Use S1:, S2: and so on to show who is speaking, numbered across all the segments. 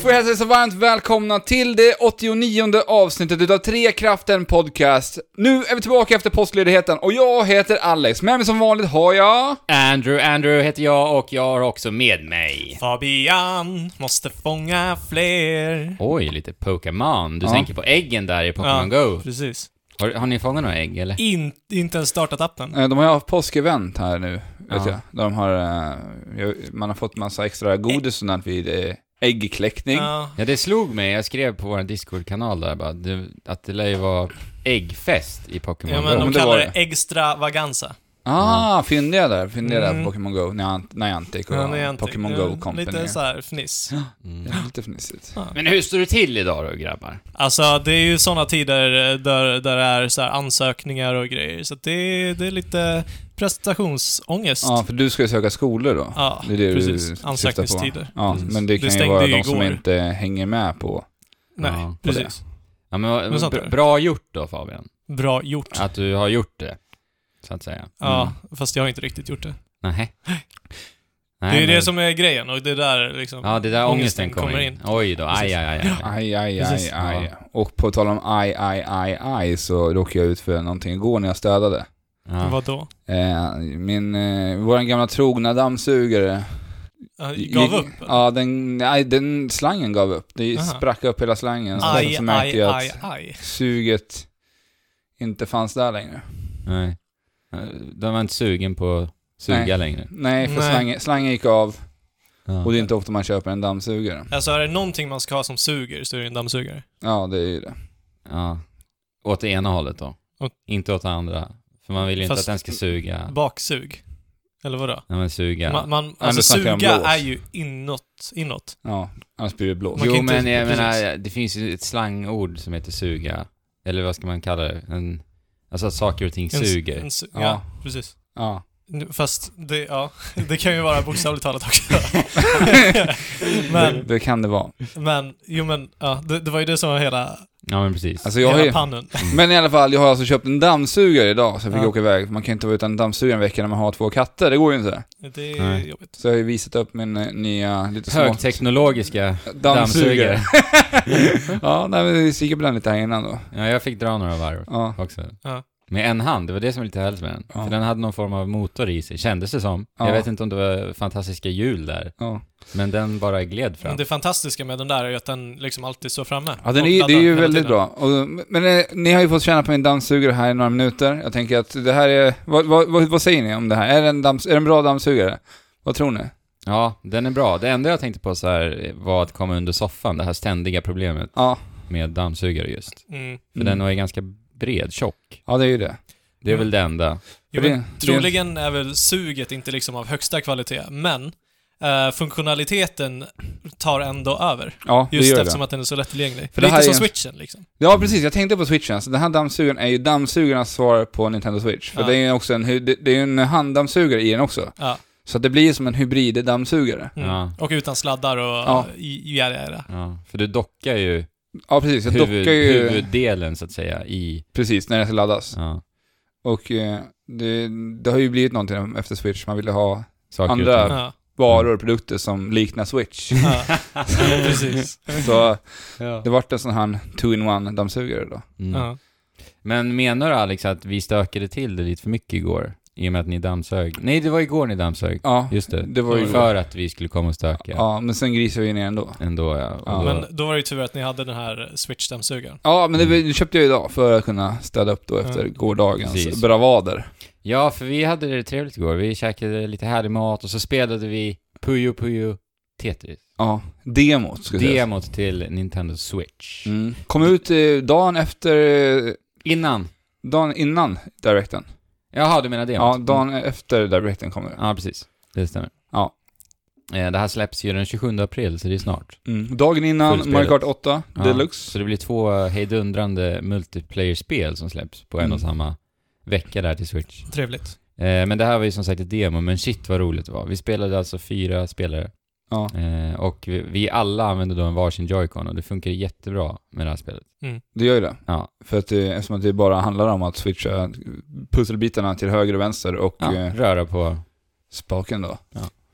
S1: får vi hälsa så varmt välkomna till det 89 avsnittet utav Tre Kraften Podcast. Nu är vi tillbaka efter påskledigheten och jag heter Alex. Med mig som vanligt har jag...
S2: Andrew, Andrew heter jag och jag har också med mig...
S3: Fabian måste fånga fler.
S2: Oj, lite Pokémon. Du tänker på äggen där i Pokémon Go.
S3: precis.
S2: Har, har ni fångat några ägg eller?
S3: In, inte ens startat appen.
S1: Eh, De har ju haft påskevent här nu, vet
S2: Ja.
S1: jag. Där de har... eh, jag- Man har fått massa extra godis och sånt vid eh, äggkläckning.
S3: Ja.
S2: Ja, det slog mig. Jag skrev på vår Discord-kanal där bara, det, att det lär ju vara äggfest i Pokémon
S3: Ja,
S2: Go.
S3: men
S1: men
S3: de
S1: det
S3: kallar
S1: var
S3: det extravaganza.
S1: Ah, fyndiga där. Fyndiga där
S3: Mm.
S1: på Pokémon Go. Niant- Niantic och
S3: Ja, det är inte-
S1: Pokémon
S3: ja,
S1: Go Company.
S3: Lite så här fniss.
S1: Det är lite fnissigt.
S2: Mm. Men hur står det till idag då, grabbar?
S3: Alltså, det är ju såna tider eh, där, där det är så här ansökningar och grejer, så att det, det är lite prestationsångest.
S1: Ja, för du ska ju söka skolor då.
S3: Ja,
S1: det är det du
S3: precis.
S1: syftar på.
S3: Ansökningstider.
S1: Ja,
S2: Precis.
S1: men det
S3: Det
S1: kan ju
S3: stängde
S1: vara
S3: ju
S1: de som
S3: igår.
S1: inte hänger med på.
S3: Nej,
S2: Ja, på
S3: precis.
S2: Ja, men, vad-
S3: Men sånt
S2: br-
S3: där.
S2: bra gjort då, Fabian.
S3: Bra gjort.
S2: Att du har gjort det, så att säga. Mm.
S3: Ja, fast jag har inte riktigt gjort det.
S2: Nähä.
S3: Det
S2: Nej,
S3: är ju
S2: men-
S3: det som är grejen och det är där liksom...
S2: Ja, det där ångesten kommer, in. Oj då, aj,
S3: Precis.
S2: aj, aj. aj.
S1: Aj, aj, aj,
S3: Precis.
S1: aj. Och på tal om aj, aj, aj, aj så råkade jag ut för någonting igår när jag städade.
S2: Ja.
S3: Vadå?
S1: Eh, min, eh, våran gamla trogna dammsugare.
S3: Ja, Gav
S1: gick-
S3: upp?
S1: Ja, den, nej, den slangen gav upp. Det
S3: Aha.
S1: sprack upp hela slangen. Så
S3: Aj,
S1: därför märkte
S3: aj,
S1: jag att
S3: aj, aj.
S1: suget inte fanns där längre.
S2: Nej. De var inte sugen på att suga
S1: Nej.
S2: längre.
S1: Nej, för
S3: Nej.
S1: Slangen, slangen gick av
S2: Ja.
S1: och det är inte ofta man köper en dammsugare.
S3: Alltså är det någonting man ska ha som suger så är det en dammsugare.
S1: Ja, det är ju det.
S2: Ja. Åt det ena hållet då.
S3: Åt-
S2: Inte åt det andra. För man vill ju inte
S3: Fast-
S2: att den ska suga.
S3: Baksug. Eller vadå?
S2: Nej men suga.
S3: Man, man,
S1: Ja, nu
S3: alltså
S1: snackar jag om
S3: suga
S1: blås.
S3: är ju inåt, inåt.
S1: Ja, annars blir det blåst.
S3: man
S2: jo
S3: kan inte-
S2: men jag
S3: precis.
S2: menar, det finns ju ett slangord som heter suga. Eller vad ska man kalla det? En, alltså att saker och ting
S3: En s-
S2: suger.
S3: En su-
S1: Ja.
S3: ja. precis.
S1: Ja.
S3: Nu- Fast det, ja, det kan ju vara bokstavligt talat också.
S1: Det,
S3: men,
S1: det kan det vara.
S3: men, jo men, ja, det, det var ju det som var hela,
S2: Ja men precis.
S1: Alltså jag har
S3: hela
S1: ju,
S3: pannen.
S1: men i alla fall, jag har alltså köpt en dammsugare idag så jag fick
S3: Ja.
S1: åka iväg. Man kan inte vara utan dammsugare en vecka när man har två katter, det går ju inte.
S3: Det är
S2: Nej.
S3: jobbigt.
S1: Så jag har ju visat upp min eh, nya, lite små
S2: Högteknologiska
S1: dammsugare.
S2: dammsugare.
S1: ja, nej, men vi kikade på den lite här innan då.
S2: ja, jag fick dra några varv
S1: Ja,
S2: också.
S3: Ja.
S2: Med en hand, det var det som var lite hälsigt med den.
S1: Ja.
S2: För den hade någon form av motor i sig, kändes det som.
S1: Ja.
S2: Jag vet inte om det var fantastiska hjul där,
S1: ja.
S2: men den bara gled fram.
S3: Men det fantastiska med den där är ju att den liksom alltid står framme.
S1: ja den
S3: och
S1: är, det
S3: laddar
S1: är ju
S3: hela
S1: väldigt
S3: tiden.
S1: bra. Och, men eh, ni har ju fått känna på min dammsugare här i några minuter. Jag tänker att det här är, vad, vad, vad, vad säger ni om det här? Är det en, damms, är det en bra dammsugare? Vad tror ni?
S2: Ja, den är bra. Det enda jag tänkte på så här var att komma under soffan, det här ständiga problemet
S1: Ja,
S2: med dammsugare just.
S3: Mm.
S2: För
S1: Mm.
S2: den var ju ganska bred, tjock.
S1: ja det är ju det.
S2: Det är
S3: Mm.
S2: väl det enda.
S3: Jo,
S1: För
S3: men
S1: det- det-
S3: troligen är väl suget inte liksom av högsta kvalitet, men eh, funktionaliteten tar ändå över.
S1: Ja, det
S3: Just
S1: gör
S3: eftersom
S1: det.
S3: att den är så lättillgänglig.
S1: För det
S3: Lite
S1: här är
S3: som
S1: en-
S3: switchen liksom.
S1: Ja, precis. Jag tänkte på switchen. Så den här dammsugaren är ju dammsugarnas svar på Nintendo Switch. För
S3: Ja.
S1: det är ju också en, hy- det det är ju en handdammsugare i den också.
S3: Ja.
S1: Så att det blir som en hybrid-dammsugare.
S3: Mm.
S2: Ja.
S3: Och utan sladdar och
S1: Ja.
S3: ja. ja, ja, ja.
S2: Ja, för du dockar ju,
S1: Ja, precis. Jag
S2: huvud,
S1: dockar ju
S2: huvuddelen så att säga i...
S1: precis när den ska laddas.
S2: Ja,
S1: Och eh, det, det har ju blivit någonting efter Switch. Man ville ha
S2: saker
S1: Andra-
S2: och ting.
S3: Ja.
S1: varor och produkter som liknar Switch.
S3: Ja. Precis.
S1: Så
S2: Ja.
S1: det vart en sån här two-in-one-dammsugare då.
S2: Mm.
S3: Ja.
S2: Men menar du Alex att vi stökade till det lite för mycket igår? I och med att ni dammsög? Nej, det var igår ni dammsög.
S1: Ja,
S2: Just det.
S1: det var ju... Ja,
S2: För att vi skulle komma och stöka.
S1: men sen grisade vi ner ändå.
S2: Ändå ja. Och
S1: Ja.
S2: då-
S3: Men då var det ju tur att ni hade den här switch-dammsugaren.
S1: Ja, men
S2: Mm.
S1: det, det köpte jag idag för att kunna städa upp då efter
S3: Ja.
S1: gårdagens
S2: Precis.
S1: bravader.
S2: Ja, för vi hade det trevligt igår. Vi käkade lite härlig mat och så spelade vi Puyo Puyo Tetris.
S1: Ja, demot ska jag säga.
S2: Demot till Nintendo Switch.
S1: Mm. Kom ut eh, dagen efter, eh,
S2: Innan.
S1: dagen innan directen.
S2: Jaha, du menar demot? Mm.
S1: Ja, dagen efter directen kom det.
S2: Ja, precis. Det stämmer.
S1: Ja.
S2: Eh, Det här släpps ju den 27 april, så det är snart.
S1: Mm. Dagen innan
S2: Fullspelet.
S1: Mario Kart 8
S2: Ja. Så
S1: Deluxe.
S2: det blir två eh, hejdundrande multiplayer-spel som släpps på en
S1: Mm.
S2: och samma vecka där till Switch.
S3: Trevligt.
S2: Eh, Men det här var ju som sagt ett demo, men shit vad roligt det var. Vi spelade alltså fyra spelare.
S1: Ja.
S2: Eh, och vi, vi alla använde då en varsin Joy-Con och det funkar jättebra med det här spelet.
S1: Det gör ju det.
S2: Ja.
S1: För att det, eftersom att det bara handlar om att switcha pusselbitarna till höger och vänster och
S2: Ja,
S1: eh,
S2: röra på.
S1: spaken då.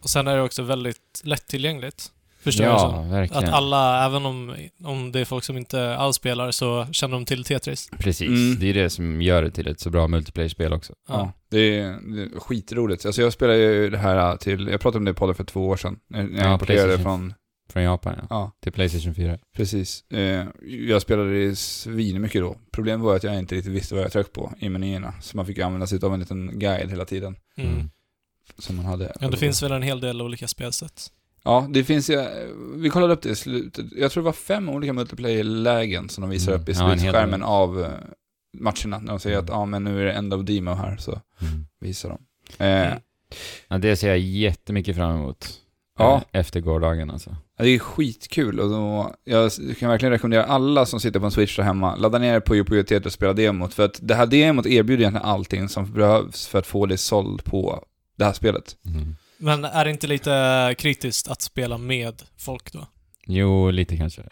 S3: Och sen är det också väldigt lättillgängligt. Förstår jag
S2: Ja,
S3: som.
S2: verkligen.
S3: Att alla, även om, om det är folk som inte alls spelar, så känner de till Tetris.
S2: Precis,
S1: Mm.
S2: det är det som gör det till ett så bra multiplayer-spel också.
S1: Ja, det är, det är skitroligt. Alltså jag spelade ju det här eh, till, jag pratade om det i podden för två år sedan. När när jag
S2: Ja,
S1: importerade
S2: Playstation.
S1: från,
S2: Från Japan ja.
S1: ja,
S2: Till Playstation 4.
S1: precis. Eh, jag spelade i svin mycket då. Problemet var att jag inte riktigt visste vad jag tryckte på i menyerna. Så man fick använda sig av en liten guide hela tiden.
S3: Mm.
S2: Mm.
S1: Som man hade.
S3: Ja, det finns väl en hel del olika spelsätt.
S1: Ja, det finns ju, vi kollade upp det i slutet. Jag tror det var fem olika multiplayer-lägen som de visar
S2: Mm.
S1: upp i
S2: Ja, en hel del.
S1: slutskärmen av eh, matcherna. När de säger att ja, men nu är det end of demo här, så
S2: Mm.
S1: visar de. Eh,
S3: Mm.
S2: Ja, det ser jag jättemycket fram emot.
S1: Ja.
S2: Eh, Efter gårdagen alltså.
S1: Ja, Det är skitkul och då, jag kan verkligen rekommendera alla som sitter på en Switch där hemma, ladda ner det på Yopuyo Theater och spela demot. För att det här demot erbjuder egentligen allting som behövs för att få det såld på det här spelet.
S3: Men är det inte lite kritiskt att spela med folk då?
S2: Jo, lite kanske.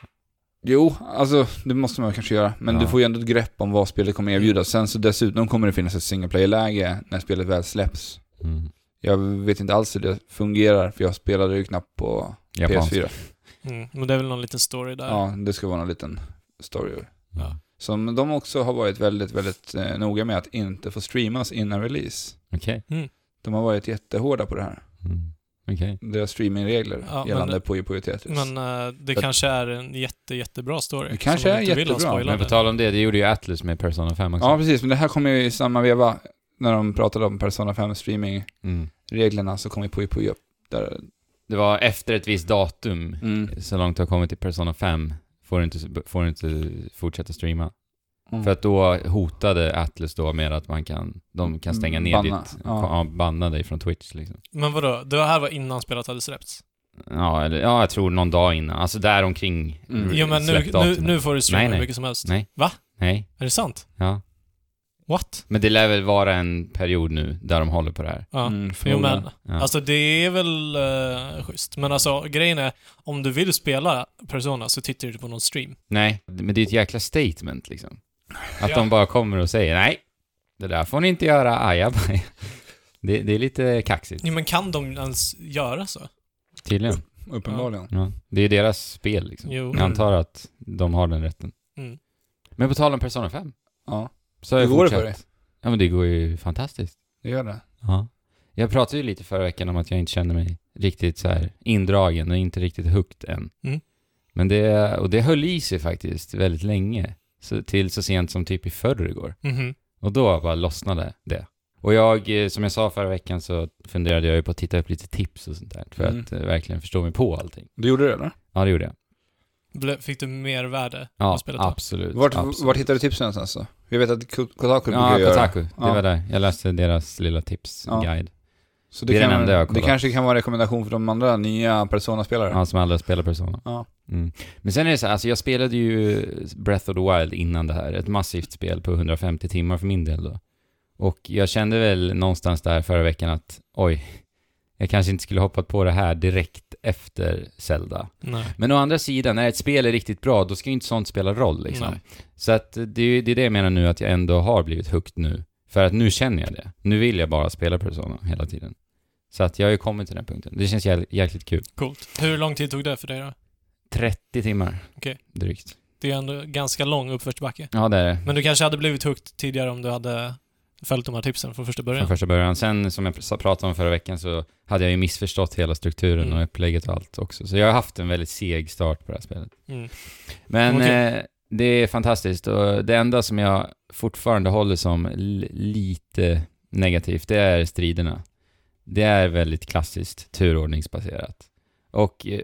S1: Jo, alltså det måste man kanske göra, men
S2: Ja.
S1: du får ju ändå ett grepp om vad spelet kommer erbjuda. Sen så dessutom kommer det finnas ett single player-läge när spelet väl släpps.
S2: Mm.
S1: Jag vet inte alls hur det fungerar, för jag spelade ju knappt på
S2: Japansk.
S1: PS4.
S3: Mm. Men det är väl någon liten story där?
S1: Ja, det ska vara någon liten story.
S2: Ja.
S1: Som de också har varit väldigt, väldigt eh, noga med att inte få streamas innan release.
S2: Okej.
S1: De har varit jättehårda på det här.
S2: Mm. Okej.
S1: Deras streamingregler
S3: Ja, men-
S1: gällande Puyo Puyo Tetris.
S3: Men eh, det
S1: För-
S3: kanske är en jätte, jättebra story.
S1: Det kanske
S3: som man
S1: är
S3: inte vill ha
S1: jättebra,
S2: Men
S3: spoilade.
S2: på tal om det, det gjorde ju Atlus med Persona 5 också.
S1: ja, precis. Men det här kommer ju i samma veva. När de pratade om Persona 5 streamingreglerna
S2: Mm.
S1: så kom ju Puyo Puyo upp. Där.
S2: Det var efter ett visst datum,
S1: Mm.
S2: så långt du har kommit till Persona 5, får du inte, får du inte fortsätta streama.
S1: Mm.
S2: För att då hotade Atlus då med att man kan, de kan stänga ner
S1: Banna,
S2: ditt,
S1: ja.
S2: ja. banna dig från Twitch liksom.
S3: Men vadå, det här var innan spelet hade släppts?
S2: Ja, eller, ja, jag tror någon dag innan. Alltså där omkring
S1: Mm.
S3: Jo men nu, nu,
S2: släppdatumet.
S3: nu får du streama
S2: Nej, nej.
S3: hur mycket som helst.
S2: Nej.
S3: Va?
S2: Nej,
S3: Är det sant?
S2: ja.
S3: What?
S2: Men det lär väl vara en period nu där de håller på det här.
S3: Ja.
S1: Mm,
S3: Jo
S1: förmodligen.
S3: men,
S2: Ja.
S3: alltså det är väl uh, schysst. Men alltså grejen är, om du vill spela Persona så tittar du inte på någon stream.
S2: Nej, men det är ett jäkla statement liksom. Att
S3: Ja.
S2: de bara kommer och säger nej, det där får ni inte göra, ajabaja. Det, det är lite kaxigt,
S3: Jo men kan de ens göra så?
S2: tydligen.
S1: Uppenbarligen.
S2: Ja. Det är deras spel liksom.
S3: Jo.
S2: Jag antar att de har den rätten.
S3: Mm.
S2: Men på tal om Persona 5,
S1: Ja,
S2: så har
S1: Hur
S2: jag
S1: går det för
S2: fortsatt- Ja men det går ju fantastiskt.
S1: det gör det.
S2: Ja. Jag pratade ju lite förra veckan om att jag inte känner mig riktigt så här indragen och inte riktigt hooked än.
S3: Mm.
S2: Men det, och det höll i sig faktiskt väldigt länge. Så, till så sent som typ i förrgår.
S3: Mhm.
S2: Och då bara lossnade det. Och jag, eh, som jag sa förra veckan så funderade jag ju på att titta upp lite tips och sånt där. För
S1: Mm.
S2: att eh, verkligen förstå mig på allting.
S1: Du gjorde det eller?
S2: Ja, det gjorde jag.
S3: Ble- Fick du mer värde av
S2: Ja,
S3: spelet då?
S2: absolut.
S1: Vart,
S2: absolut.
S1: vart hittade du tipsen någonstans då? Jag vet att Ko- Kotaku brukar
S2: Ja,
S1: göra
S2: Kotaku. Det
S1: Ja.
S2: var där. Jag läste deras lilla tipsguide.
S1: Så det,
S2: Det är
S1: kan,
S2: den enda jag har
S1: det
S2: kollat.
S1: kanske kan vara en rekommendation för de andra nya Persona-spelare.
S2: Ja, som alla spelar Persona.
S1: Ja.
S2: Mm. Men sen är det så här, alltså jag spelade ju Breath of the Wild innan det här. Ett massivt spel på 150 timmar för min del då. Och jag kände väl någonstans där förra veckan att oj, jag kanske inte skulle hoppat på det här direkt efter Zelda.
S3: Nej.
S2: Men å andra sidan, när ett spel är riktigt bra, då ska ju inte sånt spela roll liksom.
S3: Nej.
S2: Så att det, är ju- det är det jag menar nu, att jag ändå har blivit hooked nu. För att nu känner jag det. Nu vill jag bara spela Persona hela tiden. Så att jag har ju kommit till den punkten. Det känns jäk- jäkligt kul.
S3: Coolt. Hur lång tid tog det för dig då?
S2: 30 timmar.
S3: Okej.
S2: Drygt.
S3: Det är ändå ganska lång uppförsbacke.
S2: Ja, det är det.
S3: Men du kanske hade blivit hooked tidigare om du hade följt de här tipsen från första
S2: Från
S3: början?
S2: första början. Sen, som jag pr- pratade om förra veckan, så hade jag ju missförstått hela strukturen
S3: Mm.
S2: och upplägget och allt också. Så jag har haft en väldigt seg start på det här spelet.
S3: Mm.
S2: Men
S3: Okej.
S2: eh, det är fantastiskt och det enda som jag fortfarande håller som l- lite negativt, det är striderna. Det är väldigt klassiskt turordningsbaserat. Och eh,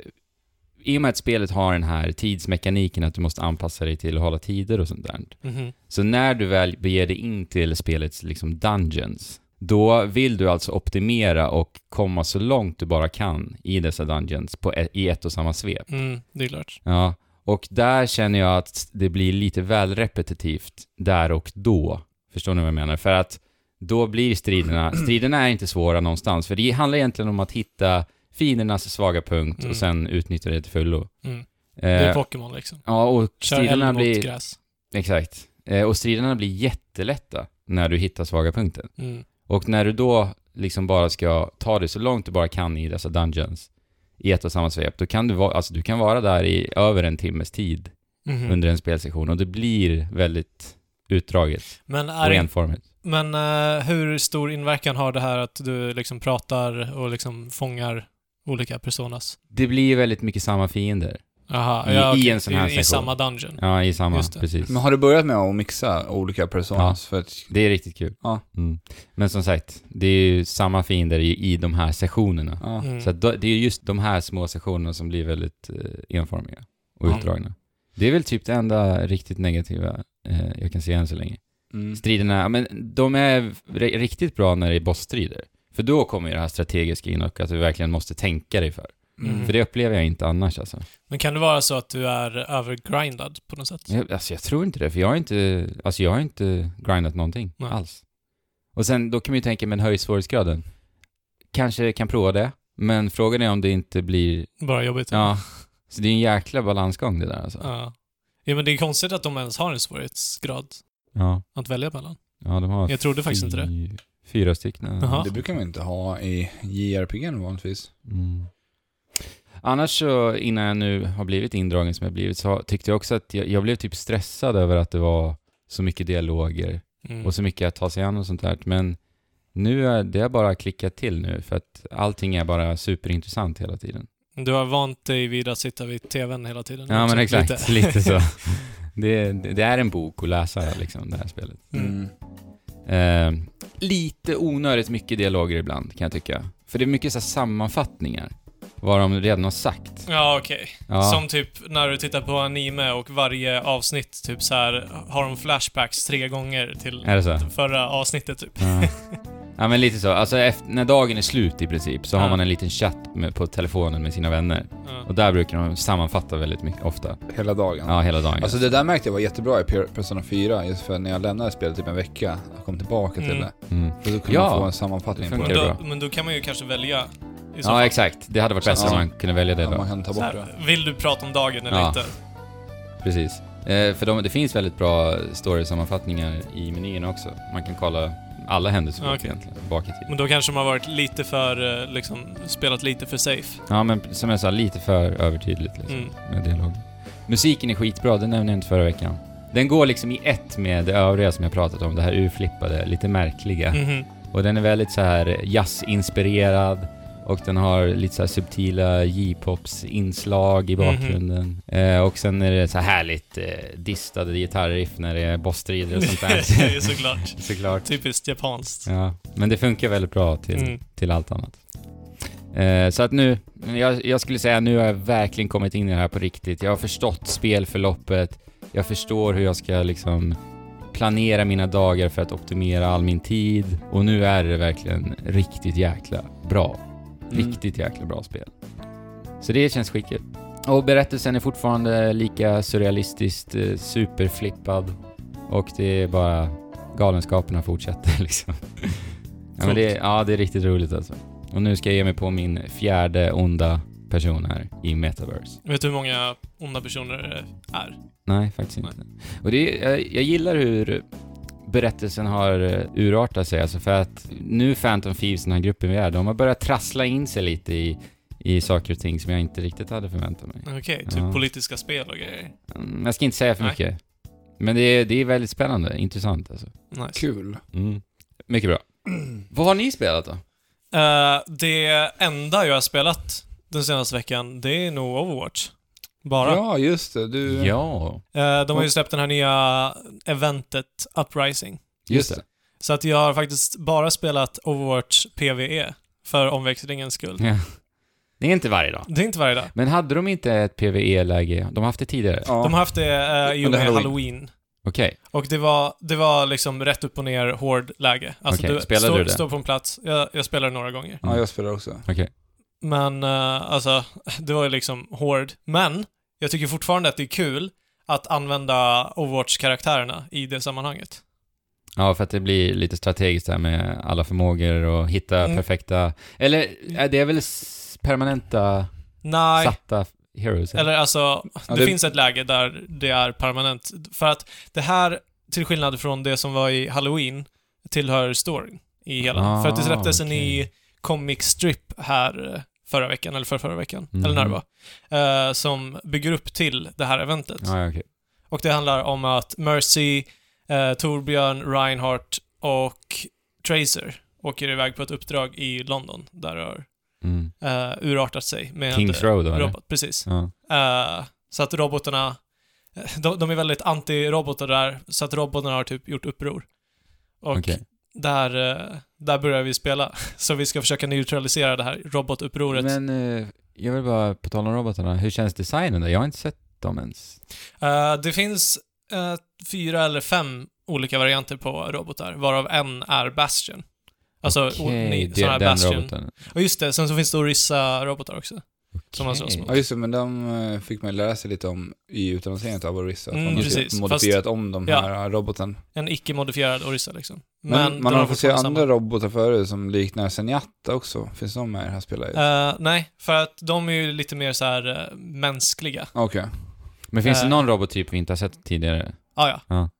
S2: i och med att spelet har den här tidsmekaniken att du måste anpassa dig till att hålla tider och sånt där,
S3: Mhm.
S2: så när du väl beger dig in till spelets liksom dungeons, då vill du alltså optimera och komma så långt du bara kan i dessa dungeons på e- i ett och samma svep.
S3: Mm, det är klart.
S2: Ja, och där känner jag att det blir lite väl repetitivt där och då. Förstår ni vad jag menar? För att då blir striderna, striderna är inte svåra någonstans, för det handlar egentligen om att hitta fiendernas svaga punkt
S3: Mm.
S2: och sen utnyttja det till fullo.
S3: Mm. Det är
S2: Eh,
S3: Pokémon liksom.
S2: ja, och
S3: Kör eld
S2: striderna
S3: mot
S2: blir...
S3: gräs.
S2: Exakt. Eh, och striderna blir jättelätta när du hittar svaga punkten.
S3: Mm.
S2: Och när du då liksom bara ska ta dig så långt du bara kan i dessa dungeons, i ett och samma svep, då kan du, va, alltså, du kan vara där i över en timmes tid
S3: Mhm.
S1: Mm.
S2: under en spelsession och det blir väldigt utdraget
S3: Men,
S2: och
S3: är, det-
S2: enformigt.
S3: men eh, hur stor inverkan har det här att du liksom pratar och liksom fångar olika personas?
S2: Det blir väldigt mycket samma fiender.
S3: Aha,
S2: I-
S3: ja,
S2: i
S3: okej.
S2: en sån här
S3: I,
S2: session.
S3: i samma dungeon.
S2: Ja, i samma,
S3: Just det.
S2: precis.
S1: Men har du börjat med att mixa olika personas? För att,
S2: Det är riktigt kul.
S1: Ja.
S2: Mm. Men som sagt, det är ju samma fiender i, i de här sessionerna.
S1: ja.
S3: Mm.
S2: Så att då, det är just de här små sessionerna som blir väldigt eh, enformiga och
S3: Ja.
S2: utdragna. Det är väl typ det enda riktigt negativa eh, jag kan se än så länge.
S1: Mm.
S2: Striderna, ja, men de är ri- riktigt bra när det är bossstrider. För då kommer ju det här strategiska in och att du verkligen måste tänka dig för.
S1: Mm.
S2: För det upplever jag inte annars alltså.
S3: Men kan det vara så att du är övergrindad på något sätt?
S2: Jag, alltså jag tror inte det, för jag har inte, alltså jag har inte grindat någonting
S3: Nej.
S2: alls. Och sen, då kan man ju tänka, men höj svårighetsgraden. Kanske kan prova det, men frågan är om det inte blir,
S3: Bara jobbigt.
S2: ja. Så det är en jäkla balansgång det där alltså.
S3: ja. Ja, men det är konstigt att de ens har en svårighetsgrad
S2: Ja,
S3: att välja mellan.
S2: ja de har
S3: Jag trodde faktiskt inte det.
S2: fy- Fyra stycken.
S3: Jaha.
S1: Det brukar man inte ha i JRPG vanligtvis.
S2: Mm. Annars så, innan jag nu har blivit indragen som jag blivit, så har- tyckte jag också att jag, jag blev typ stressad över att det var så mycket dialoger
S3: Mm.
S2: och så mycket att ta sig an och sånt där. Men nu är det har bara klickat till nu för att allting är bara superintressant hela tiden.
S3: Du har vant dig vid att sitta vid tvn hela tiden.
S2: Ja
S3: också,
S2: men exakt,
S3: lite.
S2: lite, så. Det, det är en bok att läsa liksom, det här spelet.
S3: Mm.
S1: Mm.
S2: Eh, lite onödigt mycket dialoger ibland kan jag tycka. För det är mycket så här sammanfattningar. Vad de redan har sagt.
S3: Ja, okej.
S2: Ja,
S3: Som typ när du tittar på anime och varje avsnitt typ så här har de flashbacks tre gånger till
S2: är det så?
S3: förra avsnittet typ.
S2: Ja. ja men lite så. Alltså efter, när dagen är slut i princip så har
S3: Ja.
S2: man en liten chatt med, på telefonen med sina vänner.
S3: Ja.
S2: Och där brukar de sammanfatta väldigt mycket, ofta.
S1: Hela dagen.
S2: Ja, hela dagen.
S1: Alltså det där märkte jag var jättebra i Per- Persona 4, just för när jag lämnade spelet typ en vecka och kom tillbaka till
S3: Mm.
S1: det.
S2: Mm.
S1: För då kunde
S2: Ja,
S1: man få en sammanfattning
S2: det
S1: på
S3: Men,
S1: det.
S2: funkar.
S3: då,
S2: bra.
S3: men då kan man ju kanske välja i så
S2: Ja,
S3: fall.
S2: exakt. Det hade varit bättre
S1: Ja.
S2: om man kunde välja det
S1: Ja, man
S2: då.
S1: kan ta
S3: Så
S1: bort det.
S3: här, vill du prata om dagen eller
S2: Ja.
S3: inte?
S2: Precis. Eh, för de, det finns väldigt bra story-sammanfattningar i menyn också. Man kan kolla alla händelser
S3: Ja,
S2: okay.
S3: okej.
S2: egentligen, bak i tiden.
S3: Men då kanske de har varit lite för, eh, liksom, spelat lite för safe.
S2: Ja, men som jag sa, lite för övertydligt liksom,
S3: Mm.
S2: med dialog. Musiken är skitbra, den nämnde jag inte förra veckan. Den går liksom i ett med det övriga som jag pratat om, det här urflippade, lite märkliga.
S3: Mhm.
S2: Och den är väldigt så här jazzinspirerad och den har lite så här subtila J-pops inslag i bakgrunden. Eh, och sen är det så här härligt eh, distade gitarriff när det är bossstrider och sånt
S3: det är ju
S2: där.
S3: såklart.
S2: Såklart.
S3: Typiskt japanskt.
S2: Ja, men det funkar väldigt bra till,
S3: Mm.
S2: till allt annat. Eh, så att nu, jag, jag skulle säga nu har jag verkligen kommit in i det här på riktigt. Jag har förstått spelförloppet, jag förstår hur jag ska liksom planera mina dagar för att optimera all min tid och nu är det verkligen riktigt jäkla bra. Riktigt jäkla bra spel. Så det känns skitkul. Och berättelsen är fortfarande lika surrealistiskt eh, superflippad och det är bara galenskaperna fortsätter liksom. Ja, men det, är- ja, det är riktigt roligt alltså. Och nu ska jag ge mig på min fjärde onda person här i metaverse.
S3: Vet du hur många onda personer det är?
S2: Nej, faktiskt inte. Och det, är- jag, jag gillar hur berättelsen har eh, urartat sig, alltså för att nu Phantom Thieves, den här gruppen vi är, de har börjat trassla in sig lite i, i saker och ting som jag inte riktigt hade förväntat mig.
S3: Okej, typ
S2: Ja.
S3: politiska spel och grejer.
S2: Mm, Jag ska inte säga för
S3: Nej.
S2: mycket. Men det är, det är väldigt spännande, intressant alltså.
S3: Nice.
S1: Kul.
S2: Mm. Mycket bra. Vad har ni spelat då?
S3: Eh, det enda jag har spelat den senaste veckan, det är nog Overwatch. Bara.
S1: Ja, just det. Du...
S2: Ja,
S3: Eh, de har ju släppt den här nya eventet Uprising.
S2: just det.
S3: Så att jag har faktiskt bara spelat Overwatch PVE för omväxlingens skull.
S2: Ja. Det är inte varje dag.
S3: Det är inte varje dag.
S2: Men hade de inte ett PVE-läge? De har haft det tidigare?
S1: Ja.
S3: De har haft det eh, i och
S1: Under
S3: med
S1: Halloween.
S3: Halloween.
S2: Okej.
S3: Och det var, det var liksom rätt upp och ner hård läge. Alltså
S2: Okej,
S3: du
S2: spelade
S3: står,
S2: du det?
S3: står på en plats. Jag, jag spelade några gånger.
S1: ja, jag spelar också.
S3: Men eh, alltså, det var ju liksom hård. Men jag tycker fortfarande att det är kul att använda Overwatch-karaktärerna i det sammanhanget.
S2: Ja, för att det blir lite strategiskt där med alla förmågor och hitta
S3: Mm.
S2: perfekta... Eller, är det är väl s- permanenta
S3: Nej,
S2: satta heroes?
S3: eller alltså,
S1: Ja,
S3: det,
S1: det-
S3: finns ett läge där det är permanent. För att det här, till skillnad från det som var i Halloween, tillhör storyn i hela.
S2: Ah,
S3: för att det släpptes en
S2: okej.
S3: ny comic strip här eh, förra veckan, eller för förra veckan,
S2: Mhm.
S3: eller när det var, eh, som bygger upp till det här eventet.
S2: Ja, ja, okej.
S3: Och det handlar om att Mercy, eh, Torbjörn, Reinhardt och Tracer åker iväg på ett uppdrag i London där det har
S2: Mm.
S3: eh, urartat sig med
S2: Kings
S3: en
S2: Road,
S3: eh,
S2: då, eller?
S3: robot. Precis.
S2: Ja.
S3: Eh, så att robotarna, eh, de, de är väldigt anti-robotar där, så att robotarna har typ gjort uppror. Och
S2: Okej.
S3: där, eh, där börjar vi spela. Så vi ska försöka neutralisera det här robotupproret.
S2: Men eh, jag vill bara, på tal om robotarna, hur känns designen då? Jag har inte sett dem ens.
S3: Eh, det finns eh, fyra eller fem olika varianter på robotar, varav en är Bastion. Alltså, o- ni,
S2: det-
S3: sån här
S2: den
S3: Bastion.
S2: roboten.
S3: Och just det, sen så finns det Orissa-robotar också. Som man
S2: Okej.
S3: slåss mot.
S1: Ja just det, men de eh, fick man lära sig lite om i utannonseringen av Orissa. Att
S3: Mm,
S1: man har
S3: precis.
S1: typ modifierat om de
S3: ja.
S1: här eh, roboten.
S3: En icke-modifierad Orissa liksom.
S1: Men,
S3: de
S1: man har fått se
S3: fortfarande
S1: andra
S3: samma.
S1: robotar förut som liknar Zenyatta också. Finns de med i det här spelet?
S3: Eh, nej, för att de är ju lite mer så här eh, mänskliga.
S1: Okej.
S2: Men finns det
S3: Eh.
S2: någon robottyp vi inte har sett tidigare?
S3: Ah, ja,
S2: Ja.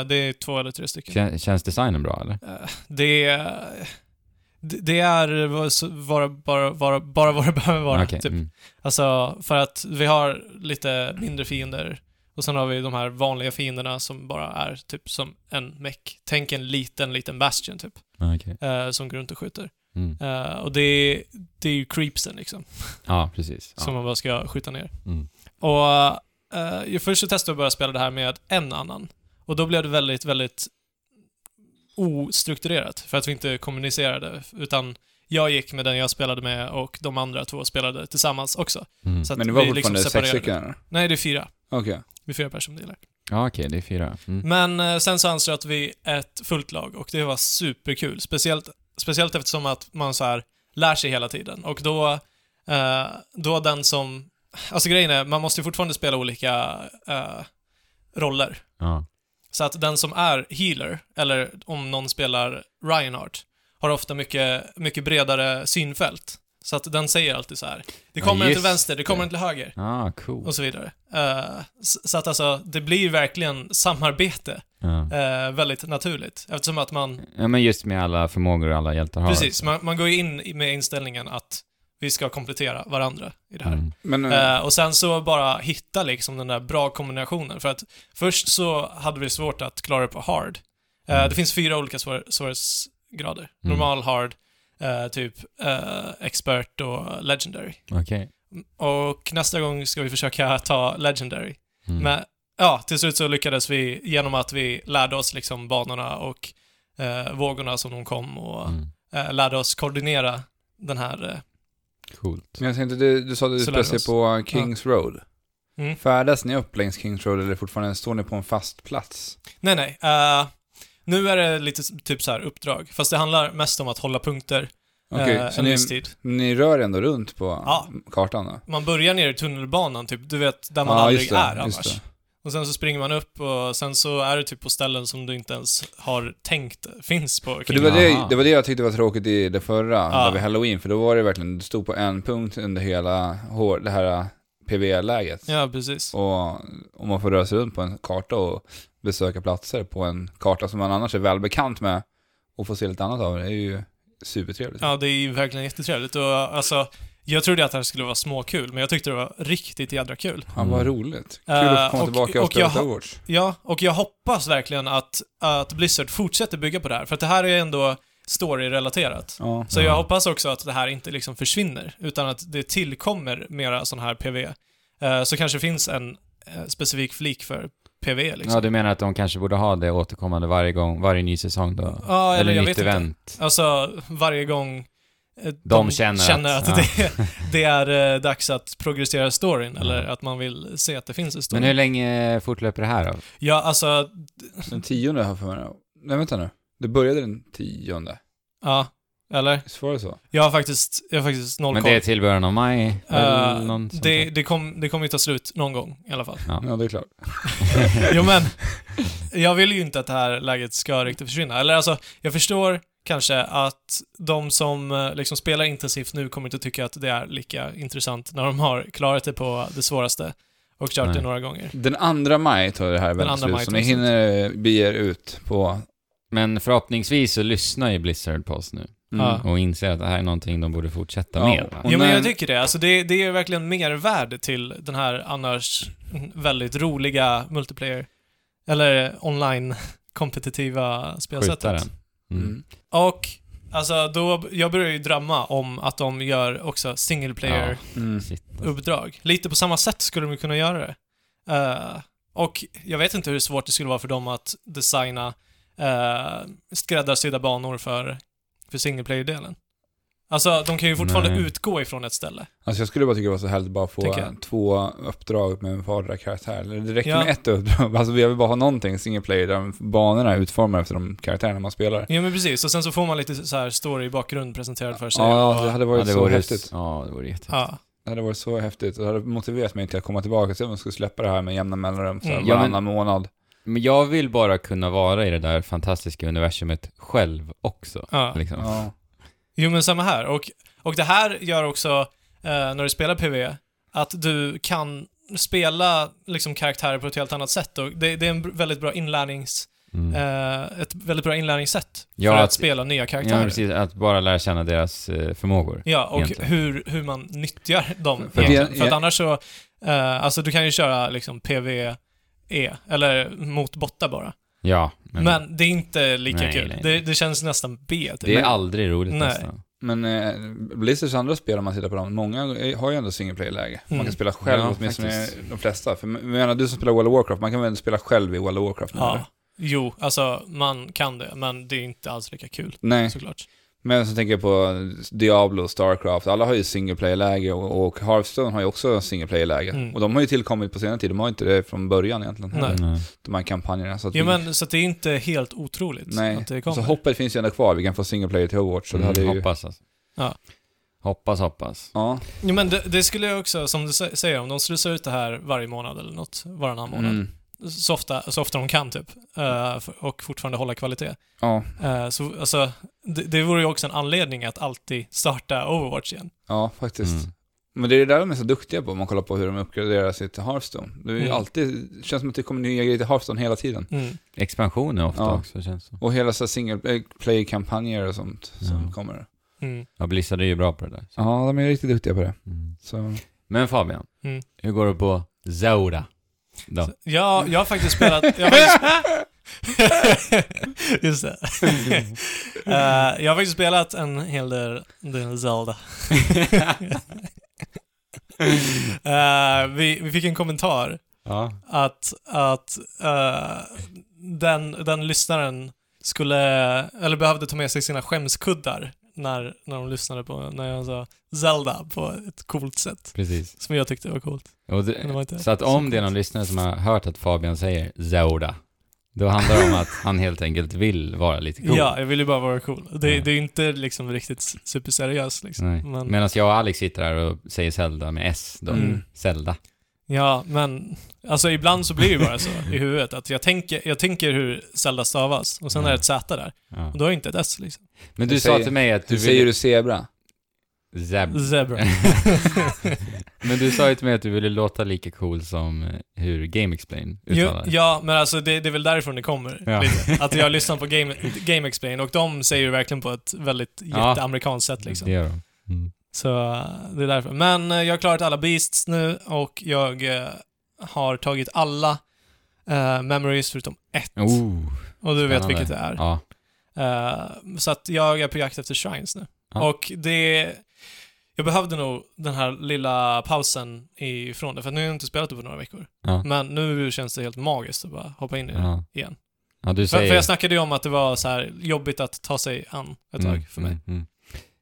S3: Eh, det är två eller tre stycken.
S2: Kän, känns designen bra eller?
S3: Eh, det är... Det det är vad- så- vara, bara, bara, bara vad det behöver vara.
S2: Okej,
S3: Typ.
S2: mm.
S3: Alltså, för att vi har lite mindre fiender och sen har vi de här vanliga fienderna som bara är typ som en meck. Tänk en liten, liten bastion typ,
S2: Ja, okej.
S3: eh, som går runt och skjuter.
S2: Mm.
S3: Eh, och det är, det är ju creepsen liksom,
S2: Ja, precis.
S3: som
S2: Ja.
S3: man bara ska skjuta ner.
S2: Mm.
S3: Och eh, jag först så testade jag att börja spela det här med en annan. Och då blev det väldigt, väldigt ostrukturerat, för att vi inte kommunicerade, utan jag gick med den jag spelade med och de andra två spelade tillsammans också.
S2: Mm.
S3: Så att
S1: Men det var
S3: vi liksom
S1: fortfarande sex
S3: separerade.
S1: stycken? eller?
S3: Nej, det är fyra.
S1: Okej.
S3: Vi är fyra personer som delar.
S2: Ja, okej, det är fyra. Mm.
S3: Men eh, sen så anslöt vi ett fullt lag och det var superkul. Speciellt, speciellt eftersom att man så här lär sig hela tiden. Och då, eh, då den som... Alltså grejen är, man måste ju fortfarande spela olika eh, roller.
S2: Ja.
S3: Så att den som är healer, eller om någon spelar Reinhardt, har ofta mycket, mycket bredare synfält. Så att den säger alltid så här. Det
S2: Ja,
S3: kommer en till
S2: just
S3: vänster, det kommer
S2: det.
S3: en till höger
S2: Ah, cool.
S3: och så vidare. Eh, s- så att alltså, det blir ju verkligen samarbete
S2: Ja.
S3: eh, väldigt naturligt. Eftersom att man,
S2: ja, men just med alla förmågor alla hjältar har.
S3: precis, man, man går ju in i- med inställningen att vi ska komplettera varandra i det här.
S2: Mm.
S1: Men, eh,
S3: Eh, och sen så bara hitta liksom den där bra kombinationen. För att först så hade vi svårt att klara det på hard. Eh,
S2: Mm.
S3: Det finns fyra olika svår- svårighetsgrader.
S2: Mm.
S3: Normal, hard, eh, typ eh, expert och legendary.
S2: Okej.
S3: Och nästa gång ska vi försöka ta legendary.
S2: Mm.
S3: Men ja, till slut så lyckades vi genom att vi lärde oss liksom banorna och eh, vågorna som de kom och
S2: Mm.
S3: eh, lärde oss koordinera den här... Eh,
S2: Coolt.
S1: men jag tänkte, du, du sa att du
S3: Så lär
S1: utspelade
S3: vi
S1: sig
S3: oss.
S1: på Kings Road.
S3: Mm.
S1: Färdas ni upp längs Kings Road eller fortfarande står ni på en fast plats?
S3: nej, nej. eh, nu är det lite s- typ så här uppdrag, fast det handlar mest om att hålla punkter
S1: Okej,
S3: eh,
S1: så
S3: en
S1: ni,
S3: viss tid.
S1: ni rör ändå runt på
S3: Ja.
S1: kartan då?
S3: Man börjar nere i tunnelbanan, typ, du vet, där man
S1: Ja,
S3: aldrig
S1: just det,
S3: är
S1: just
S3: annars.
S1: det.
S3: Och sen så springer man upp och sen så är det typ på ställen som du inte ens har tänkt finns på.
S1: För det var det,
S2: Jaha.
S1: det var det jag tyckte var tråkigt i det förra,
S3: Ja.
S1: där vid halloween, för då var det verkligen, du stod på en punkt under hela hår, det här PV-läget.
S3: Ja, precis.
S1: Och, och man får röra sig runt på en karta och besöka platser på en karta som man annars är välbekant med och få se lite annat av, det är ju supertrevligt.
S3: Ja, det är ju verkligen jättetrevligt och alltså, jag trodde att det här skulle vara småkul, men jag tyckte det var riktigt jädra kul.
S1: Han var
S2: Mm.
S1: roligt. Kul
S3: Eh,
S1: att komma
S3: och-
S1: tillbaka
S3: och
S1: och spela
S3: jag
S1: jag...
S3: ha-
S1: Overwatch.
S3: Ja, och jag hoppas verkligen att, att Blizzard fortsätter bygga på det här, för att det här är ändå story-relaterat.
S1: Ja.
S3: Så
S2: Ja.
S3: jag hoppas också att det här inte liksom försvinner, utan att det tillkommer mera sån här PV. Eh, Så kanske finns en eh, specifik flik för PV liksom.
S2: Ja, du menar att de kanske borde ha det återkommande varje gång, varje ny säsong då?
S3: Ja, eller
S2: eller
S3: jag
S2: nytt
S3: vet inte.
S2: event?
S3: Alltså, varje gång eh, de,
S2: känner att-
S3: att,
S2: ja.
S3: det, det är eh, dags att progressera storyn,
S2: Ja.
S3: eller att man vill se att det finns en story.
S2: Men hur länge fortlöper det här då?
S3: Ja, alltså,
S1: Den tionde har jag för mig. Nej, vänta nu. Det började den tionde.
S3: ja. Eller?
S1: Visst var det så?
S3: Jag har faktiskt, jag har faktiskt noll
S2: Men
S3: koll.
S2: det är till början av maj? eller
S3: Eh,
S2: någon sån
S3: det,
S2: där?
S3: det, kom, det kommer ju ta slut någon gång i alla fall.
S1: Ja, det är klart.
S3: jo men, jag vill ju inte att det här läget ska riktigt försvinna. Eller alltså, jag förstår kanske att de som eh, liksom spelar intensivt nu kommer inte tycka att det är lika intressant när de har klarat det på det svåraste och kört det
S2: Nej.
S3: några gånger.
S1: Den andra maj tar det här väl
S3: andra
S1: slut,
S3: maj
S1: så ni
S3: tar slut.
S1: hinner eh, bege er ut på...
S2: Men förhoppningsvis så lyssnar ju Blizzard på oss nu.
S1: Mm.
S3: Ja.
S2: och inser att det här är någonting de borde fortsätta
S1: Ja,
S2: med.
S1: och-
S2: Va?
S3: Ja, men
S1: när-
S3: jag tycker det. Alltså det, det är verkligen mervärde till den här annars väldigt roliga multiplayer, eller online-kompetitiva spelsättet.
S2: Skjutaren. Mm.
S1: Mm.
S3: Och alltså, då, jag börjar ju drömma om att de gör också single player-uppdrag.
S1: Mm.
S2: Shit.
S3: Lite på samma sätt skulle de kunna göra det. Eh, och jag vet inte hur svårt det skulle vara för dem att designa uh, skräddarsydda banor för, för single player-delen. Alltså, de kan ju fortfarande
S2: Nej.
S3: utgå ifrån ett ställe.
S1: Alltså jag skulle bara tycka det var så härligt att bara få
S3: Tycker jag.
S1: två uppdrag med vardera karaktär. Eller det räcker
S3: Ja.
S1: med ett uppdrag. Alltså jag vill bara ha någonting, single player, där banorna är utformade efter de karaktärerna man spelar.
S3: Ja men precis, och sen så får man lite så här story i bakgrund presenterad för sig.
S1: Ja,
S3: och,
S1: det hade
S2: Ja,
S1: varit
S2: det
S1: så
S2: vore,
S1: häftigt.
S2: ja, det vore jättehäftigt.
S3: ja.
S1: Det hade varit så häftigt. Det hade motiverat mig till att komma tillbaka till om jag skulle släppa det här med jämna mellanrum, så här,
S3: Mm.
S2: Ja,
S1: varannan månad.
S2: Men jag vill bara kunna vara i det där fantastiska universumet själv också.
S3: ja.
S2: Liksom.
S1: Ja.
S3: Jo men samma här. Och, och det här gör också, eh, när du spelar PV att du kan spela liksom karaktärer på ett helt annat sätt. Och det, det är en br- väldigt bra inlärnings,
S2: Mm.
S3: eh, ett väldigt bra inlärningssätt
S2: Ja,
S3: för att,
S2: att-
S3: spela nya
S2: Ja,
S3: karaktärer. Ja,
S2: precis. Att bara lära känna deras eh, förmågor.
S3: och
S2: Egentligen.
S3: hur, hur man nyttjar dem.
S1: För
S3: För,
S1: det-
S3: för att annars så, eh, alltså du kan ju köra liksom PVE, eller mot botta bara.
S2: Ja,
S3: Men, det är inte lika
S2: Nej,
S3: kul.
S2: nej,
S3: Det,
S2: nej.
S3: det känns nästan B. typ.
S2: det är aldrig roligt
S3: Nej.
S2: nästan.
S1: Men eh, Blizzards andra spel, om man tittar på dem, många eh, har ju ändå single player-läge. Man
S3: Mm.
S1: kan spela själv,
S2: Ja,
S1: åtminstone
S2: faktiskt.
S1: de flesta. För jag menar, du som spelar World of Warcraft, man kan väl spela själv i World of Warcraft? nu, eller?
S3: Ja. Jo, alltså man kan det, men det är inte alls lika kul
S1: Nej.
S3: såklart.
S1: Men så tänker jag på Diablo, Starcraft, alla har ju single player-läge och, och Hearthstone har ju också single player-läge.
S3: Mm.
S1: Och de har ju tillkommit på senare tid, de har ju inte det från början egentligen.
S3: Nej.
S1: heller,
S2: Mm.
S1: De här kampanjerna. Så att
S3: Jo,
S1: vi-
S3: men så att det är inte helt otroligt
S1: nej.
S3: att det
S1: Så
S3: kommer.
S1: hoppet finns ju ändå kvar, vi kan få single player till Overwatch. Så det hade
S2: Mm,
S1: ju...
S2: hoppas alltså.
S3: Ja.
S2: Hoppas, hoppas.
S1: Ja.
S3: Jo, men det, det skulle jag också, som du sä- säger, om de skulle se ut det här varje månad eller något, varannan månad,
S1: Mm.
S3: så, ofta, så ofta de kan typ, eh, f- och fortfarande hålla kvalitet.
S1: Ja.
S3: Eh, så alltså, det, det vore ju också en anledning att alltid starta Overwatch igen.
S1: Ja, faktiskt.
S2: Mm.
S1: Men det är det där de är så duktiga på om man kollar på hur de uppgraderar sitt Hearthstone. Det är ju
S3: Mm.
S1: alltid, det känns som att det kommer nya grejer till Hearthstone hela tiden.
S3: Mm.
S2: Expansioner ofta
S1: Ja.
S2: också känns det
S1: Och hela så här single eh, play-kampanjer och sånt som
S2: Ja.
S1: kommer.
S3: Mm.
S2: Ja, Blizzard är ju bra på det där. så.
S1: Ja, de är riktigt duktiga på det.
S2: Mm.
S1: Så.
S2: Men Fabian,
S3: Mm.
S2: hur går det på Zora? Då?
S3: Ja, jag har faktiskt spelat... Jag har faktiskt, just det. Eh, jag har faktiskt spelat en hel del, del Zelda. Eh, vi, vi fick en kommentar
S2: Ja.
S3: att, att eh, den, den lyssnaren skulle, eller behövde ta med sig sina skämskuddar när, när de lyssnade på, när jag sa Zelda på ett coolt sätt.
S2: Precis.
S3: Som jag tyckte var coolt.
S2: Och
S3: Men det
S2: det,
S3: var inte
S2: så att om det är någon lyssnare som har hört att Fabian säger Zora, då handlar det om att han helt enkelt vill vara lite cool.
S3: Ja, jag vill ju bara vara cool. Det,
S2: Ja.
S3: det är ju inte liksom riktigt s- superseriöst liksom.
S2: Nej.
S3: Men,
S2: Medan jag och Alex sitter här och säger Zelda med S då.
S3: Mm.
S2: Zelda.
S3: Ja, men alltså ibland så blir det ju bara så i huvudet att jag tänker, jag tänker hur Zelda stavas och sen
S2: Ja.
S3: är det ett Z där.
S2: Ja.
S3: Och då är det inte ett S liksom.
S2: Men du
S1: Hur
S2: sa
S1: säger-
S2: till mig att du
S1: Hur säger
S2: ville...
S1: du zebra?
S2: Zeb.
S3: Zebra.
S2: Men du sa ju till mig att du ville låta lika cool som eh, hur Game Explain
S3: Jo,
S2: uttalar.
S3: ja, men alltså det, det är väl därifrån det kommer.
S2: Ja.
S3: Lite. Att jag lyssnar på Game, Game Explain och de säger det verkligen på ett väldigt
S2: Ja.
S3: jätteamerikanskt sätt liksom.
S2: Det gör de. Mm.
S3: Så eh, det är därför. Men eh, jag har klarat alla Beasts nu och jag eh, har tagit alla eh, memories förutom ett.
S2: Oh,
S3: och du vet
S2: spännande.
S3: vilket det är.
S2: ja.
S3: Eh, så att jag är på jakt efter shrines nu.
S2: Ja.
S3: Och det... Jag behövde nog den här lilla pausen ifrån det, för nu har jag inte spelat det på några veckor.
S2: Ja.
S3: Men nu känns det helt magiskt att bara hoppa in i det
S2: ja.
S3: Mm, igen.
S2: Ja, du
S3: För,
S2: säger...
S3: för jag snackade ju om att det var så här jobbigt att ta sig an ett tag
S2: Mm,
S3: för mig.
S2: mm, mm.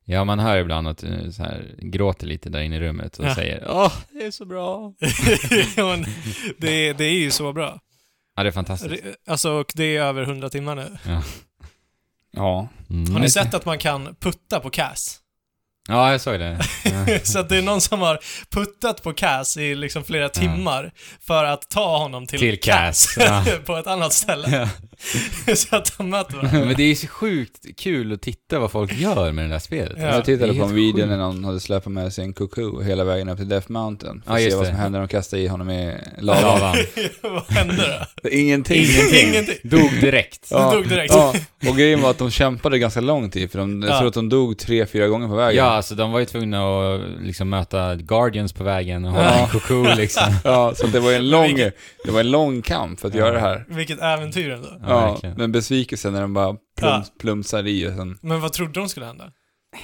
S2: Ja, man hör ibland att du så här, gråter lite där inne i rummet och
S3: Ja.
S2: säger Åh, det är så bra.
S3: Ja, men det, det är ju så bra.
S2: Ja, det är fantastiskt.
S3: Re- Alltså, och det är över 100 timmar nu.
S1: Ja.
S2: Mm.
S3: Har ni sett att man kan putta på Cass?
S2: Ja, jag såg det. Ja.
S3: Så att det är någon som har puttat på Cass i liksom flera timmar för att ta honom till,
S2: Till Cass, ja.
S3: på ett annat ställe.
S2: Ja.
S3: Så att de möter varandra.
S2: Men det är ju så sjukt kul att titta vad folk gör med det där spelet.
S3: Ja.
S1: Jag tittade
S2: Det är
S1: på en
S2: helt
S1: video
S2: sjukt.
S1: när någon hade släpat med sig en kuku hela vägen upp till Death Mountain. För
S2: Ja,
S1: att se
S2: just
S1: vad
S2: det.
S1: som händer när de kastar i honom i lavan.
S2: Lavan.
S3: Vad hände då?
S1: Ingenting.
S3: Ingenting.
S2: Dog direkt.
S1: Ja,
S3: dog direkt.
S1: Ja. Och grejen var att de kämpade ganska lång tid, för de, jag
S3: Ja.
S1: tror att de dog tre, fyra gånger på vägen.
S2: Ja, alltså de var ju tvungna att liksom möta Guardians på vägen och ha
S1: Ja.
S2: en koko liksom.
S1: Ja, så det var ju en lång,
S3: Vilket-
S1: det var en lång kamp för att göra det här.
S3: Vilket äventyr ändå.
S2: Ja,
S1: Ja,
S2: verkligen.
S1: men besvikelsen när de bara plums,
S3: Ja.
S1: plumsar i och sen...
S3: Men vad trodde de skulle hända?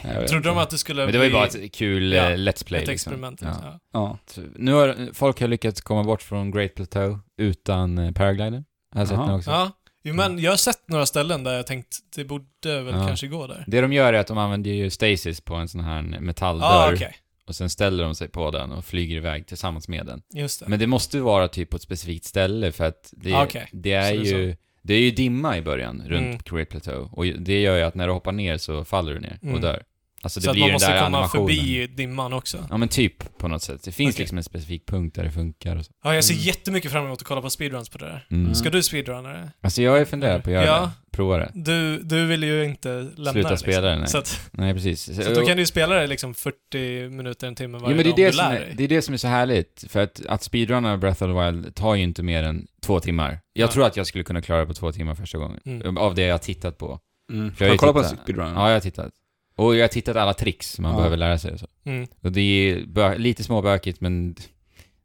S1: Jag vet
S3: Trodde de
S1: inte.
S3: att det skulle
S2: Men det var ju
S3: bli
S2: bara ett kul
S3: Ja,
S2: eh, Let's Play
S3: ett
S2: liksom.
S3: experiment? liksom.
S2: Ja.
S3: Ja.
S1: Ja.
S2: Nu har folk har lyckats komma bort från Great Plateau utan eh, paraglider. Har jag sett
S1: Jaha.
S2: nu också.
S3: Ja. Jo, men jag har sett några ställen där jag tänkt det borde väl
S2: Mm. Ja.
S3: kanske gå där.
S2: Det de gör är att de använder ju stasis på en sån här metalldörr
S3: Ja, Ah, okej.
S2: och sen ställer de sig på den och flyger iväg tillsammans med den.
S3: Just det.
S2: Men det måste ju vara typ på ett specifikt ställe för att det,
S3: Ah, okej.
S2: det är
S3: Så det är
S2: ju... Det är ju dimma i början runt
S3: Mm.
S2: Great Plateau och det gör ju att när du hoppar ner så faller du ner
S3: Mm.
S2: och dör. Alltså det
S3: Så att
S2: blir
S3: man
S2: den där
S3: måste komma
S2: animationen.
S3: förbi dimman också.
S2: Ja men typ på något sätt. Det finns
S3: Okej.
S2: liksom en specifik punkt där det funkar och så.
S3: Ja, jag ser
S1: Mm.
S3: jättemycket fram emot att kolla på speedruns på det där.
S2: Mm.
S3: Ska du speedrunna det?
S2: Alltså jag har ju funderat på att göra
S3: Ja.
S2: det. Prova det.
S3: Du, du vill ju inte lämna
S2: Sluta
S3: det, liksom.
S2: spela det, nej.
S3: Så, att,
S2: Nej precis.
S3: så att då kan du ju spela det liksom 40 minuter, en timme
S2: Jo,
S3: varje
S2: men det är
S3: dag om
S2: det,
S3: du
S2: som är,
S3: lär dig.
S2: det är det som är så härligt, för att, att speedrunna Breath of the Wild tar ju inte mer än två timmar. Jag
S3: Ja.
S2: tror att jag skulle kunna klara det på två timmar första gången, eh,
S3: Mm.
S2: av det jag har tittat på.
S1: Mm.
S2: För
S1: Har
S2: jag har ju
S1: du kollat på en
S2: tittat-
S1: speedrun?
S2: Ja, jag har tittat. Och jag har tittat alla tricks man
S1: Ja.
S2: behöver lära sig och så.
S3: Mm.
S2: Och det är bö- lite småbökigt, men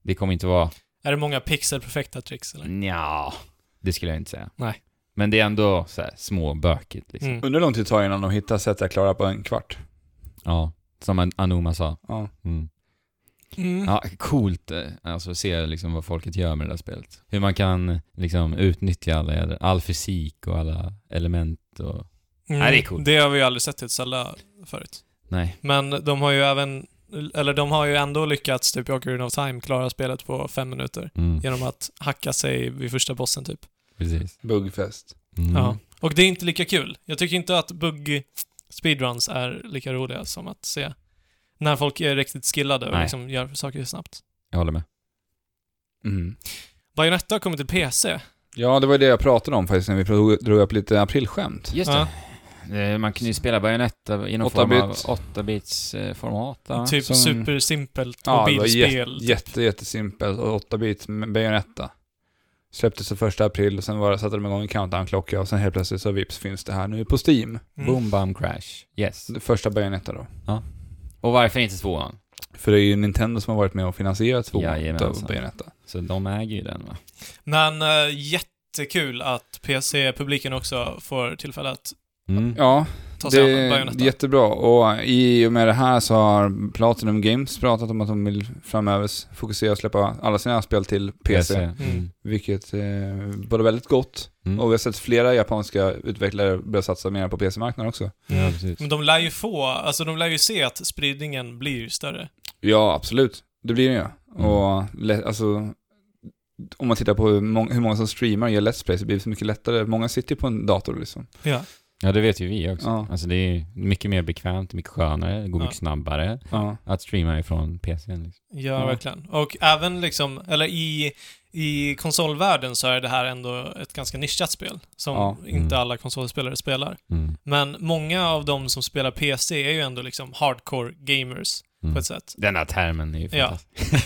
S2: det kommer inte vara...
S3: Är det många pixelperfekta tricks
S2: Mm,
S3: eller?
S2: Nja, det skulle jag inte säga.
S3: Nej.
S2: Men det är ändå så här småbökigt liksom.
S3: Mm.
S1: Undrar hur lång tid det tar innan de hittar sätt att klara på en kvart.
S2: Ja, som An- Anoma sa.
S1: Ja.
S2: Mm.
S3: Mm.
S2: Ja, coolt eh, alltså att se liksom vad folket gör med det där spelet. Hur man kan eh, liksom utnyttja alla, jädra- all fysik och alla element och...
S3: Mm.
S2: Nej, det är coolt.
S3: Det har vi ju aldrig sett i ett Zelda förut.
S2: Nej.
S3: Men de har ju även, eller de har ju ändå lyckats, typ i Ocarina of Time, klara spelet på fem minuter.
S2: Mm.
S3: Genom att hacka sig vid första bossen typ.
S2: Precis.
S1: Bugfest.
S2: Mm.
S3: Ja. Och det är inte lika kul. Jag tycker inte att bugg speedruns är lika roliga som att se när folk är riktigt skillade och
S2: Nej.
S3: liksom gör saker snabbt.
S2: Jag håller med.
S1: Mm.
S3: Bayonetta har kommit till PC.
S1: Ja, det var ju det jag pratade om faktiskt när vi drog- drog upp lite aprilskämt.
S2: Just
S3: Ja.
S2: det. Eh, Man kunde ju spela Bayonetta i någon
S1: Åtta
S2: form av
S1: bit.
S2: 8-bits eh, format. va?
S3: typ
S1: som-
S3: supersimpelt
S1: Ja, det var
S3: mobilspel.
S1: jätte, jätte, jättesimpelt och 8 bit med Bayonetta. Släpptes den första april och sen var, satte de igång en countdown-klocka och sen helt plötsligt så vips finns det här nu på Steam.
S3: Mm.
S2: Boom, bam, crash. Yes.
S1: Det Första Bayonetta då.
S2: Och varför inte tvåan?
S1: För det är ju Nintendo som har varit med och finansierat två
S2: Jajamensan.
S1: av Bayonetta.
S3: Mm.
S2: Så de äger ju den va?
S3: Men eh, jättekul att PC-publiken också får tillfälle att
S2: Mm.
S1: Ja,
S3: ta
S1: det
S3: sig an
S1: är
S3: Bayonetta.
S1: jättebra. Och i och med det här så har Platinum Games pratat om att de vill framöver fokusera och släppa alla sina spel till PC.
S2: Mm.
S1: Vilket eh, både väldigt gott.
S2: Mm.
S1: Och vi har sett flera japanska utvecklare börja satsa mer på PC-marknaden också.
S2: Ja, precis.
S3: Men de lär ju få, alltså de lär ju se att spridningen blir ju större.
S1: Ja, absolut. Det blir det ju.
S2: Mm.
S1: Och lä- alltså, om man tittar på hur, mång- hur många som streamar och gör Let's Play så blir det så mycket lättare. Många sitter på en dator liksom.
S3: Ja.
S2: Ja, det vet ju vi också.
S1: Ja.
S2: Alltså det är mycket mer bekvämt, mycket skönare, det går
S3: Ja.
S2: mycket snabbare
S1: Ja.
S2: att streama ifrån PCn. Liksom.
S3: Ja,
S1: Ja.
S3: verkligen. Och även liksom, eller i, i konsolvärlden så är det här ändå ett ganska nischat spel som
S1: Ja.
S3: inte
S2: Mm.
S3: alla konsolspelare spelar.
S2: Mm.
S3: Men många av de som spelar PC är ju ändå liksom hardcore gamers
S2: Mm.
S3: på ett sätt.
S2: Den här termen är ju
S3: Ja.
S2: fantastisk.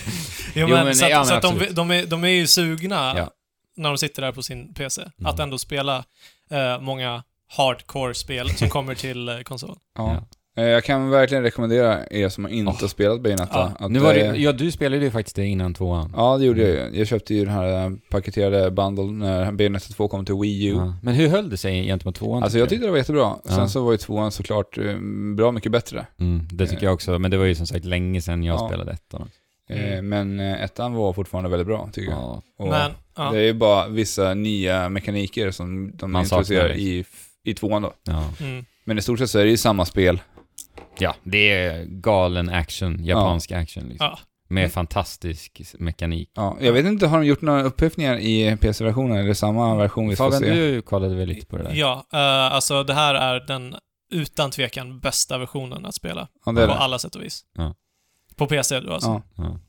S3: Jo,
S2: Jo,
S3: men,
S2: men-
S3: så att,
S2: ja, men
S3: så att de,
S2: absolut.
S3: de, är, de är ju sugna
S2: Ja.
S3: när de sitter där på sin PC,
S2: Mm.
S3: att ändå spela eh, många hardcore-spel som kommer till eh, konsol.
S1: Ja. Eh, Jag kan verkligen rekommendera er som inte har spelat Bayonetta.
S3: Ja.
S1: Att,
S2: Nu var
S1: eh,
S2: det, ja, du spelade ju faktiskt det innan tvåan.
S1: Ja, det gjorde jag ju. Jag köpte ju den här eh, paketerade bundle när Bayonetta 2 kom till Wii U.
S2: Ja. Men hur höll det sig gentemot tvåan?
S1: Alltså
S2: tycker
S1: jag
S2: du?
S1: tyckte det var jättebra. Sen
S2: Ja.
S1: så var ju tvåan såklart eh, bra mycket bättre.
S2: Mm, det tycker jag också, men det var ju som sagt länge sedan jag
S1: Ja.
S2: spelade ettan. också.
S1: Eh,
S3: Mm.
S1: Men eh, ettan var fortfarande väldigt bra tycker jag.
S2: Ja.
S1: Och
S3: Men, ja.
S1: Det är ju bara vissa nya mekaniker som de
S2: Man saknar
S1: introducerar
S2: det.
S1: i, i tvåan då.
S2: Ja.
S3: Mm.
S1: Men i stort sett så är det ju samma spel.
S2: ja, det är galen action, japansk action liksom.
S3: Ja.
S2: Med
S1: Mm.
S2: fantastisk mekanik.
S1: Ja, jag vet inte, har de gjort några upphyfningar i
S3: Mm.
S1: PC-versionen eller samma version vi får
S2: Fabian,
S1: se?
S2: du kollade väl lite på det där?
S3: Ja, eh, alltså det här är den utan tvekan bästa versionen att spela.
S1: Ja, det är
S3: på
S1: det.
S3: alla sätt och vis.
S2: Ja.
S3: På PC då alltså.
S1: Ja.
S2: Ja.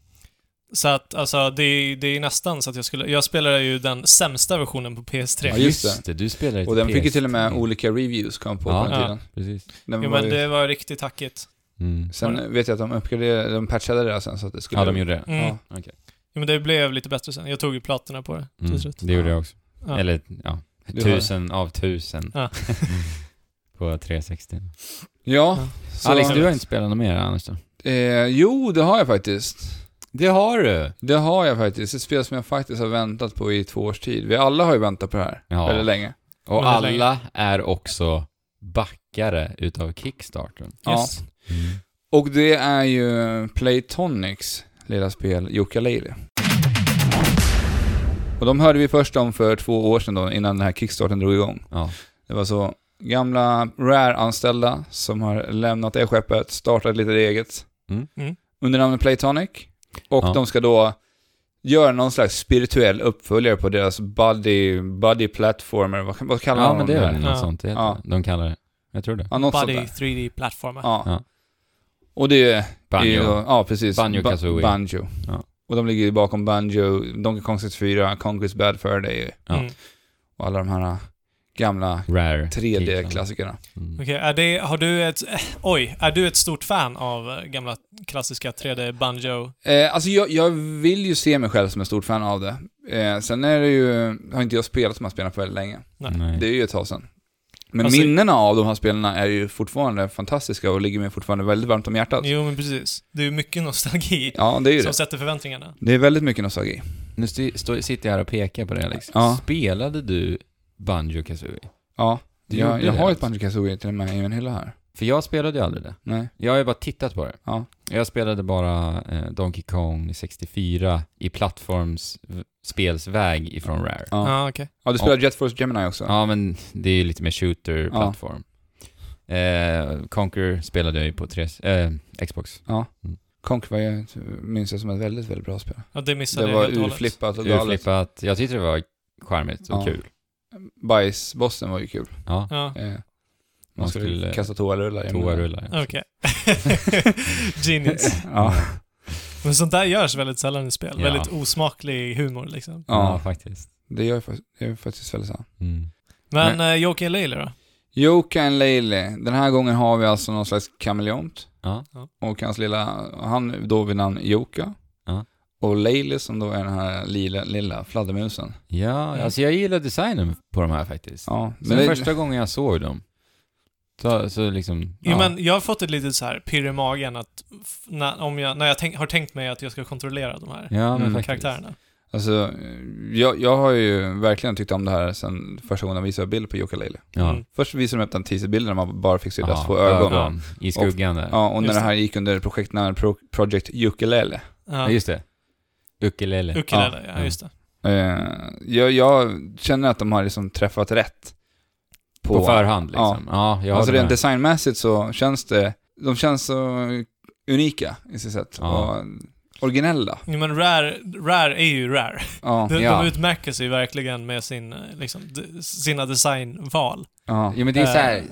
S3: Så att alltså, det, är- det är nästan så att jag skulle... Jag spelade ju den sämsta versionen på PS3.
S1: Ja,
S2: Ja,
S1: just
S2: just det. Du spelar ett
S1: Och den fick ju
S2: PS3.
S1: till och med olika reviews kom på
S2: Ja.
S1: på den
S3: Ja.
S1: tiden.
S2: Precis.
S1: Den
S3: jo,
S1: var
S3: men
S1: ju-
S3: det var riktigt hackigt.
S2: Mm.
S1: Sen vet jag att de uppgraderade, de patchade det där sen så att det skulle...
S2: Ja, de gjorde det.
S3: Mm.
S1: Ja.
S3: Jo, men det blev lite bättre sen. Jag tog ju platina på det till
S2: Mm.
S3: slut.
S2: Det gjorde jag också.
S3: Ja.
S2: Eller, ja.
S1: Du har det.
S2: tusen av tusen.
S3: Ja.
S2: på 360.
S1: Ja. Så,
S2: Alex, du har inte spelat något mer annars då?
S1: eh, jo, det har jag faktiskt.
S2: Det har du!
S1: Det har jag faktiskt. Ett spel som jag faktiskt har väntat på i två års tid. Vi alla har ju väntat på det här.
S2: Ja.
S1: Väldigt länge.
S2: Och
S3: Men det är
S2: alla är också backare utav Kickstarter.
S3: Yes.
S1: Mm. Och det är ju Playtonics lilla spel Yooka-Laylee. Och de hörde vi först om för två år sedan då, innan den här kickstarten drog igång.
S2: Ja.
S1: Det var så gamla Rare-anställda som har lämnat det skeppet, startat lite eget.
S2: Mm.
S3: Mm.
S1: Under namnet Playtonic. Och
S2: Ja.
S1: de ska då göra någon slags spirituell uppföljare på deras buddy, buddy platformer. Vad, vad kallar
S2: ja,
S1: de
S2: men det är väl något
S3: Ja.
S2: sånt det heter.
S1: Ja.
S2: De kallar det. Jag tror det.
S1: Ja, något sånt
S3: Buddy
S1: där.
S3: 3D-plattformar.
S1: Ja.
S2: Ja.
S1: Och det är
S2: Banjo.
S1: är ju då- Ja, precis.
S2: Banjo
S1: Ba-
S2: Kazooie.
S1: Banjo.
S2: Ja.
S1: Och de ligger ju bakom Banjo, Donkey Kong 64, Conquest Bad Fur Day
S2: Ja.
S3: Mm.
S1: och alla de här gamla
S2: Rare. titlarna.
S1: 3D-klassikerna.
S2: Mm.
S3: Okej, är det, har du ett... eh, Oj, är du ett stort fan av eh, gamla klassiska 3D-banjo?
S1: Eh, alltså jag, jag vill ju se mig själv som en stor fan av det. Eh, sen är det ju, har inte jag spelat de här spelen på väldigt länge.
S2: Nej.
S1: Det är ju ett tag sedan. Men
S3: Alltså-
S1: minnena av de här spelen är ju fortfarande fantastiska och ligger mig fortfarande väldigt varmt om hjärtat.
S3: Jo, men precis. Det är ju mycket nostalgi
S1: Ja, det är ju
S3: som
S1: det.
S3: sätter förväntningarna.
S1: Det är väldigt mycket nostalgi.
S2: Nu sti- stå- sitter jag här och pekar på det Alex.
S1: Ja.
S2: Spelade du Banjo Kazooie?
S1: Ja,
S2: Du
S1: jag,
S2: gjorde
S1: jag
S2: det,
S1: har ju ett
S2: alltså.
S1: Banjo Kazooie till och med i en hylla här.
S2: För jag spelade ju aldrig det.
S1: Nej.
S2: Jag har ju bara tittat på det.
S1: Ja.
S2: Jag spelade bara eh, Donkey Kong 64 i plattformsspelsväg ifrån Rare.
S1: Ja.
S3: Ja, okej.
S1: Ja, du spelar Jet Force Gemini också?
S2: Ja, men det är ju lite mer shooter-plattform. Eh, Conquer spelade jag ju på tre, eh, Xbox.
S1: Conk var jag, minns jag som ett väldigt, väldigt bra spel.
S3: Ja, det missade
S1: Det
S3: jag
S1: var
S3: helt och hållet.
S1: urflippat och galet.
S2: Urflippat. Jag tyckte det var charmigt och
S1: Ja.
S2: kul.
S1: Bajsbossen var ju kul.
S2: Ja,
S3: Ja,
S1: Eh, man,
S2: Man
S1: skulle,
S2: skulle-
S1: kasta toarullar i munnen.
S2: toarullar. ja.
S3: okej. Genius.
S1: Ja,
S3: Men sånt där görs väldigt sällan i spel.
S2: Ja.
S3: Väldigt osmaklig humor liksom.
S2: Ja,
S1: ja,
S2: faktiskt.
S1: det gör jag fak- det gör jag faktiskt väldigt sant.
S2: Mm.
S3: Men eh, Joker och Leila då?
S1: Joka and Laylee. Den här gången har vi alltså någon slags kameleont.
S2: Ja.
S3: Ja.
S1: Och hans lilla, han då vid namn Joka.
S2: Ja.
S1: Och Laylee som då är den här lila, lilla fladdermusen.
S2: Ja,
S3: Mm.
S2: alltså jag gillar designen på de här faktiskt.
S1: Ja,
S2: Sen
S1: men det,
S2: första gången jag såg dem, så, så liksom...
S3: Jo, men jag har fått ett litet så här pirr i magen att f- när, om jag, när jag tänk, har tänkt mig att jag ska kontrollera de här
S2: ja, men
S1: Mm.
S2: faktiskt.
S3: karaktärerna.
S1: alltså, jag, jag har ju verkligen tyckt om det här sen första gången de visade bild på Joka Laylee.
S2: Ja.
S3: Mm.
S1: Först visade de upp den teaserbilden där man bara fick se deras
S2: Ja,
S1: två ögon.
S2: I skuggan där.
S1: Ja, och när
S3: Just
S1: det här gick under projektnamnet Pro Project Ukulele.
S2: Ja,
S3: Ja.
S2: just det. Ukulele.
S3: Ukulele,
S2: Ja.
S3: ja, just det.
S1: Eh, jag, jag känner att de har liksom träffat rätt.
S2: På, förhand liksom. Ja, jag
S1: alltså
S2: håller
S1: rent
S2: med.
S1: designmässigt så känns det, de känns så unika i sitt sätt.
S2: Ja.
S1: Och originella.
S3: Jo, men rare, rare är ju rare.
S1: Ja,
S3: De,
S2: Ja.
S3: de utmärker sig verkligen med sin, eh, liksom, de, sina designval.
S1: ja. Mm,
S2: Ja, men det är så här
S3: Eh.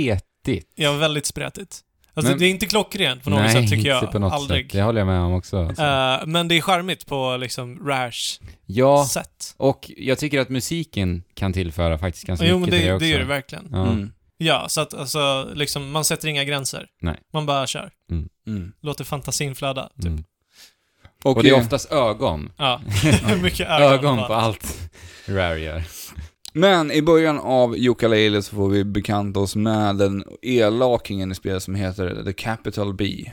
S2: spretigt.
S3: Ja, väldigt spretigt. Alltså,
S2: Men-
S3: det är inte klockrent på något
S2: Nej,
S3: sätt tycker jag.
S2: inte på något
S3: Aldrig.
S2: sätt. Det håller jag med om också. Alltså.
S3: Eh, men det är charmigt på liksom Rares
S2: ja,
S3: sätt.
S2: och jag tycker att musiken kan tillföra faktiskt ganska
S3: Jo, men
S2: mycket
S3: det,
S2: till
S3: det,
S2: också.
S3: gör det verkligen.
S2: Ja.
S1: Mm.
S3: Ja, så att alltså, liksom, man sätter inga gränser.
S2: Nej.
S3: Man bara kör.
S1: Mm.
S3: Låter fantasin flöda. Typ.
S2: Mm. Och, det är oftast ögon.
S3: Ja. Mycket ögon.
S2: Ögon
S3: bara.
S2: på allt Rare gör.
S1: Men i början av Ukulele så får vi bekanta oss med den elakingen i spelet som heter The Capital B.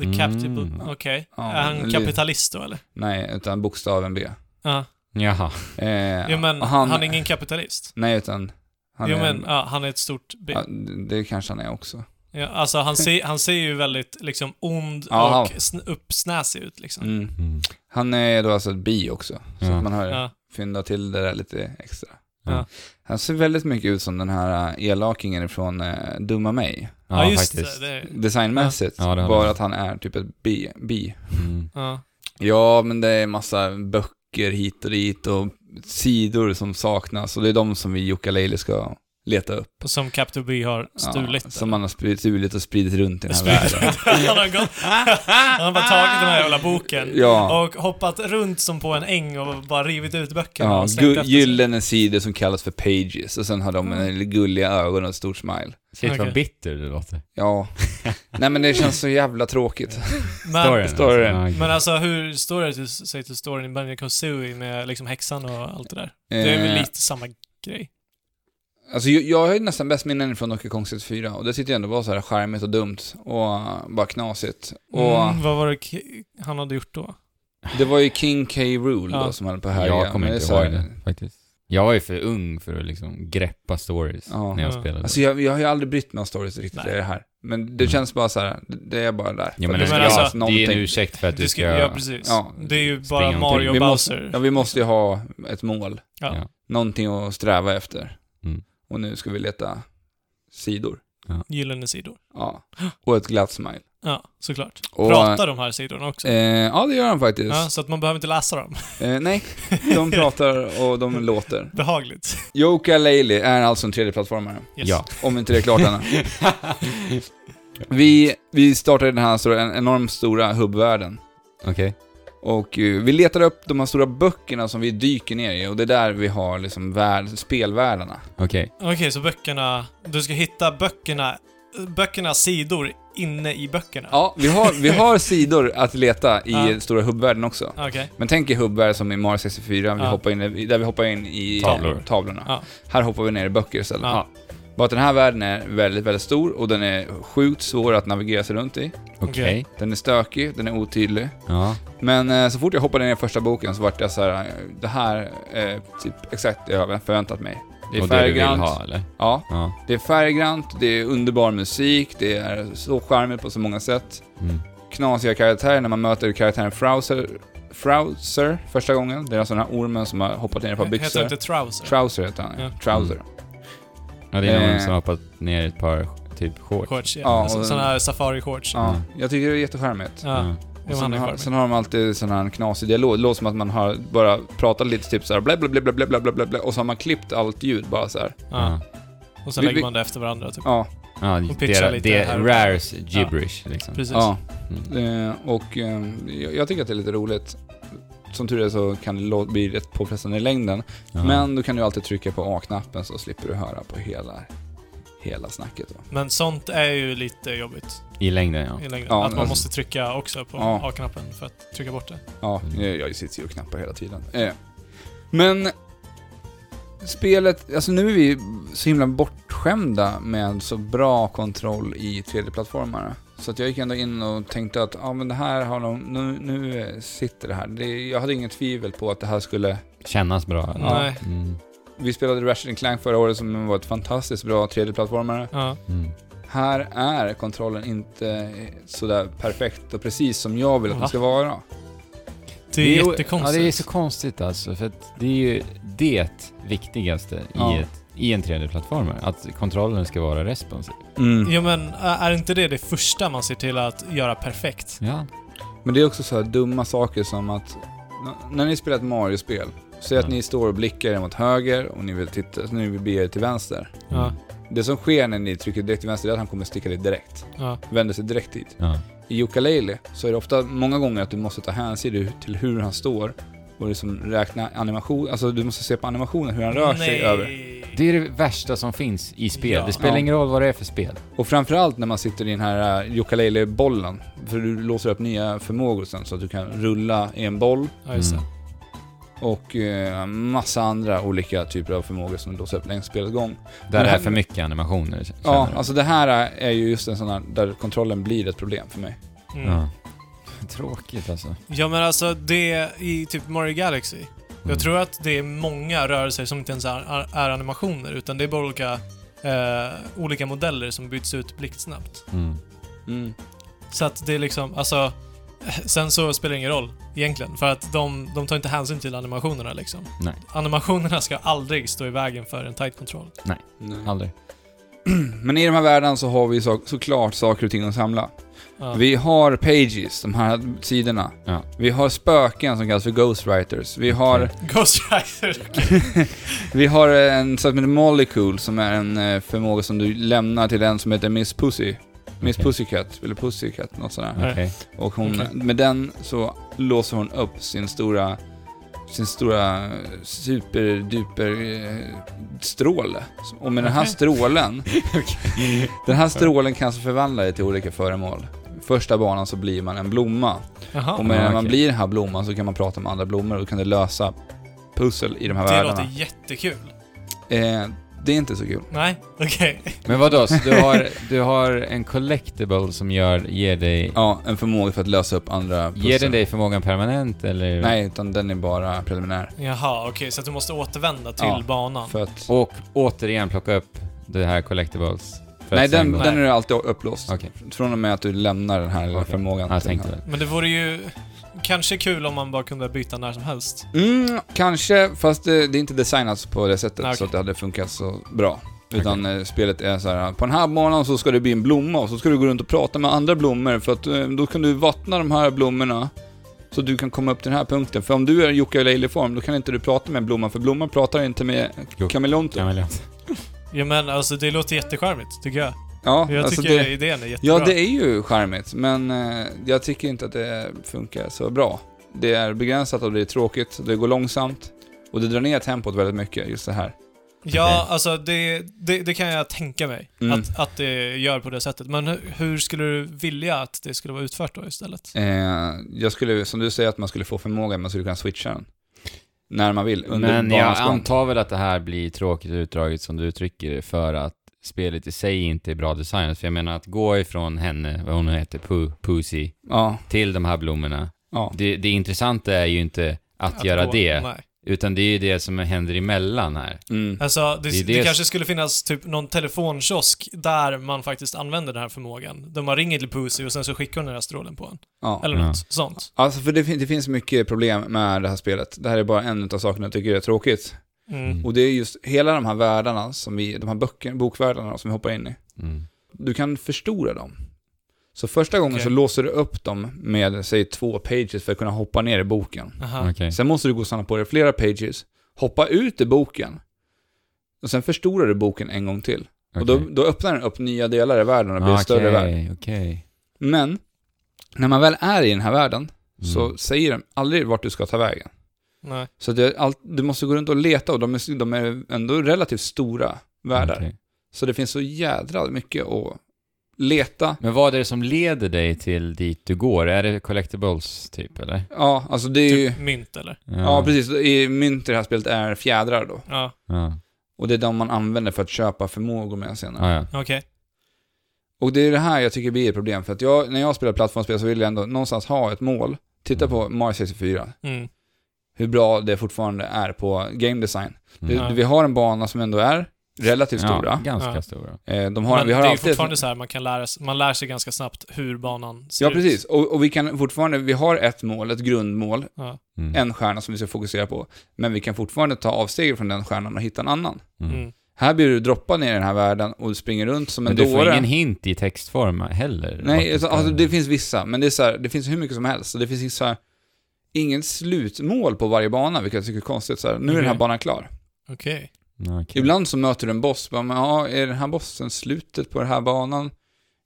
S3: The Captive
S2: Mm.
S3: Book. Okej.
S1: Ja,
S3: är han
S1: eller-
S3: kapitalist då eller?
S1: Nej, utan bokstaven B.
S3: Ja.
S2: Jaha.
S1: Eh,
S3: Jo men han, är ingen kapitalist.
S1: Nej, utan han
S3: jo
S1: är...
S3: men ja, han är ett stort bi.
S1: ja, det kanske han är också.
S3: Ja, alltså han ser, han ser ju väldigt liksom ond
S1: Ja,
S3: och sn- uppsnäsig ut liksom.
S1: Mm. Han är då alltså ett bi också, så
S2: Ja.
S1: att man har
S3: Ja.
S1: fyndat till det där lite extra.
S2: Ja.
S1: Han ser väldigt mycket ut som den här eh, elakingen från eh, Dumma mig,
S3: Ja,
S2: Ja,
S3: just
S2: faktiskt.
S3: det. det är,
S1: designmässigt.
S2: Ja, det har
S1: bara
S2: han.
S1: att han är typ ett bi, bi.
S2: Mm.
S3: ja.
S1: Ja, men det är massa böcker hit och dit och sidor som saknas och det är de som vi Jukka Leili ska leta upp.
S3: Som Captain B har stulit.
S1: Ja, som man har spridit, stulit och spridit runt i den här
S3: Spridit.
S1: världen.
S3: han har gått... Han har bara tagit den här jävla boken
S1: Ja.
S3: och hoppat runt som på en äng och bara rivit ut böckerna
S1: Ja,
S3: och slängt
S1: gu-
S3: efter sig.
S1: gyllene sidor som kallas för pages och sen har de en gulliga ögon och ett stort smile.
S2: Shit
S3: Okej.
S2: vad bitter det låter.
S1: Ja. Nej men det känns så jävla tråkigt.
S3: Men,
S1: storyn.
S2: alltså.
S3: men alltså hur står det till, sig till storyn i Benjamin Konsui med liksom häxan och allt det där? Det är väl
S1: Eh,
S3: lite samma grej.
S1: Alltså jag, jag har ju nästan bäst minnen från Donkey Kong 64 och det tyckte jag ändå var så här charmigt och dumt och äh, bara knasigt. Och
S3: Mm, vad var det K- han hade gjort då?
S1: det var ju King K. Rool
S3: Ja.
S1: då som höll på att härja.
S2: Jag kommer
S1: men det är
S2: inte
S1: så här-
S2: ihåg det faktiskt. Jag var ju för ung för att liksom greppa stories
S1: Ja.
S2: när jag
S3: Ja.
S2: spelade.
S1: Alltså jag, jag har ju aldrig brytt mig om stories riktigt
S3: Nej.
S1: i det här. Men det
S2: Mm.
S1: känns bara så här, det- det är bara där.
S2: ja,
S1: För
S2: men
S1: det
S2: det,
S1: ska
S3: men
S1: göras
S3: alltså,
S2: ja, det är en ursäkt för att
S3: Du
S2: du ska...
S3: ska, ja, precis.
S1: ja,
S3: det är ju
S2: springa
S3: bara
S2: omkring.
S3: Mario och
S1: Vi måste-
S3: Bowser.
S1: Ja, vi måste ju ha ett mål.
S3: Ja.
S2: Ja.
S1: Någonting att sträva efter.
S2: Mm.
S1: Och nu ska vi leta sidor.
S3: Gyllene sidor.
S1: Ja. Och ett glatt smile.
S3: Ja, såklart.
S1: Och,
S3: Pratar de här sidorna också?
S1: Eh, ja, det gör han faktiskt.
S3: Ja, så att man behöver inte läsa dem.
S1: Eh, nej, de pratar och de låter.
S3: Behagligt.
S1: Joka Laley är alltså en 3D-plattformare.
S3: Yes.
S2: Ja.
S1: Om inte det är klart ännu. Vi, vi startade den här så en enormt stora hubbvärlden.
S2: Okej.
S1: Och eh, vi letar upp de här stora böckerna som vi dyker ner i och det är där vi har liksom värld, spelvärldarna.
S2: Okej.
S3: Okej, så böckerna... Du ska hitta böckerna... Böckernas sidor inne i böckerna?
S1: Ja, vi har, vi har sidor att leta i
S3: Ja.
S1: stora hubbvärlden också.
S3: Okej.
S1: Men tänk i hubbar som i Mario 64, vi
S3: Ja.
S1: hoppar in, i- där vi hoppar in i
S2: Tavlor.
S1: tavlorna.
S3: Ja.
S1: Här hoppar vi ner i böcker istället.
S3: Ja.
S1: Bara att den här världen är väldigt, väldigt stor och den är sjukt svår att navigera sig runt i.
S2: Okej.
S1: Den är stökig, den är otydlig.
S2: Ja.
S1: Men eh, så fort jag hoppade ner i första boken så vart jag så här, eh, det här är typ exakt det jag hade förväntat mig. Det är
S2: Och det du vill
S1: färggrant.
S2: ha eller?
S1: Ja,
S2: Ja.
S1: det är färggrant, det är underbar musik, det är så charmigt på så många sätt.
S2: Mm.
S1: Knasiga karaktärer, när man möter karaktären Frowser, Frowser första gången. Det är alltså den här ormen som har hoppat ner på
S3: Heter det
S1: byxor.
S3: inte trouser?
S1: Trouser heter han, ja.
S3: Ja.
S1: Trouser.
S2: Ja, det är någon
S1: Eh.
S2: som har hoppat ner ett par typ shorts.
S3: shorts, ja.
S1: Ja,
S3: alltså,
S1: och-
S3: sådana här safari-shorts. Ja.
S1: Ja,
S2: Mm.
S1: jag tycker det är jättecharmigt.
S3: ja.
S1: Och
S3: Jo,
S1: sen,
S3: han är
S1: har,
S3: charmig.
S1: sen har de alltid sån här knasig dialog. Det låter som att man har bara pratat lite typ såhär blä blä blä blä blä blä blä blä blä och så har man klippt allt ljud bara så här.
S3: Ja.
S2: Ja.
S3: Och så
S1: Vi-
S3: lägger
S1: vi-
S3: man det efter varandra, typ.
S1: Ja,
S2: Ja,
S3: Och
S2: det,
S3: pitcha
S2: det,
S3: lite
S2: det
S3: här och-
S2: rares gibberish liksom.
S3: Precis.
S1: ja.
S2: Mm.
S1: Eh, och eh, jag- jag tycker att det är lite roligt. Som tur är så kan det lå- bli rätt påfrestande i längden.
S2: Ja.
S1: Men då kan du alltid trycka på A-knappen så slipper du höra på hela, hela snacket. Då.
S3: Men sånt är ju lite jobbigt
S2: I längden ja.
S3: i längden.
S1: Ja,
S3: att man
S1: alltså-
S3: måste trycka också på
S1: Ja.
S3: A-knappen för att trycka bort det.
S1: Ja, eh,
S2: Mm.
S1: jag, jag sitter ju och knappar hela tiden. Eh. Men spelet, alltså nu är vi så himla bortskämda med så bra kontroll i 3D-plattformarna. Så att jag gick ändå in och tänkte att ah, men det här har de, nu, nu eh, sitter det här. Det, jag hade inget tvivel på att det här skulle
S2: Kännas bra. eller?
S1: Ja.
S3: Nej.
S2: Mm.
S1: Vi spelade Ratchet Clank förra året som var ett fantastiskt bra 3D-plattformare.
S3: Ja.
S2: Mm.
S1: Här är kontrollen inte eh, sådär perfekt och precis som jag vill att
S3: Va?
S1: den ska vara.
S3: Det är
S2: ju-
S3: jättekonstigt.
S2: Ja, det är så konstigt alltså. För att det är ju det viktigaste
S1: Ja.
S2: i, ett, i en 3D-plattformer. Att kontrollen ska vara responsiv.
S1: Mm.
S3: Jo men ä- är inte det det första man ser till att göra perfekt?
S2: Ja.
S1: Men det är också så här dumma saker som att n- när ni spelar ett Mario-spel, säg att
S2: Mm.
S1: ni står och blickar er mot höger och ni vill, titta, ni vill bege er till vänster.
S3: Ja.
S1: Det som sker när ni trycker direkt till vänster är att han kommer sticka dit direkt.
S3: Ja.
S1: Vänder sig direkt dit.
S2: Ja.
S1: I Ukulele så är det ofta många gånger att du måste ta hänsyn till hur han står och liksom räkna animation, alltså du måste se på animationen hur han rör sig över.
S2: Det är det värsta som finns i spel.
S3: Ja.
S2: Det spelar
S1: Ja.
S2: ingen roll vad det är för spel.
S1: Och framförallt när man sitter i den här eh, Jokalele-bollen. För du låser upp nya förmågor sen så att du kan rulla i en boll
S3: Ja, just det.
S2: Mm.
S1: och eh, massa andra olika typer av förmågor som du låser upp längs spelets gång.
S2: Där
S1: Men
S2: det är
S1: här-
S2: för mycket animationer. känner
S1: Ja,
S2: du?
S1: alltså det här eh, är ju just en sån här där kontrollen blir ett problem för mig.
S3: Mm.
S2: Ja. Tråkigt alltså.
S3: Ja men alltså det i typ Mario Galaxy.
S2: Mm.
S3: Jag tror att det är många rörelser som inte ens är, är animationer utan det är bara olika, eh, olika modeller som byts ut blixtsnabbt.
S2: Mm.
S3: Så att det är liksom, alltså Sen så spelar det ingen roll egentligen för att de, de tar inte hänsyn till animationerna liksom.
S2: Nej.
S3: Animationerna ska aldrig stå i vägen för en tight kontroll.
S2: Aldrig.
S1: Men i de här världarna så har vi ju så, såklart saker och ting att samla.
S3: Ja.
S1: Vi har pages, de här sidorna.
S2: Ja.
S1: Vi har spöken som kallas för ghostwriters. Vi har,
S3: Ghost Rider.
S1: vi har en sak med molecule som är en eh, förmåga som du lämnar till en som heter Miss Pussy. Miss
S2: Okej.
S1: Pussycat, eller Pussycat, något sånt där.
S2: Okej.
S1: Och hon,
S3: Okej.
S1: med den så låser hon upp sin stora, sin stora superduper eh, stråle. Och med den här
S3: Okej.
S1: strålen, den här strålen kan alltså förvandla dig till olika föremål. Första banan så blir man en blomma. Och
S3: Jaha.
S1: med, när man
S2: Ah, okej.
S1: blir den här blomman så kan man prata med andra blommor och kan det lösa pussel i de här
S3: Det låter
S1: världarna.
S3: jättekul.
S1: Eh, det är inte så kul.
S3: Nej, okej.
S2: Men vadå, så du har, du har en collectible som gör, ger dig...
S1: Ja, en förmåga för att lösa upp andra pussel.
S2: Ger den dig förmågan permanent eller?
S1: Nej, utan den är bara preliminär.
S3: Jaha, okej. Så att du måste återvända till
S1: Ja,
S3: banan.
S1: För att...
S2: Och återigen plocka upp det här collectibles? för
S1: Nej,
S2: att sen
S1: den,
S2: gå-
S1: den är alltid upplåst.
S2: Okej,
S1: Från och med att du lämnar den här lilla
S2: Okej.
S1: förmågan.
S2: jag
S1: till den
S2: tänkte väl.
S3: Men det vore ju kanske kul om man bara kunde byta när som helst.
S1: här. Mm, kanske, fast det, det är inte designat på det sättet så
S3: Nej, okej.
S1: att det hade funkat så bra. Utan eh, spelet är så här, på den här banan så ska du bli en blomma och så ska du gå runt och prata med andra blommor för att eh, då kan du vattna de här blommorna så du kan komma upp till den här punkten. För om du är Jocke eller form då kan inte du prata med blomman för blomman pratar inte med
S2: Jo.
S1: kameleonten.
S2: kameleont.
S3: Ja men alltså det låter jättecharmigt, tycker jag.
S1: Ja,
S3: Jag
S1: alltså
S3: tycker
S1: det,
S3: idén är jättebra.
S1: ja, det är ju charmigt men eh, jag tycker inte att det funkar så bra. Det är begränsat och det är tråkigt, det går långsamt och det drar ner tempot väldigt mycket just det här.
S2: Typ
S3: Ja,
S2: Okej.
S3: alltså det, det, det kan jag tänka mig.
S1: Mm.
S3: Att, att det gör på det sättet. Men hur, hur skulle du vilja att det skulle vara utfört då istället?
S1: Eh, jag skulle, som du säger, att man skulle få förmågan, man skulle kunna switcha den. När man vill, under
S2: Men jag
S1: banans gång.
S2: antar väl att det här blir tråkigt och utdraget som du uttrycker det, för att spelet i sig inte är bra designat. För jag menar att gå ifrån henne, vad hon nu heter, Poo- Pussy,
S1: Ja,
S2: till de här blommorna.
S1: ja.
S2: Det, det intressanta är ju inte att, göra
S3: gå-
S2: det,
S3: Nej.
S2: utan det är ju det som händer emellan här.
S1: Mm.
S3: Alltså det,
S2: Det
S3: det,
S2: är det-
S3: kanske skulle finnas typ någon telefonkiosk där man faktiskt använder den här förmågan. Där man ringer till Pussy och sen så skickar hon den här strålen på en.
S1: ja.
S3: Eller
S2: Ja.
S3: något sånt.
S1: Alltså, för det, fin- det finns mycket problem med det här spelet. Det här är bara en av sakerna jag tycker är tråkigt.
S3: Mm.
S1: Och det är just hela de här världarna, som vi, de här böcker, bokvärldarna som vi hoppar in i.
S2: Mm.
S1: Du kan förstora dem. Så första gången
S3: Okej.
S1: så låser du upp dem med, säg två pages för att kunna hoppa ner i boken.
S3: Aha.
S2: Okej.
S1: Sen måste du gå och samla på dig flera pages, hoppa ut i boken och sen förstorar du boken en gång till. Och då,
S2: okej. Ah,
S1: då öppnar den upp nya delar i världen och blir en större värld.
S2: Okej, okej.
S1: Men när man väl är i den här världen så
S2: Mm.
S1: säger de aldrig vart du ska ta vägen.
S3: Nej.
S1: Så det, är allt, du måste gå runt och leta och de är, de är ändå relativt stora världar.
S2: Okej.
S1: Så det finns så jädra mycket att leta.
S2: Men vad är det som leder dig till dit du går? Är det collectibles typ eller?
S1: Ja, alltså det är ju...
S3: Typ mynt eller?
S1: Ja, precis. I mynt i det här spelet är fjädrar då.
S3: Ja,
S2: Ja,
S1: Och det är de man använder för att köpa förmågor med senare.
S2: ja. ja.
S3: okej.
S1: Och det är det här jag tycker blir ett problem, för att jag, när jag spelar plattformsspel så vill jag ändå någonstans ha ett mål. Titta
S2: Mm.
S1: på Mario 64,
S3: Mm.
S1: hur bra det fortfarande är på game design.
S2: Mm.
S1: Du, vi har en bana som ändå är relativt
S2: Ja,
S1: stora.
S2: ganska
S3: Ja.
S2: stora.
S1: Eh, De har,
S3: Men
S1: vi har
S3: det är ju
S1: alltid...
S3: fortfarande så här, man kan lära sig, man lär sig ganska snabbt hur banan ser
S1: Ja,
S3: ut.
S1: precis. Och, och vi kan fortfarande, vi har ett mål, ett grundmål,
S3: Ja.
S2: Mm.
S1: en stjärna som vi ska fokusera på. Men vi kan fortfarande ta avsteg från den stjärnan och hitta en annan.
S2: Mm.
S3: Mm.
S1: Här blir du droppad ner i den här världen och springer runt som en
S2: Men du får
S1: dåre.
S2: ingen hint i textform heller? Vart
S1: Nej,
S2: du
S1: alltså,
S2: ska-
S1: alltså, det finns vissa, men det, är så här, det finns hur mycket som helst. Så det finns så här, ingen slutmål på varje bana, vilket jag tycker är konstigt. Så här, nu är den här
S2: Mhm.
S3: Okej.
S1: banan klar.
S3: Okej.
S2: Ja, okej.
S1: Ibland så möter du en boss, bara, men, ja, är den här bossen slutet på den här banan?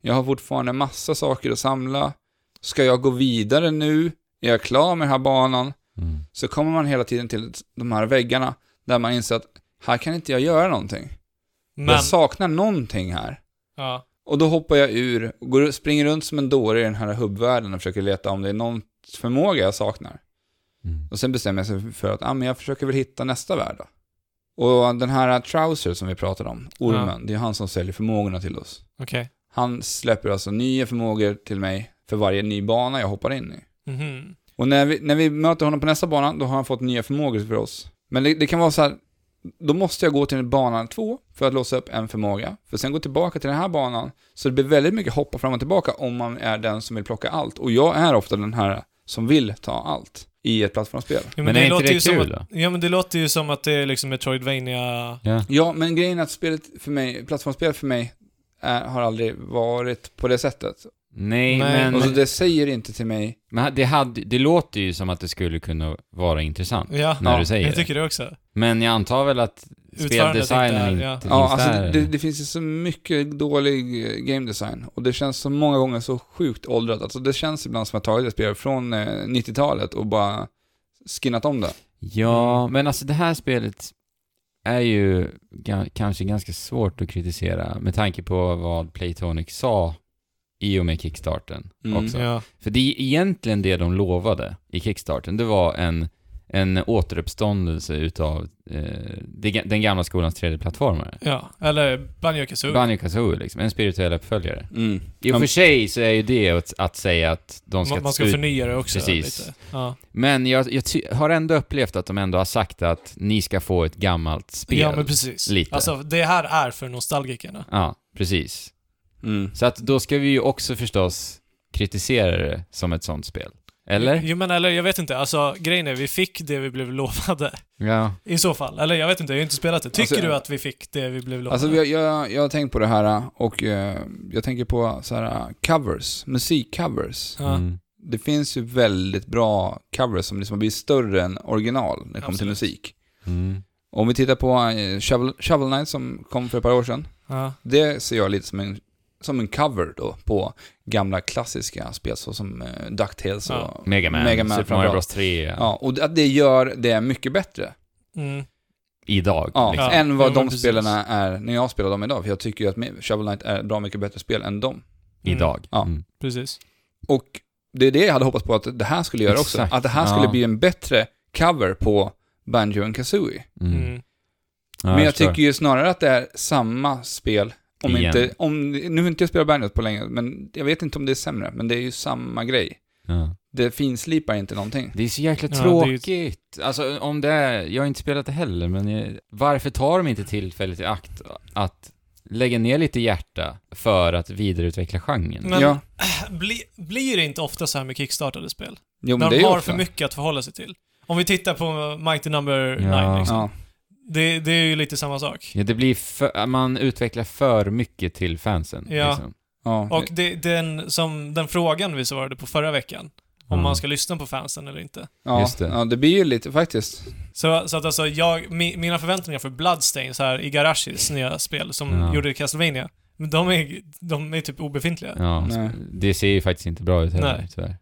S1: Jag har fortfarande massa saker att samla. Ska jag gå vidare nu? Är jag klar med den här banan?
S2: Mm.
S1: Så kommer man hela tiden till de här väggarna där man inser att här kan inte jag göra någonting.
S3: Men,
S1: Jag saknar någonting här.
S3: ja.
S1: Och då hoppar jag ur, och går, springer runt som en dåre i den här hubbvärlden och försöker leta om det är någon förmåga jag saknar.
S2: Mm.
S1: Och sen bestämmer jag sig för att ah, men jag försöker väl hitta nästa värld då. Och den här Trouser som vi pratade om, ormen, det är han som säljer förmågorna till oss.
S3: Okej.
S1: Han släpper alltså nya förmågor till mig för varje ny bana jag hoppar in i.
S3: Mhm.
S1: Och när vi, när vi möter honom på nästa bana, då har han fått nya förmågor för oss. Men det, det kan vara så här, då måste jag gå till banan två för att låsa upp en förmåga, för sen gå tillbaka till den här banan. Så det blir väldigt mycket hoppa fram och tillbaka om man är den som vill plocka allt. Och jag är ofta den här som vill ta allt. i ett plattformsspel.
S3: Jo,
S2: Men är inte
S3: låter
S2: det
S3: ju som
S2: kul
S3: att,
S2: då?
S3: Ja, men det låter ju som att det är liksom Metroidvania...
S2: Ja.
S1: Ja, men grejen är att spelet för mig, plattformsspel för mig, är, har aldrig varit på det sättet.
S2: Nej,
S3: Nej.
S2: men...
S1: Och så det säger inte till mig,
S2: Men det, hade, det låter ju som att det skulle kunna vara intressant
S3: Ja,
S2: när
S1: Ja,
S2: du säger
S3: jag
S2: det.
S3: tycker det också.
S2: Men jag antar väl att
S3: Utförandet inte är-
S2: speldesignen inte,
S3: ja.
S2: finns
S1: ja, alltså
S2: där.
S1: det, det finns ju så mycket dålig eh, game design och det känns så många gånger så sjukt åldrat. Alltså det känns ibland som att jag tagit ett spel från eh, 90-talet och bara skinnat om det.
S3: Mm.
S2: Ja, men alltså det här spelet är ju ga- kanske ganska svårt att kritisera med tanke på vad Playtonic sa i och med kickstarten
S1: Mm.
S2: också.
S3: Ja.
S2: För det är egentligen det de lovade i kickstarten. Det var en, en återuppståndelse utav eh, det, ga- den gamla skolans 3D-plattformare.
S3: ja. Eller Banjo Kazooie.
S2: Banjo Kazooie liksom, en spirituell uppföljare.
S1: Mm.
S2: I och
S1: Ja,
S2: för sig så är ju det att, att säga att de ska...
S3: Man, man ska
S2: ut-
S3: förnya det också
S2: Precis.
S3: lite. Ja.
S2: Men jag, jag ty- har ändå upplevt att de ändå har sagt att ni ska få ett gammalt spel.
S3: ja, men precis.
S2: Lite.
S3: Alltså, det här är för nostalgikerna.
S2: Ja, precis.
S1: Mm.
S2: Så att då ska vi ju också förstås kritisera det som ett sånt spel. Eller?
S3: Jo, men eller jag vet inte. Alltså, grejen är, vi fick det vi blev lovade.
S2: Ja.
S3: I så fall. Eller jag vet inte, jag har ju inte spelat det. Tycker
S1: Alltså,
S3: du att vi fick det vi blev lovade?
S1: Alltså jag, jag, jag har tänkt på det här och eh, jag tänker på så här covers, musikcovers.
S3: ja.
S2: Mm.
S1: Det finns ju väldigt bra covers som liksom har blivit större än original när det kommer till
S3: Absolut.
S1: musik.
S2: Mm.
S1: Om vi tittar på eh, Shovel, Shovel Knight som kom för ett par år sedan.
S3: Ja.
S1: Det ser jag lite som en, som en cover då på gamla klassiska spel såsom eh, DuckTales och
S3: Ja.
S2: Mega Man,
S1: Mega Man
S2: Super Mario
S1: framförallt.
S2: Bros 3
S1: Ja, och att det gör det mycket bättre
S3: Mm.
S2: idag.
S1: ja,
S2: Liksom.
S1: än vad
S3: Ja, men
S1: de
S3: precis.
S1: spelarna är när jag spelar dem idag. För jag tycker ju att Shovel Knight är bra mycket bättre spel än dem.
S3: Mm.
S2: Idag.
S1: Ja.
S2: Mm.
S3: Precis.
S1: Och det är det jag hade hoppats på att det här skulle göra
S2: Exakt.
S1: också. Att det här skulle
S2: Ja.
S1: bli en bättre cover på Banjo and Kazooie.
S2: Mm.
S3: Mm.
S2: Ja,
S1: Men jag
S2: förstår.
S1: tycker ju snarare att det är samma spel. Om
S2: Igen.
S1: inte, om, nu har inte jag spelat Banjo på länge, men jag vet inte om det är sämre. Men det är ju samma grej.
S2: Ja.
S1: Det finslipar inte någonting.
S2: Det är så jäkla
S3: Ja, det är ju-
S2: tråkigt. Alltså om det är, jag har inte spelat det heller, men jag, varför tar de inte tillfället i akt att lägga ner lite hjärta för att vidareutveckla genren?
S3: Men
S1: Ja.
S3: bli, blir det inte ofta så här med kickstartade spel?
S1: Jo, men
S3: När
S1: det är
S3: de
S1: ju
S3: har
S1: ofta.
S3: för mycket att förhålla sig till. Om vi tittar på Mighty Number
S2: Ja.
S3: 9, liksom.
S1: Ja.
S3: det, det är ju lite samma sak.
S2: Ja, det blir för, man utvecklar för mycket till fansen.
S3: Ja.
S2: Liksom.
S1: ja.
S3: Och det, den, som, den frågan vi svarade på förra veckan, om
S2: Mm.
S3: man ska lyssna på fansen eller inte.
S1: ja.
S2: just det.
S1: ja, det blir ju lite faktiskt.
S3: Så, så att alltså, jag, mi, mina förväntningar för Bloodstains här i Garashis nya spel som
S2: Ja.
S3: gjorde Castlevania, men de är, de är typ obefintliga.
S2: Ja,
S1: Nej.
S2: det ser ju faktiskt inte bra ut heller,
S3: Nej.
S2: tyvärr.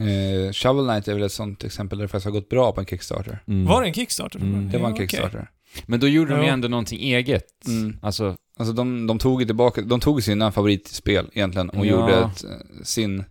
S1: Eh, Shovel Knight är väl ett sånt exempel där det faktiskt har gått bra på en Kickstarter.
S2: Mm.
S3: Var det en Kickstarter? från
S2: Mm.
S3: början?
S1: Det var en
S3: Ja, okej.
S1: Kickstarter.
S2: Men då gjorde de ju
S3: Ja.
S2: ändå någonting eget.
S1: Mm.
S2: Alltså,
S1: Alltså de, de tog ju tillbaka, de tog sina favoritspel egentligen och
S2: Ja.
S1: gjorde ett, eh, sin,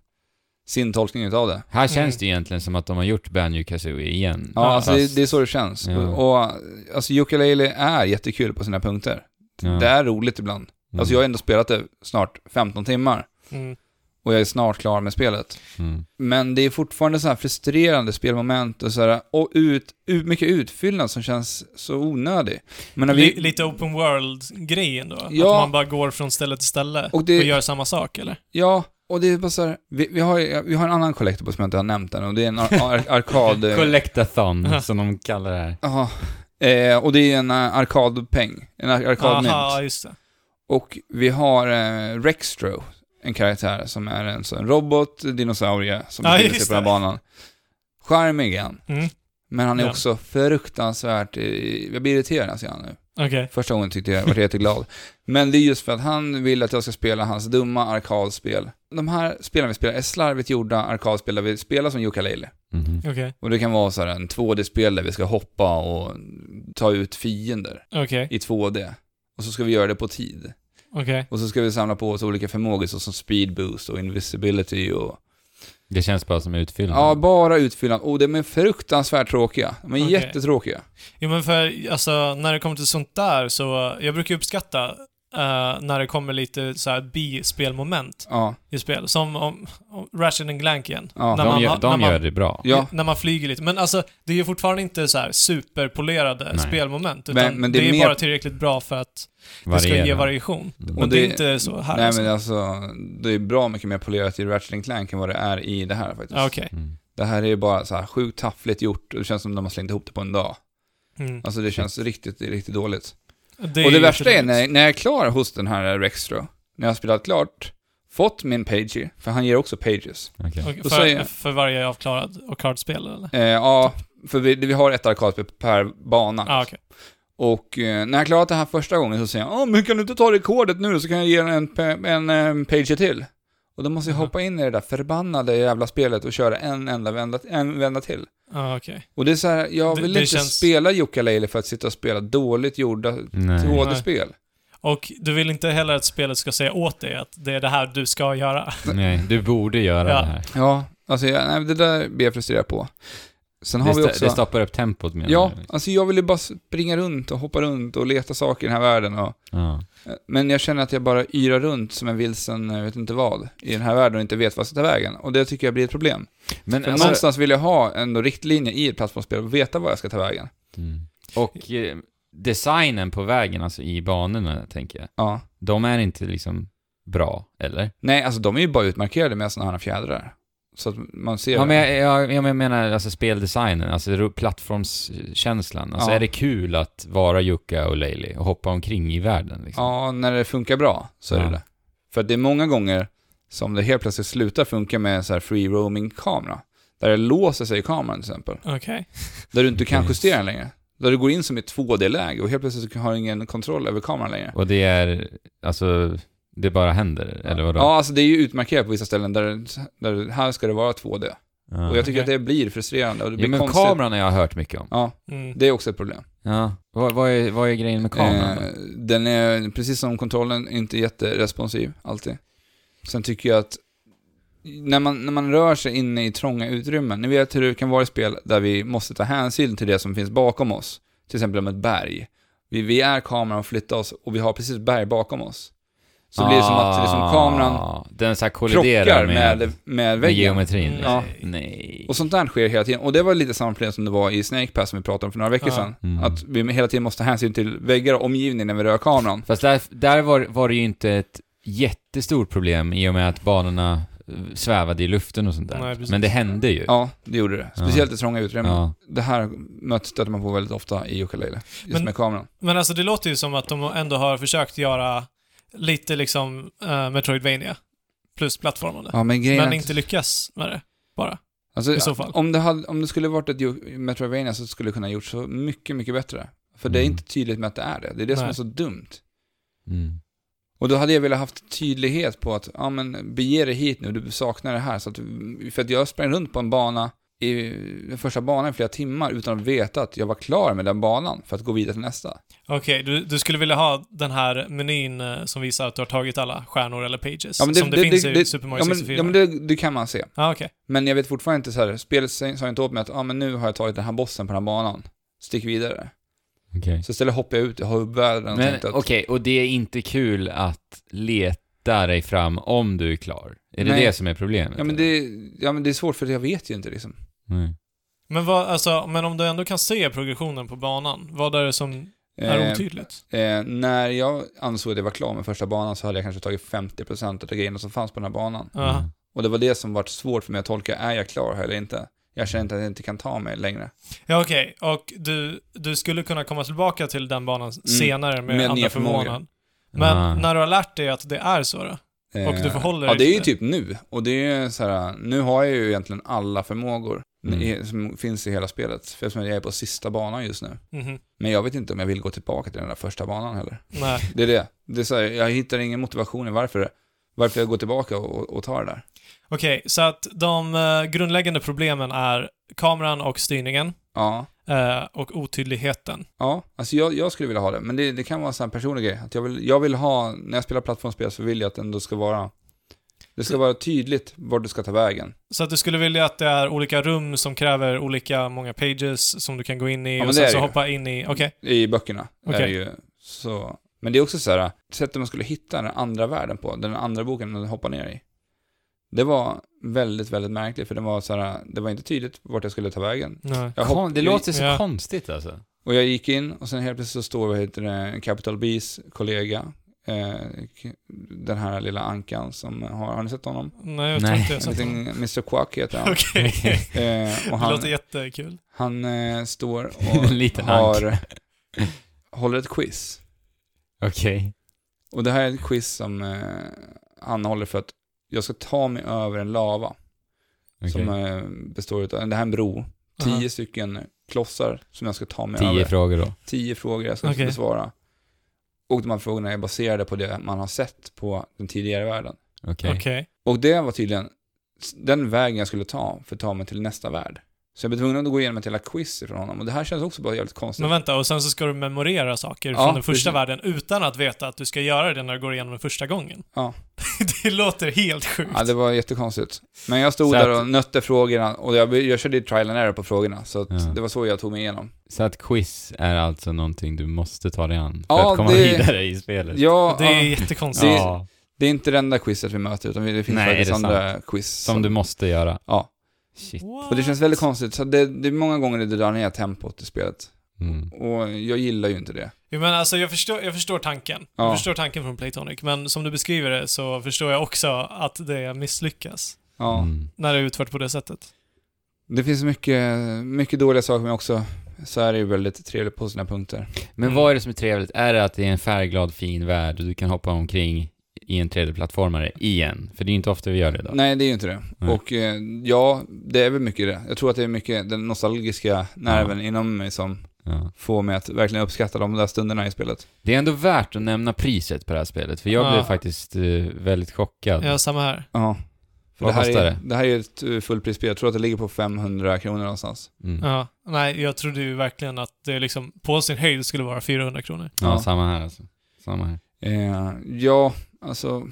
S1: sin tolkning utav det.
S2: här känns
S3: Mm.
S2: det ju egentligen som att de har gjort Banjo Kazooie igen.
S1: Ja,
S3: Ja,
S1: alltså det,
S2: fast-
S1: det är så det känns.
S2: Ja.
S1: Och, och alltså Ukulele är jättekul på sina punkter.
S2: Ja.
S1: Det är roligt ibland.
S2: Mm.
S1: Alltså jag har ändå spelat det snart 15 timmar
S3: Mm.
S1: och jag är snart klar med spelet.
S2: Mm.
S1: Men det är fortfarande så här frustrerande spelmoment och så här, och ut, ut, mycket utfyllnad som känns så onödig. Men när
S3: Li- Lite open world-grejen då?
S1: Ja.
S3: Att man bara går från ställe till ställe och,
S1: Och det-
S3: gör samma sak, eller?
S1: Ja, och det är bara så här, vi, vi, har, ju- vi har en annan kollektor som jag inte har nämnt än och det är en ar- ar- arkad... eh,
S2: Collectathon, som de kallar det här.
S1: Jaha. Eh, och det är en eh, arkadpeng, en ar-
S3: Aha,
S1: arkadmynt.
S3: just det.
S1: Och vi har eh, Rextro, en karaktär som är en sån robot, dinosaurie, som
S3: Ja,
S1: befinner sig
S3: just
S1: på den här
S3: det.
S1: banan. Charmig är han,
S3: Mm.
S1: men han är
S3: Ja.
S1: också fruktansvärt... eh, Jag blir irriterad när jag ser honom nu.
S3: Okej.
S1: Första gången tyckte jag, jag var jätteglad. Men det är just för att han vill att jag ska spela hans dumma arkadspel. De här spelen vi spelar är slarvigt gjorda arkadspel där vi spelar som ukulele.
S2: Mhm.
S3: Okej.
S1: Och det kan vara så här en 2D-spel där vi ska hoppa och ta ut fiender
S3: Okej.
S1: i 2D. Och så ska vi göra det på tid.
S3: Okej.
S1: Och så ska vi samla på oss olika förmågor såsom speed boost och invisibility och...
S2: Det känns bara som
S3: Mm.
S2: utfyllnad.
S1: Ja, bara utfyllnad. Och de är fruktansvärt tråkiga. De är
S3: Okej.
S1: jättetråkiga.
S3: Jo men för, alltså, när det kommer till sånt där så, jag brukar uppskatta eh, när det kommer lite så här bispelmoment
S1: Ja,
S3: i spel. Som om, om Ratchet and Clank igen.
S1: Ja,
S3: när
S2: de
S3: man,
S2: gör,
S3: när
S2: de
S3: man,
S2: gör det bra.
S1: ja.
S3: När man flyger lite. Men alltså, det är ju fortfarande inte så här superpolerade
S2: Nej.
S3: spelmoment. Utan
S1: Men- men
S3: det
S1: det
S3: är,
S1: är mer-
S3: bara tillräckligt bra för att det ska
S2: Variera.
S3: ge variation.
S2: Mm.
S3: Men
S1: Och
S3: det, är
S1: det-
S3: inte så här.
S1: Nej
S3: alltså.
S1: men alltså, det är bra mycket mer polerat i Ratchet Clank än vad det är i det här faktiskt.
S3: Ja, Okej.
S2: Mm.
S1: Det här är ju bara så här sjukt taffligt gjort och det känns som de har slängt ihop det på en dag.
S3: Mm.
S1: Alltså det känns riktigt, riktigt dåligt.
S3: Det
S1: och det
S3: ju
S1: värsta är
S3: jätteroligt.
S1: när, när jag är klar hos den här Rextro, när jag har spelat klart, fått min pager, för han ger också pages.
S2: Okej.
S3: Och
S1: då
S3: för,
S1: säger jag-
S3: för varje avklarad och kardspel eller?
S1: Eh, ja, för vi, vi har ett arkadspel per bana.
S3: Ah, okej.
S1: Och eh, när jag klarat det här första gången så säger jag, "Åh, men kan du inte ta rekordet nu då, så kan jag ge en, pe- en, en page till. Och då måste jag
S3: Mhm.
S1: hoppa in i det där förbannade jävla spelet och köra en enda vända, en vända till.
S3: Ah, okej.
S1: Och det är så här, jag
S3: Det-
S1: vill
S3: det
S1: inte
S3: känns-
S1: spela Jokkalejle för att sitta och spela dåligt gjorda
S2: Nej.
S1: 2D-spel.
S3: Och du vill inte heller att spelet ska säga åt dig att det är det här du ska göra?
S2: Nej, du borde göra
S3: Ja.
S2: det här.
S1: Ja, alltså jag, nej, det där blir jag frustrerad på. Sen har
S2: Det,
S1: vi
S2: sta-
S1: också...
S2: det stoppar upp tempot menar
S1: ja,
S2: du?
S1: alltså jag vill ju bara springa runt och hoppa runt och leta saker i den här världen och...
S2: Ja.
S1: Eh, Men jag känner att jag bara yrar runt som en vilsen, eh, jag vet inte vad, i den här världen och inte vet vad jag ska ta vägen. Och det tycker jag blir ett problem.
S2: Men
S1: För
S2: alltså,
S1: någonstans vill jag ha ändå riktlinjer i ett plattformsspel och veta vad jag ska ta vägen.
S2: Mm. Och eh, designen på vägen, alltså i banorna, tänker jag.
S1: Ja.
S2: De är inte liksom bra, eller?
S1: Nej, alltså de är ju bara utmarkerade med sådana här fjädrar. Så att man ser...
S2: Ja, men jag, jag, jag menar alltså speldesignen, alltså ro- plattformskänslan. Alltså
S1: Ja.
S2: är det kul att vara Jukka och Leili och hoppa omkring i världen liksom?
S1: Ja, när det funkar bra så är
S2: Ja.
S1: det det. För att det är många gånger som det helt plötsligt slutar funka med en så här free roaming-kamera. Där det låser sig i kameran till exempel.
S3: Okej.
S1: Där du inte kan
S2: Okej.
S1: justera den längre. Där du går in som i 2D-läge och helt plötsligt har du ingen kontroll över kameran längre.
S2: Och det är, alltså, det bara händer, eller vadå?
S1: Ja, alltså det är ju utmarkerat på vissa ställen där, där här ska det vara 2D.
S2: Ja.
S1: Och jag tycker
S3: Okej.
S1: att det blir frustrerande och det blir
S2: ja, men
S1: konstigt.
S2: kameran har jag hört mycket om.
S1: Ja,
S3: Mm.
S1: det är också ett problem.
S2: Ja. Vad, vad, är, vad är grejen med kameran då?
S1: Eh, den är, precis som kontrollen, inte jätteresponsiv alltid. Sen tycker jag att när man, när man rör sig inne i trånga utrymmen, ni vet hur det kan vara i spel där vi måste ta hänsyn till det som finns bakom oss. Till exempel om ett berg. Vi, vi är kameran och flyttar oss och vi har precis ett berg bakom oss. Så blir det som att det är som kameran
S2: Ah, Den så här kolliderar
S1: krockar
S2: med,
S1: med,
S2: med,
S1: med, väggen.
S2: geometrin. liksom.
S1: Ja.
S2: Nej.
S1: Och sånt där sker hela tiden. Och det var lite samma problem som det var i Snake Pass som vi pratade om för några veckor
S3: Ja.
S1: sedan.
S2: Mm.
S1: Att vi hela tiden måste ta hänsyn till väggar och omgivning när vi rör kameran.
S2: Fast där, där var, var det ju inte ett jättestort problem i och med att banorna eh, svävade i luften och sånt där.
S3: Nej, precis.
S2: Men det hände ju.
S1: Ja, det gjorde det. Speciellt i trånga utrymmen.
S2: Ja.
S1: Det här mötet stöter man på väldigt ofta i ukulele. Just
S3: Men-
S1: med kameran.
S3: Men alltså det låter ju som att de ändå har försökt göra lite liksom eh, Metroidvania plus plattformande.
S1: Ja, men grejen
S3: men
S1: är
S3: inte
S1: att-
S3: lyckas med det bara.
S1: alltså,
S3: i så fall.
S1: Om det, hade, om det skulle varit ett Ju- Metroidvania så skulle det kunna gjort så mycket, mycket bättre. För det är
S2: Mm.
S1: inte tydligt med att det är det. Det är det som
S3: Nej.
S1: är så dumt.
S2: Mm.
S1: Och då hade jag velat haft tydlighet på att, ja men bege dig hit nu, du saknar det här. Så att, för att jag sprang runt på en bana, i den första banan i flera timmar utan att veta att jag var klar med den banan för att gå vidare till nästa.
S3: Okej, du, du skulle vilja ha den här menyn eh, som visar att du har tagit alla stjärnor eller pages? som det, finns i Super Mario
S1: ja, men,
S3: 64?
S1: Ja men det, det kan man se.
S3: ah, okej.
S1: Men jag vet fortfarande inte så här, spelet sa sa inte åt mig att, ja men nu har jag tagit den här bossen på den här banan. Stick vidare.
S2: Okej.
S1: Så istället hoppade jag ut i hubbvärlden och
S2: Men
S1: tänkte
S2: okej,
S1: att,
S2: och det är inte kul att leta dig fram om du är klar. Är det
S1: Nej.
S2: det som är problemet?
S1: ja, men
S2: eller?
S1: det, ja men det är svårt för jag vet ju inte liksom.
S2: Nej.
S3: Men, vad, alltså, men om du ändå kan se progressionen på banan, vad är det som är
S1: Eh,
S3: otydligt?
S1: Eh, när jag ansåg att jag var klar med första banan så hade jag kanske tagit 50% av de grejerna som fanns på den här banan.
S3: Ja.
S2: Mm.
S1: Och det var det som var svårt för mig att tolka, är jag klar här eller inte? Jag känner inte att jag inte kan ta mig längre.
S3: Ja, okej. Och du, du skulle kunna komma tillbaka till den banan senare med,
S1: Mm. Med nya
S3: andra
S1: förmågor.
S3: förmågan. Men
S2: Ah.
S3: när du har lärt dig att det är så då? Och du förhåller
S1: Eh, Ja,
S3: dig
S1: det är ju
S3: till
S1: typ nu. Och det är ju så här, nu har jag ju egentligen alla förmågor
S2: Mm.
S1: i- som finns i hela spelet. För eftersom jag är på sista banan just nu.
S3: Mhm.
S1: Men jag vet inte om jag vill gå tillbaka till den där första banan heller.
S3: Nej.
S1: Det är det. det är så här, jag hittar ingen motivation i varför, varför jag går tillbaka och, och tar det där.
S3: Okej, så att de eh, grundläggande problemen är kameran och styrningen
S1: Ja.
S3: eh, och otydligheten.
S1: Ja, alltså jag, jag skulle vilja ha det, men det, det kan vara en sån här personlig grej. Att jag, vill, jag vill ha, när jag spelar plattformsspel så vill jag att det ändå ska vara, det ska vara tydligt vart du ska ta vägen.
S3: Så att du skulle vilja att det är olika rum som kräver olika många pages som du kan gå in i
S1: men
S3: och
S1: det är
S3: sen så
S1: det ju.
S3: hoppa in i... Okej.
S1: I böckerna. Är det
S3: Okej.
S1: ju, så. Men det är också så här, sättet man skulle hitta den andra världen på, den andra boken man hoppar ner i. Det var väldigt, väldigt märkligt, för det var så här, det var inte tydligt vart jag skulle ta vägen.
S3: Nej.
S1: Jag
S2: Kon- det
S1: jag-
S2: låter så
S3: Ja.
S2: konstigt alltså.
S1: Och jag gick in och sen helt plötsligt så står vad heter det, en Capital Bs kollega, eh, k- den här lilla ankan som har, har ni sett honom?
S3: Nej, jag tror
S2: Nej.
S3: inte jag
S1: En
S3: har sett
S1: liten
S3: honom.
S1: Mr Quack heter han.
S3: Okej.
S1: Eh, och
S3: Det
S1: han,
S3: låter jättekul.
S1: han eh, står
S2: En
S1: och
S2: liten
S1: har, håller ett quiz.
S2: Okej.
S1: Och det här är ett quiz som eh, han håller för att jag ska ta mig över en lava
S2: okej.
S1: som eh, består av, det här är en bro, tio
S3: Aha.
S1: stycken klossar som jag ska ta mig
S2: Tio
S1: över.
S2: frågor då.
S1: tio frågor jag ska
S3: Okej.
S1: besvara. Och de här frågorna är baserade på det man har sett på den tidigare världen.
S2: Okej.
S3: Okej.
S1: Och det var tydligen s- den vägen jag skulle ta för att ta mig till nästa värld. Så jag blev tvungen att gå igenom ett hela quiz ifrån honom och det här känns också bara jävligt konstigt.
S3: Men vänta, och sen så ska du memorera saker
S1: Ja,
S3: från den första
S1: precis.
S3: världen utan att veta att du ska göra det när du går igenom den första gången.
S1: Ja.
S3: det låter helt sjukt.
S1: Ja, det var jättekonstigt. Men jag stod
S2: Så
S1: där
S2: att-
S1: och nötte frågorna och jag, jag körde ju trial and error på frågorna så att
S2: Ja.
S1: det var så jag tog mig igenom.
S2: Så att quiz är alltså någonting du måste ta dig an för
S1: Ja,
S2: att komma
S1: det-
S2: vidare i spelet?
S1: Ja,
S3: Det
S1: det
S3: är
S1: är,
S3: jättekonstigt.
S1: det-
S2: ja,
S1: det är inte det enda quizet vi möter utan det finns
S2: Nej,
S1: faktiskt
S2: det är
S1: andra quiz.
S2: som du måste göra.
S1: Ja.
S2: Shit.
S1: Och det känns väldigt konstigt, så det, det är många gånger det drar ner tempot i spelet.
S2: Mm.
S1: Och jag gillar ju inte det.
S3: Jo, men alltså, jag, förstår, jag förstår tanken.
S1: Ja.
S3: Jag förstår tanken från Playtonic, men som du beskriver det så förstår jag också att det misslyckas
S1: Ja.
S2: Mm.
S3: när det är utfört på det sättet.
S1: Det finns mycket, mycket dåliga saker men också så är det ju väldigt trevligt på sina punkter.
S2: Men
S3: Mm.
S2: vad är det som är trevligt? Är det att det är en färgglad fin värld och du kan hoppa omkring i en 3D-plattformare igen? För det är ju inte ofta vi gör det idag.
S1: Nej, det är ju inte det.
S2: Nej.
S1: Och eh, ja, det är väl mycket det. Jag tror att det är mycket den nostalgiska nerven inom mig som
S2: Ja.
S1: får mig att verkligen uppskatta de där stunderna i spelet.
S2: Det är ändå värt att nämna priset på det här spelet, för jag
S3: Ja.
S2: blev faktiskt eh, väldigt chockad.
S3: Ja, samma här.
S1: Ja. För
S2: Vad
S1: det här
S2: kostar
S1: är,
S2: det?
S1: Det här är ju ett eh, fullprisspel. Jag tror att det ligger på 500 kronor någonstans.
S2: Mm. Ja.
S3: Ja. Nej, jag trodde ju verkligen att det liksom på sin höjd skulle vara 400 kronor.
S1: Ja.
S2: samma här alltså. Samma här.
S1: Eh, ja, alltså...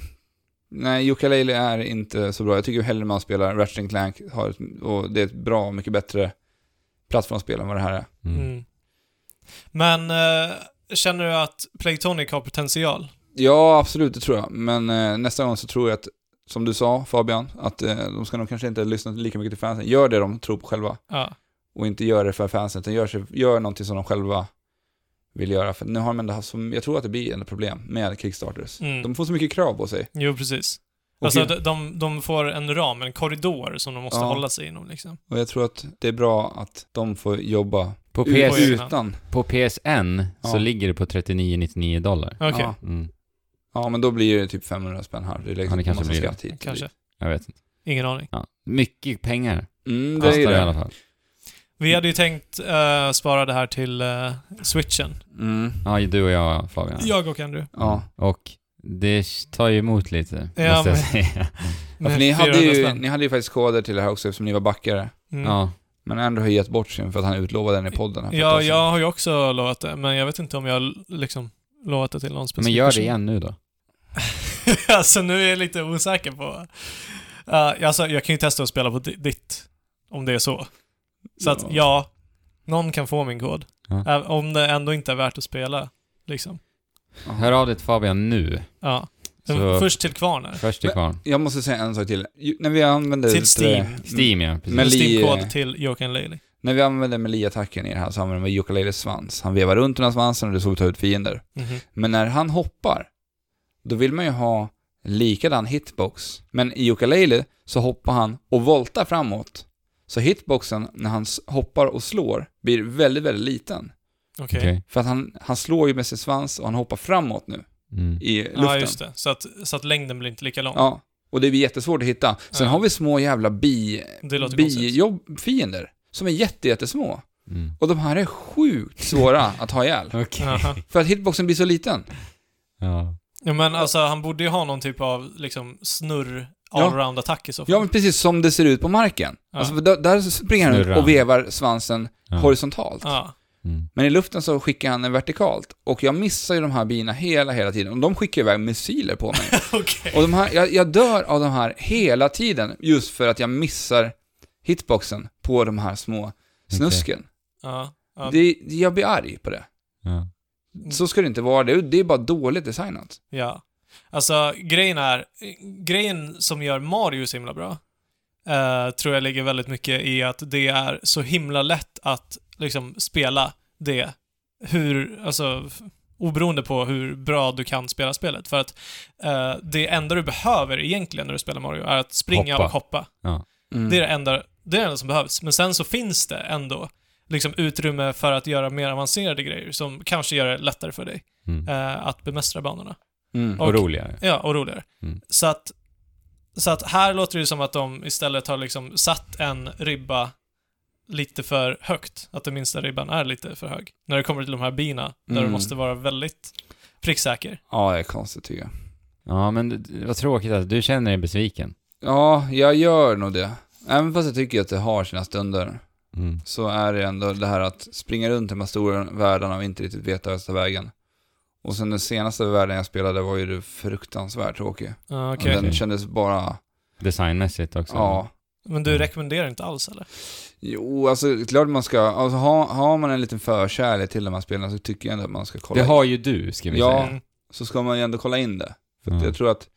S1: Nej, Ukulele är inte så bra. Jag tycker hellre man spelar Ratchet and Clank har ett, och det är ett bra, mycket bättre plattformsspel än vad det här är.
S2: Mm.
S3: Mm. Men eh, känner du att Playtonic har potential?
S1: Ja, absolut, det tror jag. Men eh, nästa gång så tror jag att, som du sa Fabian, att eh, de ska nog kanske inte lyssna lika mycket till fansen. Gör det de tror på själva
S3: Ja.
S1: och inte gör det för fansen, utan gör, sig, gör någonting som de själva vill göra. För nu har de ändå haft, som, jag tror att det blir ett problem med Kickstarters.
S3: Mm.
S1: De får så mycket krav på sig.
S3: Jo, precis.
S1: Och,
S3: Alltså, de- de, de får en ram, en korridor som de måste
S1: Ja.
S3: hålla sig inom liksom.
S1: och jag tror att det är bra att de får jobba
S2: På,
S1: ut-
S3: PS.
S2: PS,
S1: utan.
S2: på PSN
S1: Ja.
S2: så ligger det på 39,99 dollar.
S3: Okej,
S1: Ja.
S2: Mm.
S1: ja, men då blir det typ 500 spänn här. Det är liksom
S2: Ja, det kanske
S1: massa
S2: blir det.
S1: skatt hit.
S3: kanske.
S2: Jag vet inte.
S3: Ingen aning.
S2: Ja. Mycket pengar
S1: Mm, det är
S2: kostar
S1: ju
S2: det i alla
S1: det.
S2: fall.
S3: Vi hade ju tänkt eh, spara det här till eh, switchen.
S1: Mm,
S2: Ja, du och jag Fabian.
S3: Jag och Andrew.
S1: ja.
S2: Mm. Och det tar ju emot lite,
S3: Ja,
S2: måste jag
S3: men-
S2: säga.
S1: Ja, för
S3: Med
S1: ni, hade
S3: 400
S1: ju,
S3: spänn.
S1: ni hade ju faktiskt koder till det här också eftersom ni var backare.
S3: Mm.
S2: Ja.
S1: Men Andrew har gett bort sin för att han utlovade den i podden. Här för ett
S3: Ja,
S1: tag sedan.
S3: jag har ju också lovat det, men jag vet inte om jag l- liksom lovat det till någon specifik
S2: Men gör det
S3: person.
S2: igen nu då.
S3: alltså nu är jag lite osäker på... Eh, alltså, jag kan ju testa att spela på di- ditt, om det är så. Så att ja, någon kan få min kod.
S2: Ja.
S3: Ä- om det ändå inte är värt att spela, liksom.
S1: Ja.
S2: Hör av dig till Fabian nu.
S3: Ja. Men
S2: Så
S3: Först till Kvarnar.
S2: först till
S1: Men-
S2: kvarn.
S1: Jag måste säga en sak till. Ju- När vi använde...
S3: Till
S1: lite-
S3: Steam.
S2: Steam ja, precis.
S1: Men-
S3: Till
S1: li-
S3: Steam-kod till Jokan Laley.
S1: När vi använde Melee-attacken i det här så använde vi Ukuleles svans. Han vevar runt den här svansen och det såg ut att ta ut fiender. Men när han hoppar, då vill man ju ha likadan hitbox. Men i Ukulele så hoppar han och voltar framåt. Så hitboxen när han s- hoppar och slår blir väldigt, väldigt liten.
S3: Okej.
S2: Okej.
S1: För att han, han slår ju med sin svans och han hoppar framåt nu
S2: Mm.
S1: i luften.
S3: Ja, just det. Så att, så att längden blir inte lika lång.
S1: Ja, och det är jättesvårt att hitta. Sen
S3: Ja.
S1: har vi små jävla bi,
S3: Det låter konstigt.
S1: bijobb, fiender som är jätte, jättesmå.
S2: Mm.
S1: Och de här är sjukt svåra att ha ihjäl.
S2: Okej.
S3: Aha.
S1: För att hitboxen blir så liten.
S2: Ja.
S3: Ja, men alltså han borde ju ha någon typ av liksom snurr
S1: Ja.
S3: allround-attack i så fall.
S1: Ja, men precis som det ser ut på marken.
S3: Ja.
S1: Alltså, där, där springer han
S2: Snurrar.
S1: ut och vevar svansen
S2: Ja.
S1: horisontalt.
S3: Ja.
S2: Mm.
S1: Men i luften så skickar han den vertikalt. Och jag missar ju de här bina hela, hela tiden. Och de skickar iväg missiler på mig.
S3: Okej.
S1: Och de här, jag, jag dör av de här hela tiden, just för att jag missar hitboxen på de här små snusken.
S3: Ja. ja. Mm.
S1: Det, jag blir arg på det.
S2: Ja.
S1: Så ska det inte vara, det, det är bara dåligt designat.
S3: ja. Alltså grejen är, grejen som gör Mario så himla bra, eh, tror jag ligger väldigt mycket i att det är så himla lätt att liksom spela det hur, alltså f- oberoende på hur bra du kan spela spelet. För att eh, det enda du behöver egentligen när du spelar Mario är att springa
S2: Hoppa.
S3: och hoppa.
S1: Mm.
S3: Det är det, enda, det är det enda som behövs. Men sen så finns det ändå liksom utrymme för att göra mer avancerade grejer som kanske gör det lättare för dig
S2: Mm.
S3: eh, att bemästra banorna.
S1: Mm.
S2: Och
S3: och-
S2: roligare.
S3: Ja, och roligare.
S2: Mm.
S3: Så, att, så att här låter det som att de istället har liksom satt en ribba lite för högt. Att den minsta ribban är lite för hög. När det kommer till de här bina, där du
S1: Mm.
S3: måste vara väldigt pricksäker.
S1: Ja, det är konstigt tycker jag.
S2: Ja, men det- vad tråkigt att du känner dig besviken.
S1: Ja, jag gör nog det. Även fast jag tycker att det har sina stunder,
S2: Mm.
S1: så är det ändå det här att springa runt i de här stora världarna och inte riktigt veta vart jag ska ta vägen. Och sen den senaste världen jag spelade var ju det fruktansvärt tråkig.
S3: Ja,
S1: Och
S3: Ah, okej.
S1: Den kändes bara,
S2: Designmässigt också.
S1: ja.
S3: Men du rekommenderar inte alls eller?
S1: Jo, alltså klart man ska, alltså har, har man en liten förkärlek till de här spelen så tycker jag ändå att man ska kolla
S2: Det
S1: in-
S2: har ju du, ska vi
S1: Ja,
S2: säga.
S3: Mm.
S1: Så ska man ju ändå kolla in det. För
S2: Ja.
S1: att jag tror att,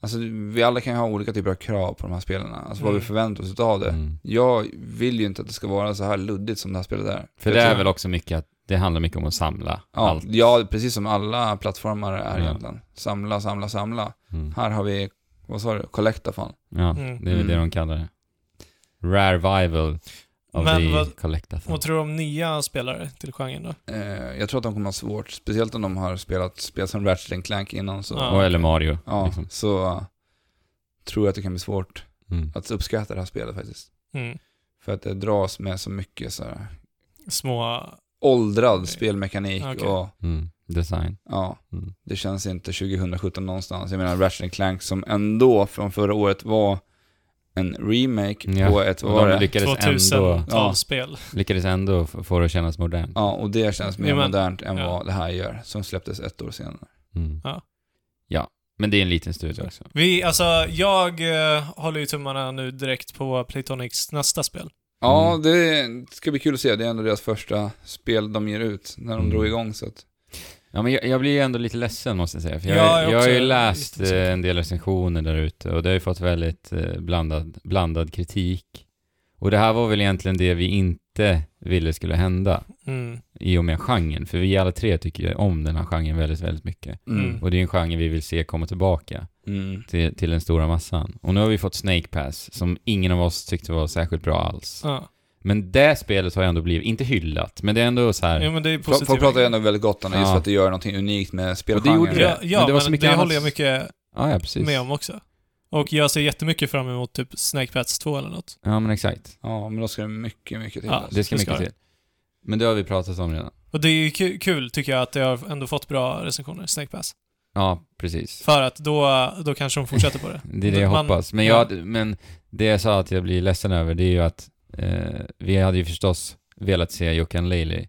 S1: alltså vi alla kan ju ha olika typer av krav på de här spelen. Alltså vad
S3: Mm.
S1: vi förväntar oss av det.
S2: Mm.
S1: Jag vill ju inte att det ska vara så här luddigt som det här spelet är.
S2: För
S1: Jag
S2: det är
S1: tror-
S2: väl också mycket att det handlar mycket om att samla
S1: Ja,
S2: allt.
S1: ja, precis som alla plattformar är
S2: Ja.
S1: egentligen. Samla, samla, samla.
S2: Mm.
S1: Här har vi, vad sa du, Collectathon.
S2: Ja,
S3: Mm.
S2: det är väl det de kallar det. Rare Rival of
S3: Men
S2: the
S3: vad-
S2: Collectathon.
S3: Vad tror du om nya spelare till genren då?
S1: Eh, jag tror att de kommer ha svårt, speciellt om de har spelat spel som Ratchet Clank innan. Så,
S3: Ja.
S1: ja.
S2: Och eller Mario. liksom.
S1: så eh, tror jag att det kan bli svårt
S2: Mm.
S1: att uppskatta det här spelet faktiskt.
S3: Mm.
S1: För att det dras med så mycket så här,
S3: Små...
S1: åldrad
S3: Okej.
S1: spelmekanik
S3: Okej.
S1: och
S2: Mm. Design.
S1: ja,
S2: Mm.
S1: det känns inte 2017 någonstans. Jag menar Ratchet Clank som ändå från förra året var en remake
S2: Ja,
S1: på ett, vad
S2: Och
S1: var
S2: de
S1: det?
S2: lyckades ändå,
S3: 2000-talsspel.
S2: lyckades ändå f- få det att kännas modernt.
S1: Ja, och det känns mer
S3: Jo, men-
S1: modernt än
S3: ja.
S1: vad det här gör, som släpptes ett år senare.
S2: Mm.
S3: Ja.
S2: ja, men det är en liten studio också.
S3: Vi, alltså, jag eh, håller ju tummarna nu direkt på Playtonics nästa spel.
S1: Ja,
S2: Mm.
S1: det ska bli kul att se. Det är ändå deras första spel de ger ut när de
S2: Mm.
S1: drog igång. Så att,
S2: Ja, men jag, jag blir ju ändå lite ledsen måste jag säga. För jag,
S3: Jag är
S2: jag har
S3: också
S2: ju läst
S3: lite
S2: eh, en del recensioner där ute och det har ju fått väldigt eh, blandad, blandad kritik. Och det här var väl egentligen det vi inte ville skulle hända
S3: Mm.
S2: i och med genren. För vi alla tre tycker ju om den här genren väldigt, väldigt mycket.
S1: mm.
S2: Och det är ju en genre vi vill se komma tillbaka
S1: Mm.
S2: till, till den stora massan. Och nu har vi fått Snake Pass som ingen av oss tyckte var särskilt bra alls.
S3: Ja.
S2: Men det spelet har ju ändå blivit, inte hyllat, men det är ändå så här...
S3: ja, men det är positivt.
S1: Folk pratar ju ändå väldigt gott om det, just
S2: Ja.
S1: för att det gör någonting unikt med
S2: det gjorde
S1: spelgenren.
S2: det.
S3: Ja,
S2: Men
S3: ja men
S2: det
S3: det,
S2: var så mycket annat-
S3: håller jag mycket
S2: Ja, ja, precis.
S3: med om också. Och jag ser jättemycket fram emot typ Snake Pats 2 eller något.
S2: Ja, men exakt.
S1: Ja, men då ska det mycket, mycket till.
S3: Ja,
S1: alltså.
S2: Det ska
S3: Det ska
S2: mycket till. Men det har vi pratat om redan.
S3: Och det är ju ku- kul tycker jag att det har ändå fått bra recensioner, Snake Pass.
S2: Ja, precis.
S3: För att då, då kanske de fortsätter på det.
S2: Det är det jag
S3: Man-
S2: hoppas. Men, jag, men det jag sa att jag blir ledsen över, det är ju att eh, vi hade ju förstås velat se Jokan Leili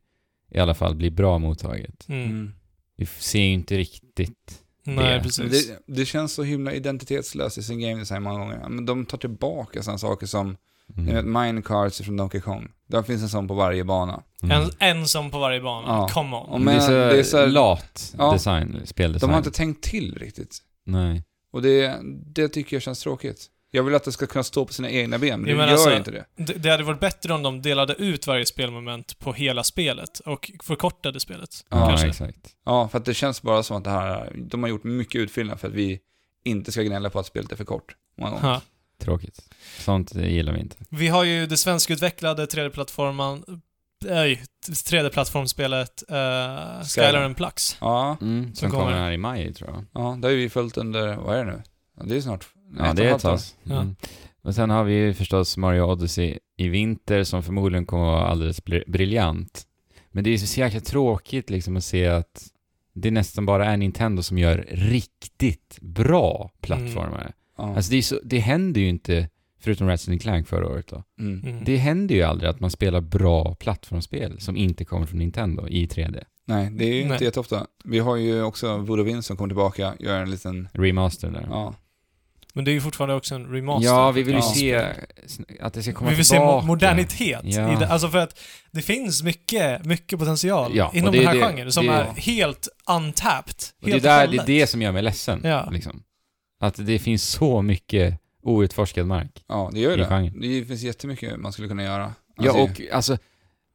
S2: i alla fall bli bra mottaget.
S3: Mm.
S1: Mm.
S2: Vi f- ser ju inte riktigt.
S3: Nej,
S2: Det-
S1: Men
S3: precis.
S1: Det, det känns så himla identitetslöst i sin game design många gånger. Ja, Men de tar tillbaka sådana saker som, ni
S2: Mm.
S1: vet, minecarts från Donkey Kong. Där finns en sån på varje bana.
S2: Mm.
S3: En, en som på varje bana.
S1: Ja.
S3: Come on.
S1: Och
S2: det, är
S1: men
S2: så
S1: det är så här-
S2: lat
S1: Ja.
S2: design, speldesign.
S1: De har inte tänkt till riktigt.
S2: Nej.
S1: Och det, det tycker jag känns tråkigt. Jag vill att det ska kunna stå på sina egna ben, men
S3: Ja,
S1: det
S3: men
S1: gör
S3: alltså-
S1: inte det.
S3: Det, det hade varit bättre om de delade ut varje spelmoment på hela spelet och förkortade spelet.
S1: Ja,
S2: Ja,
S3: kanske.
S2: exakt.
S1: Ja, för att det känns bara som att det här, de har gjort mycket utfyllnad för att vi inte ska gnälla på att spelet är för kort. Många gånger.
S3: Ja.
S2: Tråkigt. Sånt gillar vi inte.
S3: Vi har ju det svenskutvecklade 3D-plattformen, nej, 3D-plattformspelet eh,
S1: Skyrim.
S3: Skylar and Plux.
S1: Ja,
S2: Mm, som
S3: kommer
S2: kommer
S3: det.
S2: här i maj, tror jag.
S1: ja, det har ju vi följt under, vad är det nu? Ja, Det är snart...
S2: Ja, det är ett tag. Mm. Och sen har vi ju förstås Mario Odyssey i vinter som förmodligen kommer att vara alldeles bri- briljant. Men det är ju så jäkla tråkigt liksom att se att det nästan bara är Nintendo som gör riktigt bra plattformar.
S3: Mm.
S1: Ja.
S2: Alltså det, är så, det händer ju inte, förutom Ratchet Clank förra året då,
S1: mm.
S3: Mm.
S2: det händer ju aldrig att man spelar bra plattformsspel som inte kommer från Nintendo i 3D.
S1: Nej, det är ju
S3: Nej.
S1: inte jätteofta. Vi har ju också Voodoo som kommer tillbaka, gör en liten...
S2: Remaster där.
S1: Ja,
S3: Men det är ju fortfarande också en remaster.
S2: Ja, vi vill ju
S1: Ja.
S2: se sn- att det ska komma
S3: vi vill se
S2: tillbaka.
S3: mo- modernitet
S2: Ja.
S3: i det. Alltså för att det finns mycket, mycket potential
S2: Ja, och
S3: inom
S2: det är
S3: den här
S2: det-
S3: genren som
S2: det-
S3: är helt untapped.
S2: Och det, är
S3: helt
S2: där,
S3: och
S2: det är
S3: hållet.
S2: det som gör mig ledsen.
S3: Ja.
S2: Liksom. Att det finns så mycket outforskad mark.
S1: ja det gör ju
S2: I
S1: det.
S2: genren.
S1: Det finns jättemycket man skulle kunna göra.
S2: Ja,
S1: Alltså,
S2: och alltså,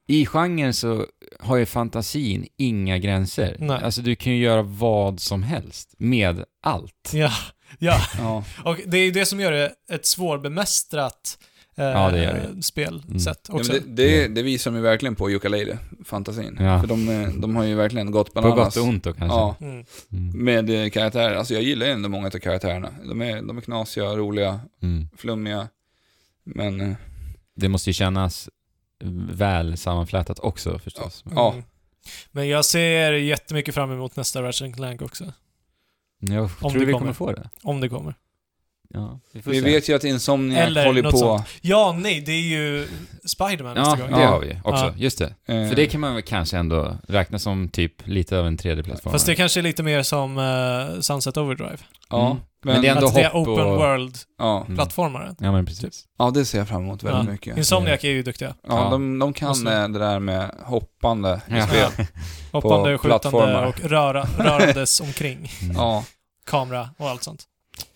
S2: I genren så har ju fantasin inga gränser.
S3: Nej.
S2: Alltså du kan ju göra vad som helst med allt.
S3: Ja, ja.
S1: Ja.
S3: Och det är ju det som gör det ett svårbemästrat eh,
S2: det gör det. Mm.
S3: spelsätt
S1: Ja, men
S3: också.
S1: det, det, det visar de ju verkligen på Ukulele, fantasin.
S2: Ja.
S1: För de, eh, de har ju verkligen gått
S2: På
S1: bananas.
S2: gott och ont alltså. då kanske.
S1: Ja,
S3: Mm.
S2: Mm.
S1: med eh, karaktärer. Alltså jag gillar ju ändå många av karaktärerna. De är, de är knasiga, roliga,
S2: Mm.
S1: flummiga. Men eh,
S2: Det måste ju kännas väl sammanflätat också förstås.
S1: Ja.
S3: Mm. Men jag ser jättemycket fram emot nästa Ratchet Clank också.
S2: Jag tror
S3: det
S2: vi kommer.
S3: kommer.
S2: få det.
S3: Om det kommer.
S2: Ja, vi får
S1: vi
S2: se.
S1: vet ju att Insomniac
S3: Eller
S1: håller
S3: något
S1: på.
S3: sånt. Ja, nej, det är ju Spiderman nästa
S2: Ja,
S3: gång.
S2: det
S1: Ja.
S2: har vi ju också.
S3: Ja.
S2: Just det.
S1: eh,
S2: För det kan man väl kanske ändå räkna som typ lite av en 3D-plattform.
S3: Fast det kanske är lite mer som eh, Sunset Overdrive.
S1: Ja,
S2: Mm.
S1: men,
S2: Men det är ändå
S3: att det är
S2: hopp och-
S3: open world-plattformaren.
S1: ja.
S2: Mm. Ja, men precis.
S1: ja, det ser jag fram emot väldigt
S3: Ja. Alltså-
S1: mycket.
S3: Insomniac är ju duktiga.
S1: Ja,
S2: Ja.
S1: de, de kan
S3: Måste-
S1: eh, det där med hoppande i
S2: Ja.
S1: spel.
S3: Hoppande, skjutande
S1: plattformar.
S3: och röra, rörandes omkring.
S2: Mm.
S1: Ja.
S3: Kamera och allt sånt.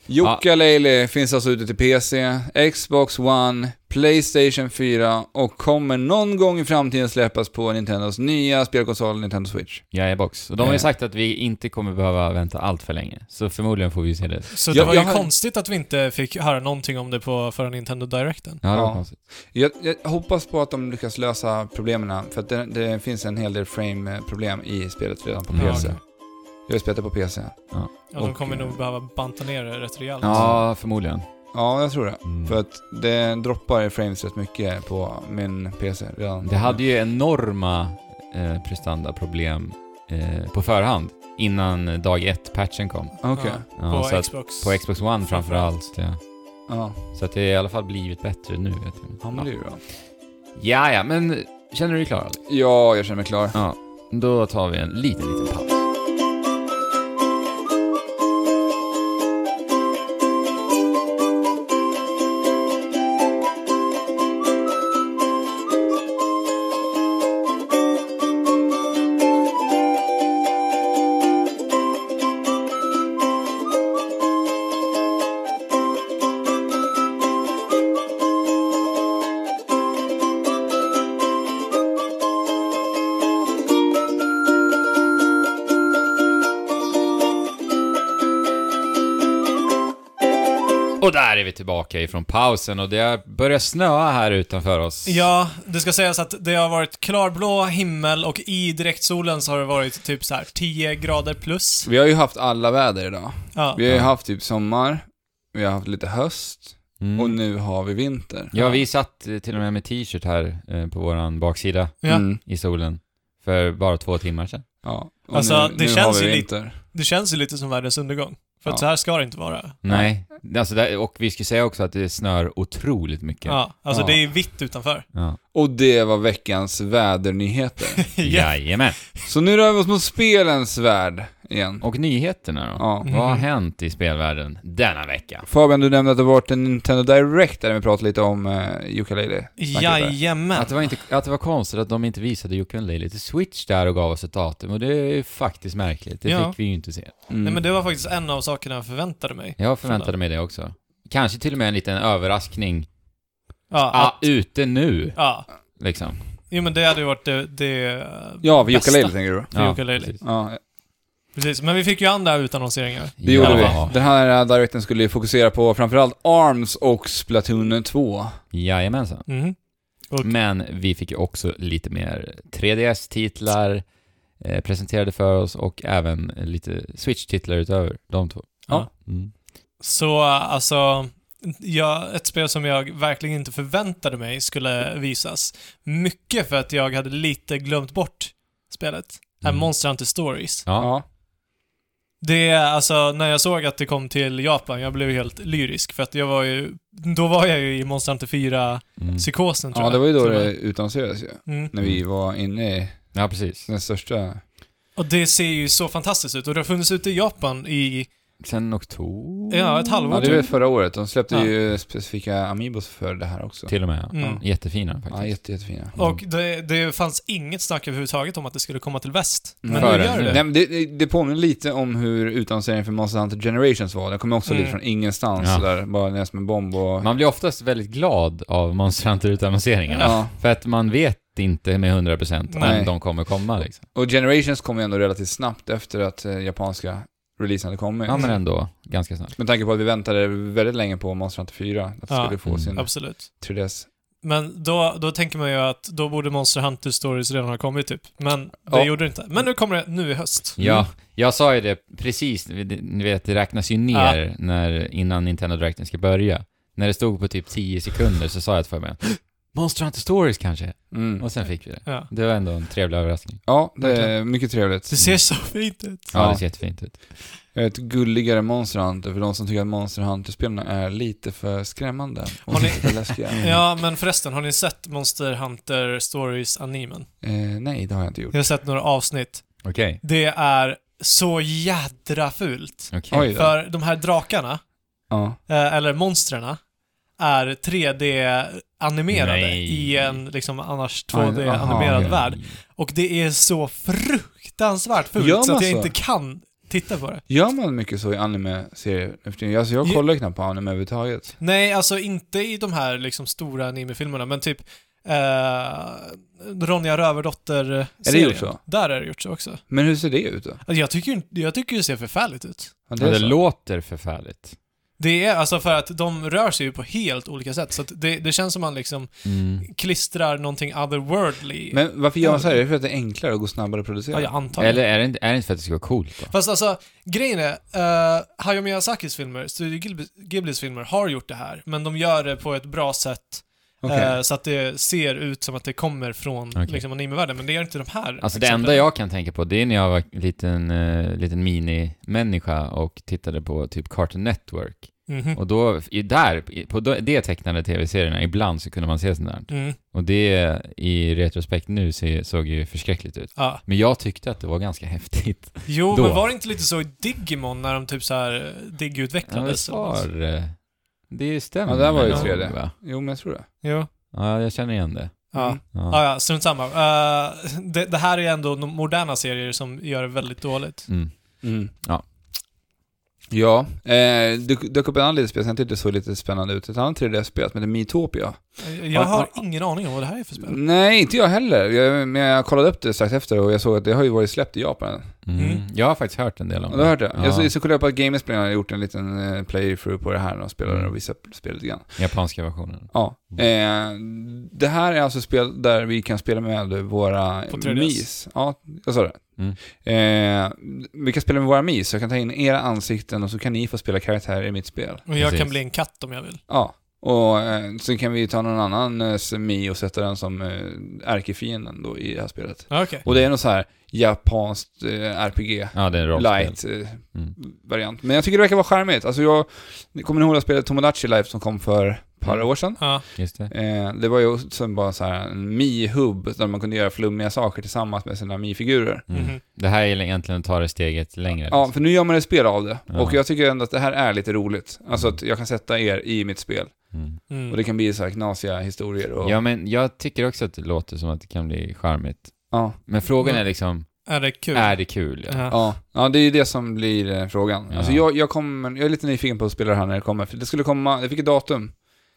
S1: Jokkalele finns alltså ute till PC, Xbox One, Playstation 4 och kommer någon gång i framtiden släppas på Nintendos nya spelkonsol Nintendo Switch.
S2: Ja, i box. Och de har
S1: Eh.
S2: ju sagt att vi inte kommer behöva vänta allt för länge. Så förmodligen får vi se det.
S3: Så
S1: Jag-
S3: det var ju
S1: jag har-
S3: konstigt att vi inte fick höra någonting om det på förra Nintendo Directen.
S2: Ja, det var
S1: Ja.
S2: konstigt.
S1: Jag, jag hoppas på att de lyckas lösa problemen, för att det, det finns en hel del frame-problem i spelet redan på
S2: Mm.
S1: PC.
S3: Ja,
S1: Jag har spelat det på PC.
S3: Ja, de
S1: Och,
S3: kommer
S1: eh,
S3: nog behöva banta ner det rätt rejält.
S2: Ja, förmodligen.
S1: Ja, jag tror det.
S2: Mm.
S1: För att det droppar i frames rätt mycket på min PC redan.
S2: Det hade ju enorma eh, prestandaproblem eh, på förhand innan dag ett patchen kom.
S1: Okej.
S2: Ja,
S3: på
S2: så att,
S3: Xbox.
S2: på Xbox One framförallt. Ja.
S1: Ja.
S2: Så att det är i alla fall blivit bättre nu. Vet jag.
S1: ja, men det är ju bra.
S2: ja, ja, men känner du dig klar? Alex?
S1: Ja, jag känner mig klar.
S2: Ja. Då tar vi en liten, liten paus. Och där är vi tillbaka ifrån pausen och det börjar snöa här utanför oss.
S3: Ja, det ska sägas att det har varit klarblå himmel och i direktsolen så har det varit typ så här 10 grader plus.
S1: Vi har ju haft alla väder idag.
S3: Ja.
S1: Vi har ju
S2: Ja.
S1: haft typ sommar, vi har haft lite höst
S2: Mm.
S1: och nu har vi vinter.
S2: ja, vi satt eh, till och med med t-shirt här eh, på våran baksida
S3: Ja.
S1: Mm,
S2: i solen för bara två timmar sedan.
S1: ja. Och
S3: Alltså,
S1: nu,
S3: det
S1: nu
S3: känns
S1: har vi
S3: ju
S1: vinter.
S3: Det känns ju lite som världens undergång. För att
S1: Ja.
S3: så här ska det inte vara.
S2: Nej, alltså där, och vi skulle säga också att det snör otroligt mycket.
S3: Ja, alltså
S1: Ja.
S3: det är vitt utanför.
S2: Ja.
S1: Och det var veckans vädernyheter.
S3: ja.
S2: Jajamän.
S1: Så nu rör vi oss mot spelens värld igen.
S2: Och nyheterna då?
S1: Ja.
S2: Vad har
S3: Mhm.
S2: hänt i spelvärlden denna vecka?
S1: Fabian, du nämnde att det varit en Nintendo Direct där vi pratade lite om uh, ukulele.
S3: Jajamän.
S2: Att det, var inte, att det var konstigt att de inte visade Ukulele till Switch där och gav oss ett datum och det är faktiskt märkligt. Det
S3: Ja.
S2: fick vi ju inte se.
S1: Mm.
S3: Nej men det var faktiskt en av sakerna jag förväntade mig.
S2: Jag förväntade mig det också. Kanske till och med en liten överraskning.
S3: Ja,
S2: Ah,
S3: att,
S2: ute nu,
S3: ja.
S2: liksom.
S3: Jo men det hade ju varit det, det
S1: Ja, vi
S3: bästa.
S1: ukulele tänker du då?
S3: För ukulele.
S2: precis.
S1: Ja,
S3: Precis, men vi fick ju andra utannonseringar.
S1: det gjorde
S2: ja.
S1: vi. Den här eh, Directen skulle ju fokusera på framförallt ARMS och Splatoon 2.
S2: Jajamensan.
S3: Mhm. Och-
S2: Men vi fick ju också lite mer 3DS-titlar eh, presenterade för oss och även lite Switch-titlar utöver de två.
S3: Ja.
S2: Mm.
S3: Så alltså, ja, ett spel som jag verkligen inte förväntade mig skulle visas. Mycket för att jag hade lite glömt bort spelet. Det här
S2: Mm.
S3: Monster Hunter Stories.
S2: Ja.
S3: Det är alltså, när jag såg att det kom till Japan, jag blev helt lyrisk för att jag var ju, då var jag ju i Monster Hunter 4-psykosen
S2: Mm.
S3: tror jag.
S1: Ja, det var ju då
S3: Till och
S1: det
S3: med.
S1: utannonserades ju.
S3: Mm.
S1: När vi var inne i
S2: ja, precis.
S1: den största...
S3: Och det ser ju så fantastiskt ut och det har funnits ute i Japan i,
S2: Sen oktober?
S3: ja, ett
S1: Ja,
S3: halvår
S1: det var
S3: typ.
S1: förra året. De släppte
S3: Ja.
S1: ju specifika Amiibos för det här också.
S2: Till och med. ja.
S3: Mm.
S2: Jättefina faktiskt.
S1: Ja, jätte, jättefina.
S2: Mm.
S3: Och det, det fanns inget snack överhuvudtaget om att det skulle komma till väst. Men
S2: Förrän
S3: nu gör det.
S1: Mm. Nej, men det, det- det påminner lite om hur utannonseringen för Monster Hunter Generations var. Den kom också
S3: Mm.
S1: lite från ingenstans,
S2: Ja.
S1: där, bara ner som en bomb och...
S2: Man blir oftast väldigt glad av Monster Hunter-utannonseringarna.
S1: Ja.
S2: För att man vet inte med 100%
S3: Nej.
S2: men de kommer komma liksom.
S1: Och Generations kom ju ändå relativt snabbt efter att eh, japanska releasen hade kommit.
S2: Ja men ändå, ganska snart.
S1: Med tanke på att vi väntade väldigt länge på Monster Hunter 4, att det
S3: Ja.
S1: skulle få
S2: Mm.
S1: sin
S3: Absolut.
S1: 3DS.
S3: Men då, då tänker man ju att då borde Monster Hunter Stories redan ha kommit typ. Men det
S1: Ja.
S3: gjorde det inte. Men nu kommer det nu i höst.
S2: Ja, jag sa ju det precis, ni vet det räknas ju ner när, innan Nintendo Directen ska börja. När det stod på typ 10 sekunder så sa jag för mig Monster Hunter Stories kanske?
S1: Mm.
S2: Och sen fick vi det.
S3: Ja.
S2: Det var ändå en trevlig överraskning.
S1: Ja, det är mycket trevligt.
S3: Det ser så fint ut.
S2: Ja,
S1: Ja.
S2: det ser jättefint ut.
S1: Jag är ett gulligare Monster Hunter för de som tycker att Monster Hunter-spelen är lite för skrämmande.
S3: Har
S1: Och
S3: ni-
S1: lite för läskiga.
S3: Ja, men förresten, har ni sett Monster Hunter Stories-animen?
S1: Eh, nej, det har jag inte gjort.
S3: Jag har sett några avsnitt.
S2: Okej.
S3: Det är så jädra fult.
S2: Okej.
S1: Oj.
S3: För de här drakarna,
S1: Ja.
S3: eh, eller monstren, är 3D-animerade
S2: Nej.
S3: i en liksom annars
S1: Aj, aha,
S3: 2D-animerad
S1: okej.
S3: värld. Och det är så fruktansvärt fult
S1: Gör
S3: så
S1: man
S3: att jag
S1: så?
S3: inte kan titta på det.
S1: Gör man mycket så i anime-serier nu för tiden? Alltså jag
S3: Ja.
S1: kollar ju knappt på anime överhuvudtaget.
S3: Nej, alltså inte i de här liksom stora animefilmerna, men typ eh, Ronja Rövardotter-serien.
S1: Är det gjort så?
S3: Där är det gjort så också.
S1: Men hur ser det ut då?
S3: Alltså, jag tycker, inte- jag tycker det ser förfärligt ut.
S1: Ja,
S2: Det, det
S1: så.
S2: låter förfärligt.
S3: Det är alltså för att de rör sig ju på helt olika sätt, så att det, det känns som man liksom
S2: Mm.
S3: klistrar någonting otherworldly.
S1: Men varför gör man så här? Är det för att det är enklare och går snabbare att producera?
S3: ja, jag antar det.
S2: Eller är det, inte, är det inte för att det ska vara coolt då?
S3: Fast alltså, grejen är, uh, Hayao Miyazakis filmer, Studio Ghibli- Ghiblis filmer, har gjort det här, men de gör det på ett bra sätt
S1: Okej.
S3: eh, så att det ser ut som att det kommer från
S2: Okej.
S3: liksom, animevärlden, men det gör inte de här.
S2: Alltså det
S3: exemplen.
S2: enda jag kan tänka på det är när jag var liten, eh, liten mini-människa och tittade på typ Cartoon Network.
S3: Mhm.
S2: Och då, i, där, i- på de- det tecknade tv-serierna, ibland så kunde man se sånt där.
S3: Mm,
S2: Och det i retrospekt nu se, såg ju förskräckligt ut.
S3: ja.
S2: Men jag tyckte att det var ganska häftigt.
S3: Jo,
S2: Då.
S3: men var det inte lite så i Digimon när de typ så här
S2: Ja, det
S3: diggutvecklades? utvecklades
S2: svar. eh, Det stämmer.
S1: Ja, där var ju
S2: nog,
S1: 3D.
S2: va?
S1: Jo, men jag tror det.
S3: Jo.
S2: Ja, jag känner igen det.
S3: Ja.
S1: Mm.
S2: Ja.
S3: Ja, ja, strunt samma. Eh, det, det här är ändå no- moderna serier som gör det väldigt dåligt.
S2: Mm.
S1: Mm.
S2: Ja.
S1: Ja, eh, dök, dök upp en annan litet spel som jag tyckte såg lite spännande ut. Ett annat 3D-spel som heter Miitopia.
S3: Eh, Jag
S1: Ja,
S3: har
S1: ja.
S3: ingen aning om vad det här är för
S2: Mm.
S3: spel.
S1: Nej, inte jag heller. Jag, men jag kollade upp det strax efter och jag såg att det har ju varit släppt i Japan.
S2: Mm.
S3: Mm.
S2: Jag har faktiskt hört en del om
S1: Ja, du har hört det?
S2: Ja.
S1: Jag så, så kollade jag på att Gamersplay har gjort en liten eh, playthrough på det här när de spelar och visar spelet lite grann.
S2: Japanska versionen.
S1: Ja. Eh, det här är alltså spel där vi kan spela med våra
S3: På 3DS.
S1: mis. Ja, jag sa det. Eh, vi kan spela med våra mis, så jag kan ta in era ansikten och så kan ni få spela karaktärer i mitt spel.
S3: Och jag kan
S2: Precis.
S3: bli en katt om jag vill.
S1: Ja. Och eh, så kan vi ta någon annan eh, mi och sätta den som eh, ärkefienden då i det här spelet.
S3: Ja, Okej.
S1: Och det är något så här japanskt eh, RPG,
S2: Ja, det är en rollspel. Mm.
S1: light-variant. eh, Men jag tycker det verkar vara charmigt. Alltså jag, ni kommer ihåg det här spelet Tomodachi Life som kom för ett par
S2: Mm.
S1: år sedan?
S3: Ja.
S2: Just det.
S1: Eh, det var ju som bara så här en Mi-hub där man kunde göra flummiga saker tillsammans med sina Mi-figurer.
S2: Mm.
S3: Mhm.
S2: Det här är egentligen att ta det steget längre. liksom.
S1: Ja, för nu gör man ett spel av det.
S2: Ja.
S1: Och jag tycker ändå att det här är lite roligt. Alltså att jag kan sätta er i mitt spel.
S2: Mm.
S3: Mm.
S1: Och det kan bli så här knasiga historier och...
S2: Ja, men jag tycker också att det låter som att det kan bli charmigt.
S1: Ja,
S2: Men frågan
S3: Mm.
S2: är liksom,
S3: Är det kul?
S2: är det kul? Ja.
S3: Ja.
S1: ja. ja, det är ju det som blir eh, frågan.
S2: Ja.
S1: Alltså jag, jag, kommer, jag är lite nyfiken på att spela det här när det kommer. För det skulle komma, det fick ett datum.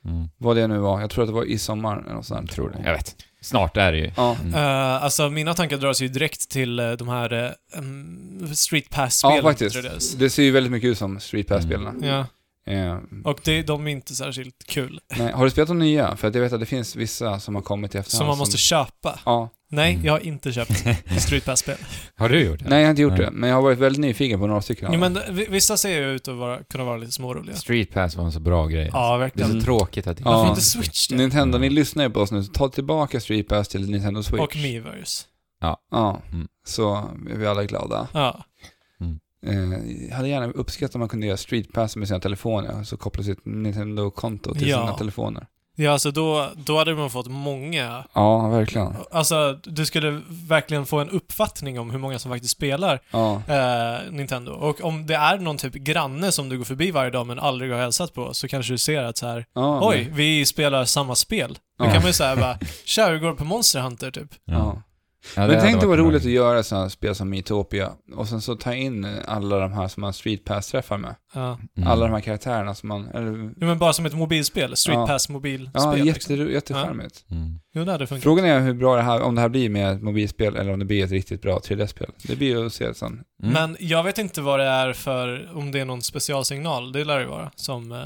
S2: Mm.
S1: vad det nu var. Jag tror att det var i sommar eller något sånt. där.
S2: Tror det. Jag vet. Snart är det ju.
S1: Ja.
S2: Mm.
S3: Eh, alltså mina tankar dras ju direkt till eh, de här eh, mm, Street Pass-spelen.
S1: ja,
S3: tror jag det är. Mm.
S1: faktiskt. Det ser ju väldigt mycket ut som Street Pass-spelarna.
S3: Ja,
S1: Eh,
S3: och det, de är inte särskilt kul.
S1: nej, har du spelat de nya? För att jag vet att det finns vissa som har kommit i efterhand.
S3: Som man måste köpa.
S1: Ja.
S3: Nej,
S2: Mm.
S3: jag har inte köpt Street Pass-spel.
S2: Har du gjort det?
S1: Nej, jag har inte gjort
S2: Nej.
S1: det. Men jag har varit väldigt nyfiken på några stycken.
S3: Jo, men det- vi- vissa ser ju ut att vara, kunna vara lite småroliga.
S2: Street Pass var en så bra grej.
S3: Ja,
S2: Det är
S3: verkligen.
S2: så tråkigt att det
S1: Mm. Ja.
S3: Varför inte Switch det?
S1: Nintendo,
S2: Mm.
S1: ni lyssnar ju på oss nu. så Ta tillbaka Street Pass till Nintendo Switch.
S3: Och Miiverse.
S1: Ja.
S2: Mm.
S1: Så är vi alla glada.
S3: Ja.
S1: Eh, jag hade gärna uppskattat om man kunde göra Street Pass med sina telefoner. Så koppla sitt Nintendo-konto till
S3: Ja.
S1: sina telefoner.
S3: Ja, alltså då, då hade man fått många...
S1: Ja, verkligen.
S3: Alltså, du skulle verkligen få en uppfattning om hur många som faktiskt spelar
S1: Ja.
S3: eh, Nintendo. Och om det är någon typ granne som du går förbi varje dag men aldrig har hälsat på, så kanske du ser att så här,
S1: ja
S3: oj, vi spelar samma spel. Då
S1: Ja.
S3: kan man ju säga bara, tja, hur går det på Monster Hunter typ?
S1: Ja.
S2: Ja,
S1: Men
S2: hade
S1: tänk dig
S2: varit
S1: vad
S2: en
S1: roligt att
S2: möjlighet.
S1: göra sådana här spel som Miitopia och sen så ta in alla de här som man streetpass-träffar med.
S3: Ja.
S2: Mm.
S1: Alla de här karaktärerna som man... Eller,
S3: Jo, men bara som ett mobilspel. Street
S1: Ja.
S3: Pass mobilspel.
S1: ja,
S3: liksom.
S1: jätteru- jättecharmigt.
S2: Mm.
S3: Jo, det hade funkat.
S1: Frågan är hur bra det här, om det här blir med ett mobilspel eller om det blir ett riktigt bra 3D-spel. Det blir ju att se sen.
S2: Mm.
S3: Men jag vet inte vad det är för, om det är någon specialsignal, det lär det vara, som eh,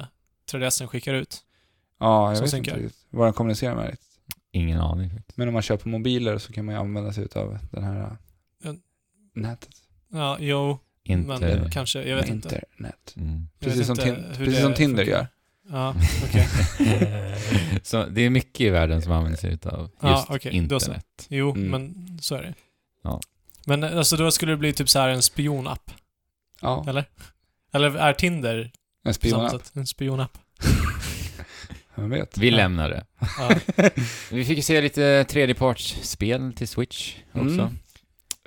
S3: 3DSen skickar ut.
S1: Ja, jag
S3: Som
S1: vet
S3: synkar.
S1: inte riktigt vad den kommunicerar med riktigt.
S2: Ingen aning faktiskt.
S1: Men om man köper mobiler så kan man ju använda sig av den här...
S3: Ja.
S1: Ja. Nätet.
S3: Ja, jo,
S2: Inte...
S3: men kanske, jag vet inte.
S1: Internet.
S2: Mm.
S3: Jag vet
S1: Precis som,
S3: inte
S1: tin-
S3: hur
S1: precis
S3: det
S1: som Tinder
S3: funkar.
S1: gör.
S3: Ja, okej.
S2: så det är mycket i världen som använder sig av just
S3: Ja, okej, då så.
S2: internet.
S3: Jo,
S1: Mm.
S3: men så är det.
S2: Ja.
S3: Men eh, alltså då skulle det bli typ så här en spionapp,
S1: Ja,
S3: eller? Eller är Tinder
S1: en
S3: på samma
S1: spionapp.
S3: sätt en spionapp?
S1: Vem vet?
S2: Vi lämnar det.
S3: Ja.
S2: Vi fick ju se lite tredjepartsspel till Switch
S3: Mm.
S2: också.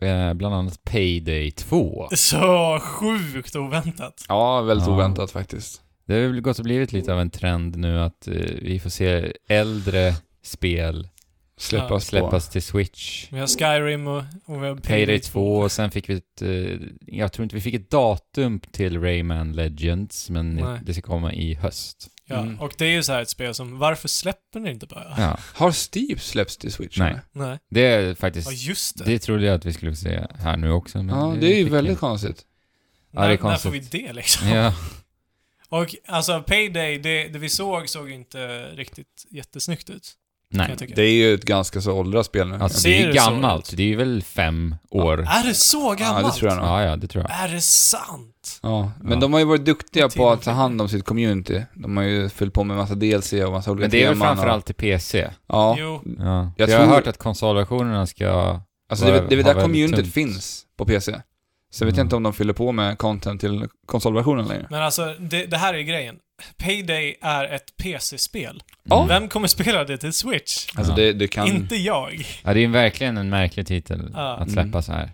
S2: Eh, bland annat Payday 2.
S3: Så sjukt oväntat.
S1: Ja, väldigt
S2: Ja.
S1: oväntat faktiskt.
S2: Det har väl gått och blivit lite av en trend nu att eh, vi får se äldre spel
S1: Släppas,
S3: Ja.
S1: på.
S2: släppas till Switch.
S3: Vi har Skyrim och, och vi har
S2: Payday 2 och sen fick vi ett, eh, jag tror inte vi fick ett datum till Rayman Legends, men
S3: Nej.
S2: det ska komma i höst.
S3: Ja,
S1: Mm.
S3: och det är ju så här ett spel som, varför släpper ni inte bara?
S2: Ja,
S1: Har Steve släppts till Switch?
S2: Nej.
S1: eller?
S3: Nej.
S2: det är
S3: Ja,
S2: faktiskt,
S3: Ah, just det.
S2: det trodde jag att vi skulle få se här nu också. Men
S1: Ja, det är ju
S2: fick
S1: väldigt
S2: vi inte.
S1: konstigt.
S2: Ja, det är
S3: när, när
S2: konstigt.
S3: får vi det liksom?
S2: Ja,
S3: Och alltså, Payday, det, det vi såg såg inte riktigt jättesnyggt ut. Kan
S2: nej.
S3: jag tycka.
S1: Det är ju ett ganska så åldrat spel nu.
S2: Alltså
S3: Ser
S2: det är ju
S3: det så
S2: gammalt,
S3: ut?
S2: det är ju väl fem år.
S3: Är det så gammalt?
S1: Ja, det tror jag nog.
S2: Ja, ja, det tror jag.
S3: Är det sant?
S1: Ja, men
S2: Ja.
S1: de har ju varit duktiga på att ta
S3: Tiden.
S1: hand om sitt community. De har ju fyllt på med massa DLC och massa olika
S2: Men det är väl
S1: teman och-
S2: framförallt till PC?
S1: Ja,
S3: Jo.
S2: Ja. Jag,
S1: Jag
S2: har
S1: tror-
S2: hört att konsolversionerna ska...
S1: alltså det är väl- det är väl
S2: Har
S1: där
S2: väldigt
S1: communityt
S2: tungt.
S1: finns på PC. Sen vet
S2: Ja.
S1: jag inte om de fyller på med content till konsolversionen längre.
S3: Men alltså, det, det här är grejen. Payday är ett PC-spel.
S2: Mm.
S1: Ja.
S3: Vem kommer spela det till Switch?
S1: Alltså
S2: Ja.
S1: det, det kan...
S3: Inte jag.
S2: Ja, det är ju verkligen en märklig titel
S3: Ja.
S2: att släppa
S1: Mm.
S2: så här.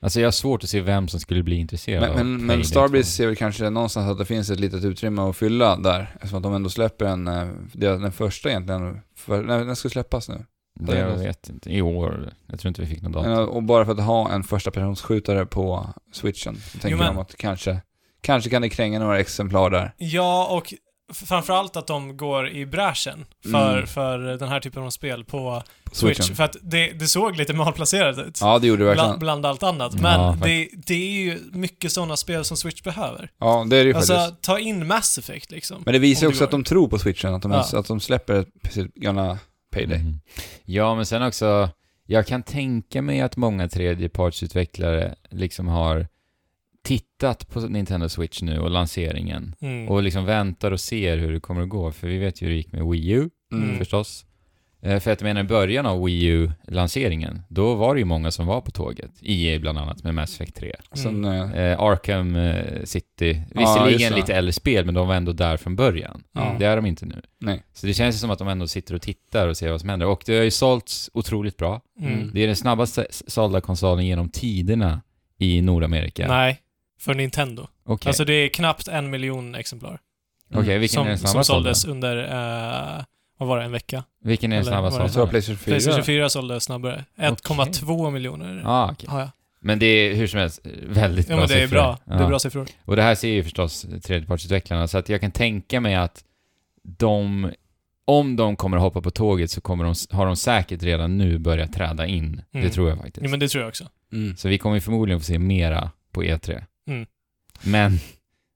S2: Alltså jag har svårt att se vem som skulle bli intresserad
S1: Men,
S2: av
S1: men,
S2: Payday
S1: men Starbreeze
S2: 2.
S1: ser väl kanske någonstans att det finns ett litet utrymme att fylla där. Eftersom att de ändå släpper en, eh, det- den första egentligen. För, när, när ska släppas nu?
S2: Det jag vet inte. I år. Jag tror inte vi fick någon datum.
S1: Men, eh, och bara för att ha en första personsskjutare på switchen. så Tänker
S3: men-
S1: de att kanske, kanske kan det kränga några exemplar där.
S3: Ja, och f- framförallt att de går i bräschen för,
S1: Mm.
S3: för den här typen av spel på
S1: På
S3: Switch.
S1: switchen.
S3: För att det, det såg lite malplacerat ut.
S1: Ja, det gjorde det verkligen.
S3: Bland, bland allt annat.
S2: Ja,
S3: Men det,
S2: faktiskt.
S3: det är ju mycket sådana spel som Switch behöver.
S1: Ja, det är det ju
S3: Alltså,
S1: faktiskt.
S3: ta in Mass Effect liksom.
S1: Men det visar ju
S3: om det
S1: också att
S3: går.
S1: de tror på switchen, att de,
S3: Ja.
S1: ens, att de släpper ett- precis gamla Payday.
S2: Mhm. Ja, men sen också, jag kan tänka mig att många tredjepartsutvecklare liksom har tittat på Nintendo Switch nu och lanseringen
S3: Mm.
S2: och liksom väntar och ser hur det kommer att gå, för vi vet ju hur det gick med Wii U
S1: Mm.
S3: Mm.
S2: förstås. Eh, För att jag menar i början av Wii U-lanseringen, då var det ju många som var på tåget. EA bland annat med Mass Effect 3.
S3: Mm.
S1: Sen, eh,
S2: Eh, Arkham eh, City,
S1: Ja,
S2: visserligen
S1: just det.
S2: lite äldre spel, men de var ändå där från början.
S1: Ja.
S2: Det är de inte nu.
S1: nej.
S2: Så det känns ju som att de ändå sitter och tittar och ser vad som händer. Och det har ju sålts otroligt bra.
S3: Mm.
S2: Det är den snabbaste s- sålda konsolen genom tiderna i Nordamerika.
S3: Nej, för Nintendo.
S2: Okej,
S3: Alltså det är knappt en miljon exemplar.
S2: Okej, vilken
S3: som,
S2: är den
S3: Som
S2: snabbast sålda?
S3: såldes under, eh, vad var det, en vecka?
S2: Vilken är den
S3: eller
S2: snabbast
S3: vad det
S1: Jag tror
S2: sålda?
S1: att Playstation 4.
S3: Playstation 4 sålde snabbare. 1,2 miljoner
S2: Ah, okej.
S3: har jag.
S2: Men det är hur som helst eh, väldigt
S3: Ja
S2: bra
S3: men det är
S2: siffror.
S3: bra. Det
S2: Ja.
S3: är bra siffror.
S2: Och det här ser ju förstås tredjepartsutvecklarna, så att jag kan tänka mig att de, om de kommer att hoppa på tåget så kommer de, har de säkert redan nu börjat träda in. Det
S3: Mm.
S2: tror jag faktiskt.
S3: Ja, men det tror jag också.
S1: Mm.
S2: Så vi kommer ju förmodligen få se mera på E3.
S3: Mm.
S2: Men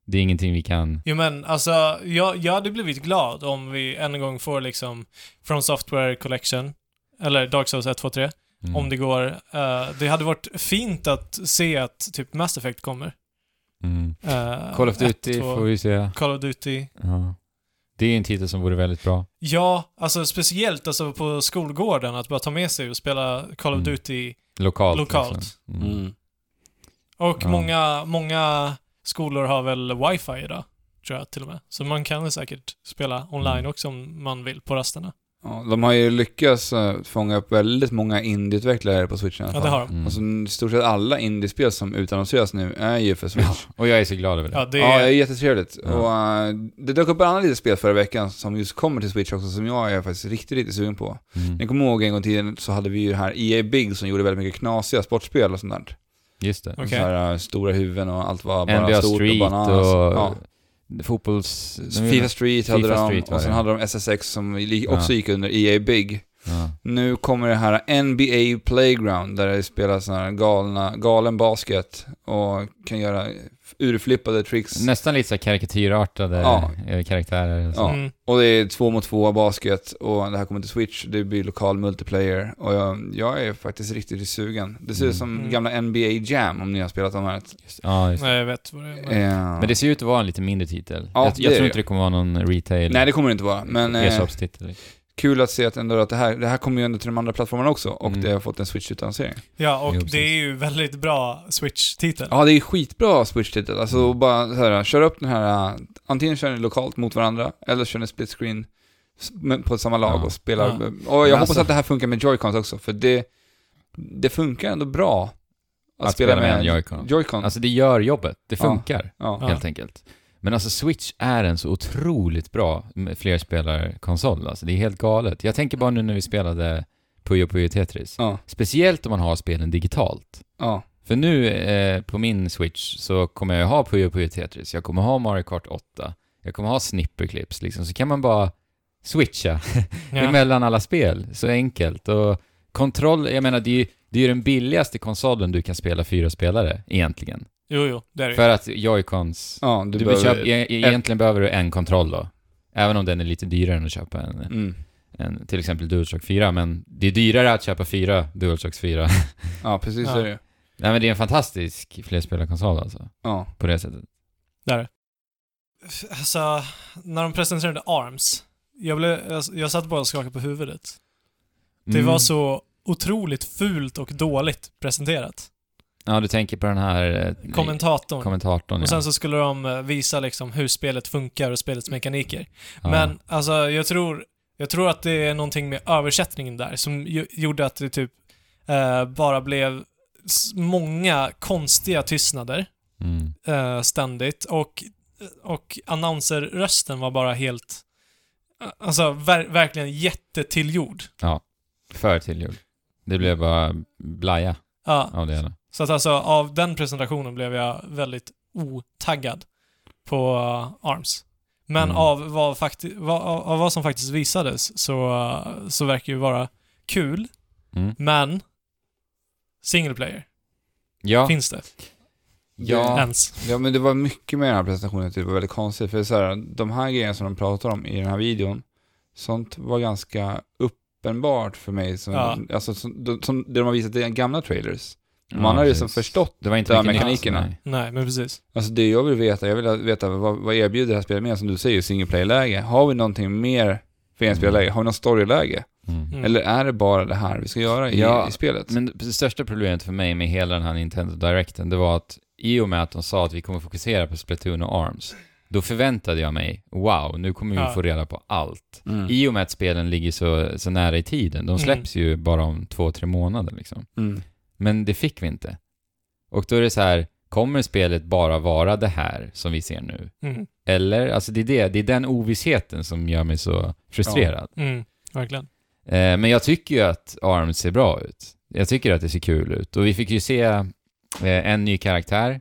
S2: det är ingenting vi kan...
S3: Jo men alltså, jag, jag hade blivit glad om vi än en gång får liksom From Software Collection, eller Dark Souls 1, 2, 3,
S2: Mm.
S3: om det går. Eh, det hade varit fint att se att typ Mass Effect kommer.
S2: Mm.
S3: Eh,
S2: Call of
S3: ett,
S2: Duty
S3: två-
S2: får vi se.
S3: Call of Duty.
S2: Ja. Det är en titel som vore väldigt bra.
S3: Ja, alltså speciellt alltså på skolgården, att bara ta med sig och spela Call of
S2: Mm.
S3: Duty.
S2: Lokalt.
S3: Lokalt.
S2: liksom. Mm.
S1: Mm.
S3: Och
S2: Ja.
S3: många, många skolor har väl wifi idag, tror jag till och med. Så man kan väl säkert spela online
S2: Mm.
S3: också om man vill på rasterna.
S1: Ja, de har ju lyckats eh, fånga upp väldigt många indieutvecklare på Switch i alla
S3: Ja,
S1: fall.
S3: det har de.
S2: Mm.
S1: Alltså i stort sett alla indiespel som utannonseras nu är ju för Switch.
S2: Och jag är så glad över det.
S3: Ja, det
S1: Ja, det är
S3: är...
S1: jättetrevligt.
S2: Ja.
S1: Och, eh, det dök upp ett annat litet spel förra veckan som just kommer till Switch också, som jag är faktiskt riktigt, riktigt sugen på. Ni
S2: Mm.
S1: kommer ihåg en gång i tiden så hade vi ju det här EA Big som gjorde väldigt mycket knasiga sportspel och sånt där.
S2: Just det.
S3: Okej.
S1: Så här, eh, stora huvuden och allt var bara
S2: NBA
S1: stort
S2: Street
S1: och
S2: och,
S1: bananas. Ja.
S2: fotbolls...
S1: Fifa Street hade
S2: Fifa
S1: de
S2: Street var
S1: och sen
S2: det.
S1: hade de SSX som li-
S2: Ja.
S1: också gick under EA Big.
S2: Ja.
S1: Nu kommer det här NBA Playground där det spelas sån här galna, galen basket och kan göra urflippade tricks.
S2: Nästan lite så här karikatyrartade
S1: Ja.
S2: eh, karaktärer. och så.
S1: Ja.
S3: Mm.
S1: Och det är två mot två basket och det här kommer till Switch, det blir lokal multiplayer och jag, jag är faktiskt riktigt sugen. Det ser ut som
S3: Mm.
S1: gamla NBA Jam om ni har spelat de här.
S2: Just, ja, just.
S3: Nej, jag vet vad det är. men-
S1: Eh,
S2: Men det ser ut att vara en lite mindre titel.
S1: Ja,
S2: jag,
S1: det
S2: jag
S1: är
S2: tror
S1: det.
S2: inte det kommer vara någon retail
S1: Nej, det kommer det inte vara, men eh,
S2: e-shopstitel.
S1: kul att se att, ändå att det, här, det här kommer ju ändå till de andra plattformarna också och
S2: Mm.
S1: det har fått en Switch-utannonsering.
S3: Ja, och
S2: Jo, precis.
S3: det är ju väldigt bra Switch-titel.
S1: Ja, det är skitbra Switch-titel.
S2: Mm.
S1: Alltså bara så här, kör upp den här, äh, antingen kör ni lokalt mot varandra, eller kör ni split screen s- men på samma lag
S2: Ja.
S1: och spelar.
S3: Ja.
S1: Och jag
S2: Men
S1: hoppas
S2: alltså-
S1: att det här funkar med Joy-Cons också, för det, det funkar ändå bra att,
S2: Att
S1: spela,
S2: spela med
S1: med,
S2: en Joy-Con.
S1: Joy-Con.
S2: Alltså det gör jobbet, det
S1: Ja.
S2: funkar
S1: ja.
S3: Ja.
S2: helt enkelt. Men alltså Switch är en så otroligt bra med flerspelarkonsol, alltså det är helt galet. Jag tänker bara nu när vi spelade Puyo Puyo Tetris.
S1: Ja.
S2: Speciellt om man har spelen digitalt.
S1: ja.
S2: För nu eh, på min Switch så kommer jag ju ha Puyo Puyo Tetris, jag kommer ha Mario Kart 8, jag kommer ha Snipperclips liksom, så kan man bara switcha
S3: Ja.
S2: emellan alla spel. Så enkelt. Och kontroll, jag menar det är ju det är ju den billigaste konsolen du kan spela fyra spelare egentligen.
S3: Jo, jo, det är det ju.
S2: För att Joy-Cons,
S1: ja du,
S2: du
S1: behöver...
S2: köp, e egentligen behöver du en kontroll då. Även om den är lite dyrare än att köpa en,
S1: Mm.
S2: en till exempel DualShock 4, men det är dyrare att köpa fyra DualShock 4.
S1: Ja, precis
S3: Ja.
S1: så är det
S2: Nej men det är en fantastisk flerspelarkonsol alltså,
S1: Ja.
S2: på det sättet.
S3: Där. är det. F- Alltså, när de presenterade ARMS, jag, blev, jag, jag satt bara och skakade på huvudet. Det
S2: Mm.
S3: var så otroligt fult och dåligt presenterat.
S2: Ja, du tänker på den här eh,
S3: Kommentatorn.
S2: kommentatorn ja.
S3: och sen så skulle de eh, visa liksom hur spelet funkar och spelets mekaniker.
S2: ja.
S3: Men alltså, jag tror, jag tror att det är någonting med översättningen där som ju, gjorde att det typ eh, bara blev s- många konstiga tystnader
S2: Mm.
S3: eh, ständigt och, och annonserrösten var bara helt, alltså ver, verkligen jättetillgjord.
S2: För tillgjord. Det blev bara blaja
S3: Ja,
S2: av det hela.
S3: Så att alltså av den presentationen blev jag väldigt otaggad på eh, ARMS. Men
S2: Mm.
S3: av, vad fakti- vad, av av vad som faktiskt visades så, eh, så verkar det ju vara kul,
S2: Mm.
S3: men single player
S2: Ja.
S3: finns det
S2: Ja.
S3: ens.
S1: Ja men det var mycket med den här presentationen, typ, det var väldigt konstigt. För så här, de här grejerna som de pratar om i den här videon, sånt var ganska uppenbart för mig. Som,
S3: Ja.
S1: alltså, som, de- som det de har visat i gamla trailers. Man
S2: Ja,
S1: har ju
S2: precis.
S1: som förstått,
S2: Det var inte
S1: det här
S2: mycket nytt,
S1: mekanikerna.
S2: nej.
S3: Nej, men precis.
S1: alltså det jag vill veta, jag vill veta vad, vad erbjuder det här spelet mer, som du säger, single player-läge. Har vi någonting mer för enspelare-läge? Har vi något story-läge?
S2: Mm.
S3: Mm.
S1: Eller är det bara det här vi ska göra i,
S2: Ja,
S1: i spelet?
S2: Men det största problemet för mig med hela den här Nintendo Directen, det var att i och med att de sa att vi kommer fokusera på Splatoon och ARMS, då förväntade jag mig, wow, nu kommer vi
S3: Ja.
S2: få reda på allt.
S1: Mm.
S2: I och med att spelen ligger så, så nära i tiden, de
S3: Mm.
S2: släpps ju bara om två, tre månader liksom.
S1: Mm.
S2: Men det fick vi inte. Och då är det så här, kommer spelet bara vara det här som vi ser nu?
S3: Mm.
S2: Eller, alltså det är, det, det är den ovissheten som gör mig så frustrerad.
S3: Mm. Verkligen.
S2: Eh, men jag tycker ju att ARMS ser bra ut. Jag tycker att det ser kul ut. Och vi fick ju se eh, en ny karaktär,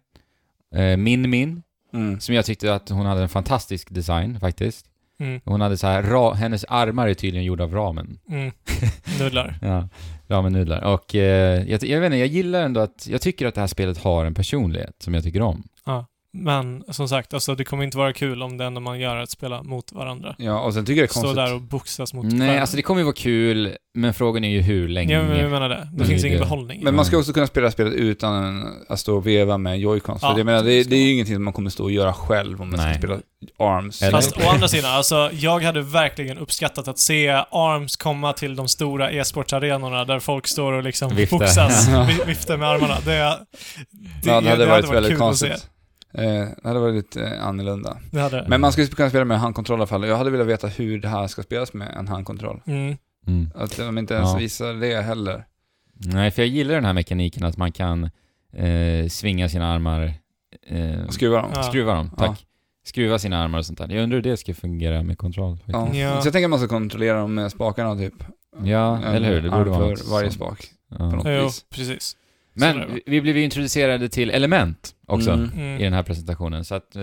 S2: eh, Min Min,
S1: Mm.
S2: som jag tyckte att hon hade en fantastisk design faktiskt.
S3: Mm.
S2: Hon hade så här, ra- hennes armar är tydligen gjorda av ramen.
S3: Mm. Nudlar.
S2: Ja, ramennudlar. Och eh, jag, jag vet inte, jag gillar ändå att, jag tycker att det här spelet har en personlighet som jag tycker om.
S3: Men som sagt, alltså det kommer inte vara kul om det enda man gör är att spela mot varandra.
S1: Ja, och sen tycker jag det är
S3: Stå
S1: konstigt.
S3: där och boxas mot
S2: Nej, alltså det kommer ju vara kul, men frågan är ju hur länge.
S3: Ja, men jag menar det. Det finns
S2: det är
S3: ingen
S2: det.
S3: behållning.
S1: Men man ska
S2: Mm.
S1: också kunna spela spelet utan en- att stå och veva med joycons.
S3: Ja,
S1: för jag menar, det,
S3: det ska
S1: det är ju
S3: man.
S1: ingenting som man kommer stå och göra själv om man ska
S2: Nej.
S1: spela ARMS.
S2: Eller-
S3: Fast å andra sidan, alltså, jag hade verkligen uppskattat att se ARMS komma till de stora e-sportsarenorna där folk står och liksom
S2: Vifta.
S3: boxas,
S1: Ja.
S3: vi- viftar med armarna. Det, det,
S1: Ja, det hade varit väldigt
S3: kul att se.
S1: konstigt. Eh, det hade varit lite eh, annorlunda.
S2: Mm.
S3: Det hade det.
S1: Men man skulle kunna spela med handkontroll i alla fall. Jag hade velat veta hur det här ska spelas med en handkontroll.
S3: Mm.
S2: Mm.
S1: Att de inte ens
S2: Ja. Mm.
S1: visar det heller.
S2: Nej, för jag gillar den här mekaniken att man kan eh, svinga sina armar. Eh,
S1: Och skruva dem.
S3: Ja.
S2: Skruva dem,
S1: Ja.
S2: tack. Skruva sina armar och sånt där. Jag undrar hur det ska fungera med kontroll. faktiskt.
S1: Ja.
S3: Ja.
S1: Så jag tänker att man ska kontrollera dem med spakarna typ.
S2: Ja,
S1: En
S2: eller hur? Det borde
S1: arm
S2: vara något
S1: för varje
S2: sånt.
S1: spak.
S2: Ja.
S1: något
S3: Jo,
S1: vis.
S3: precis. Så är
S2: Men
S3: det.
S2: vi- vi blev ju introducerade till element också
S1: Mm.
S2: i
S3: Mm.
S2: den här presentationen. Så att eh,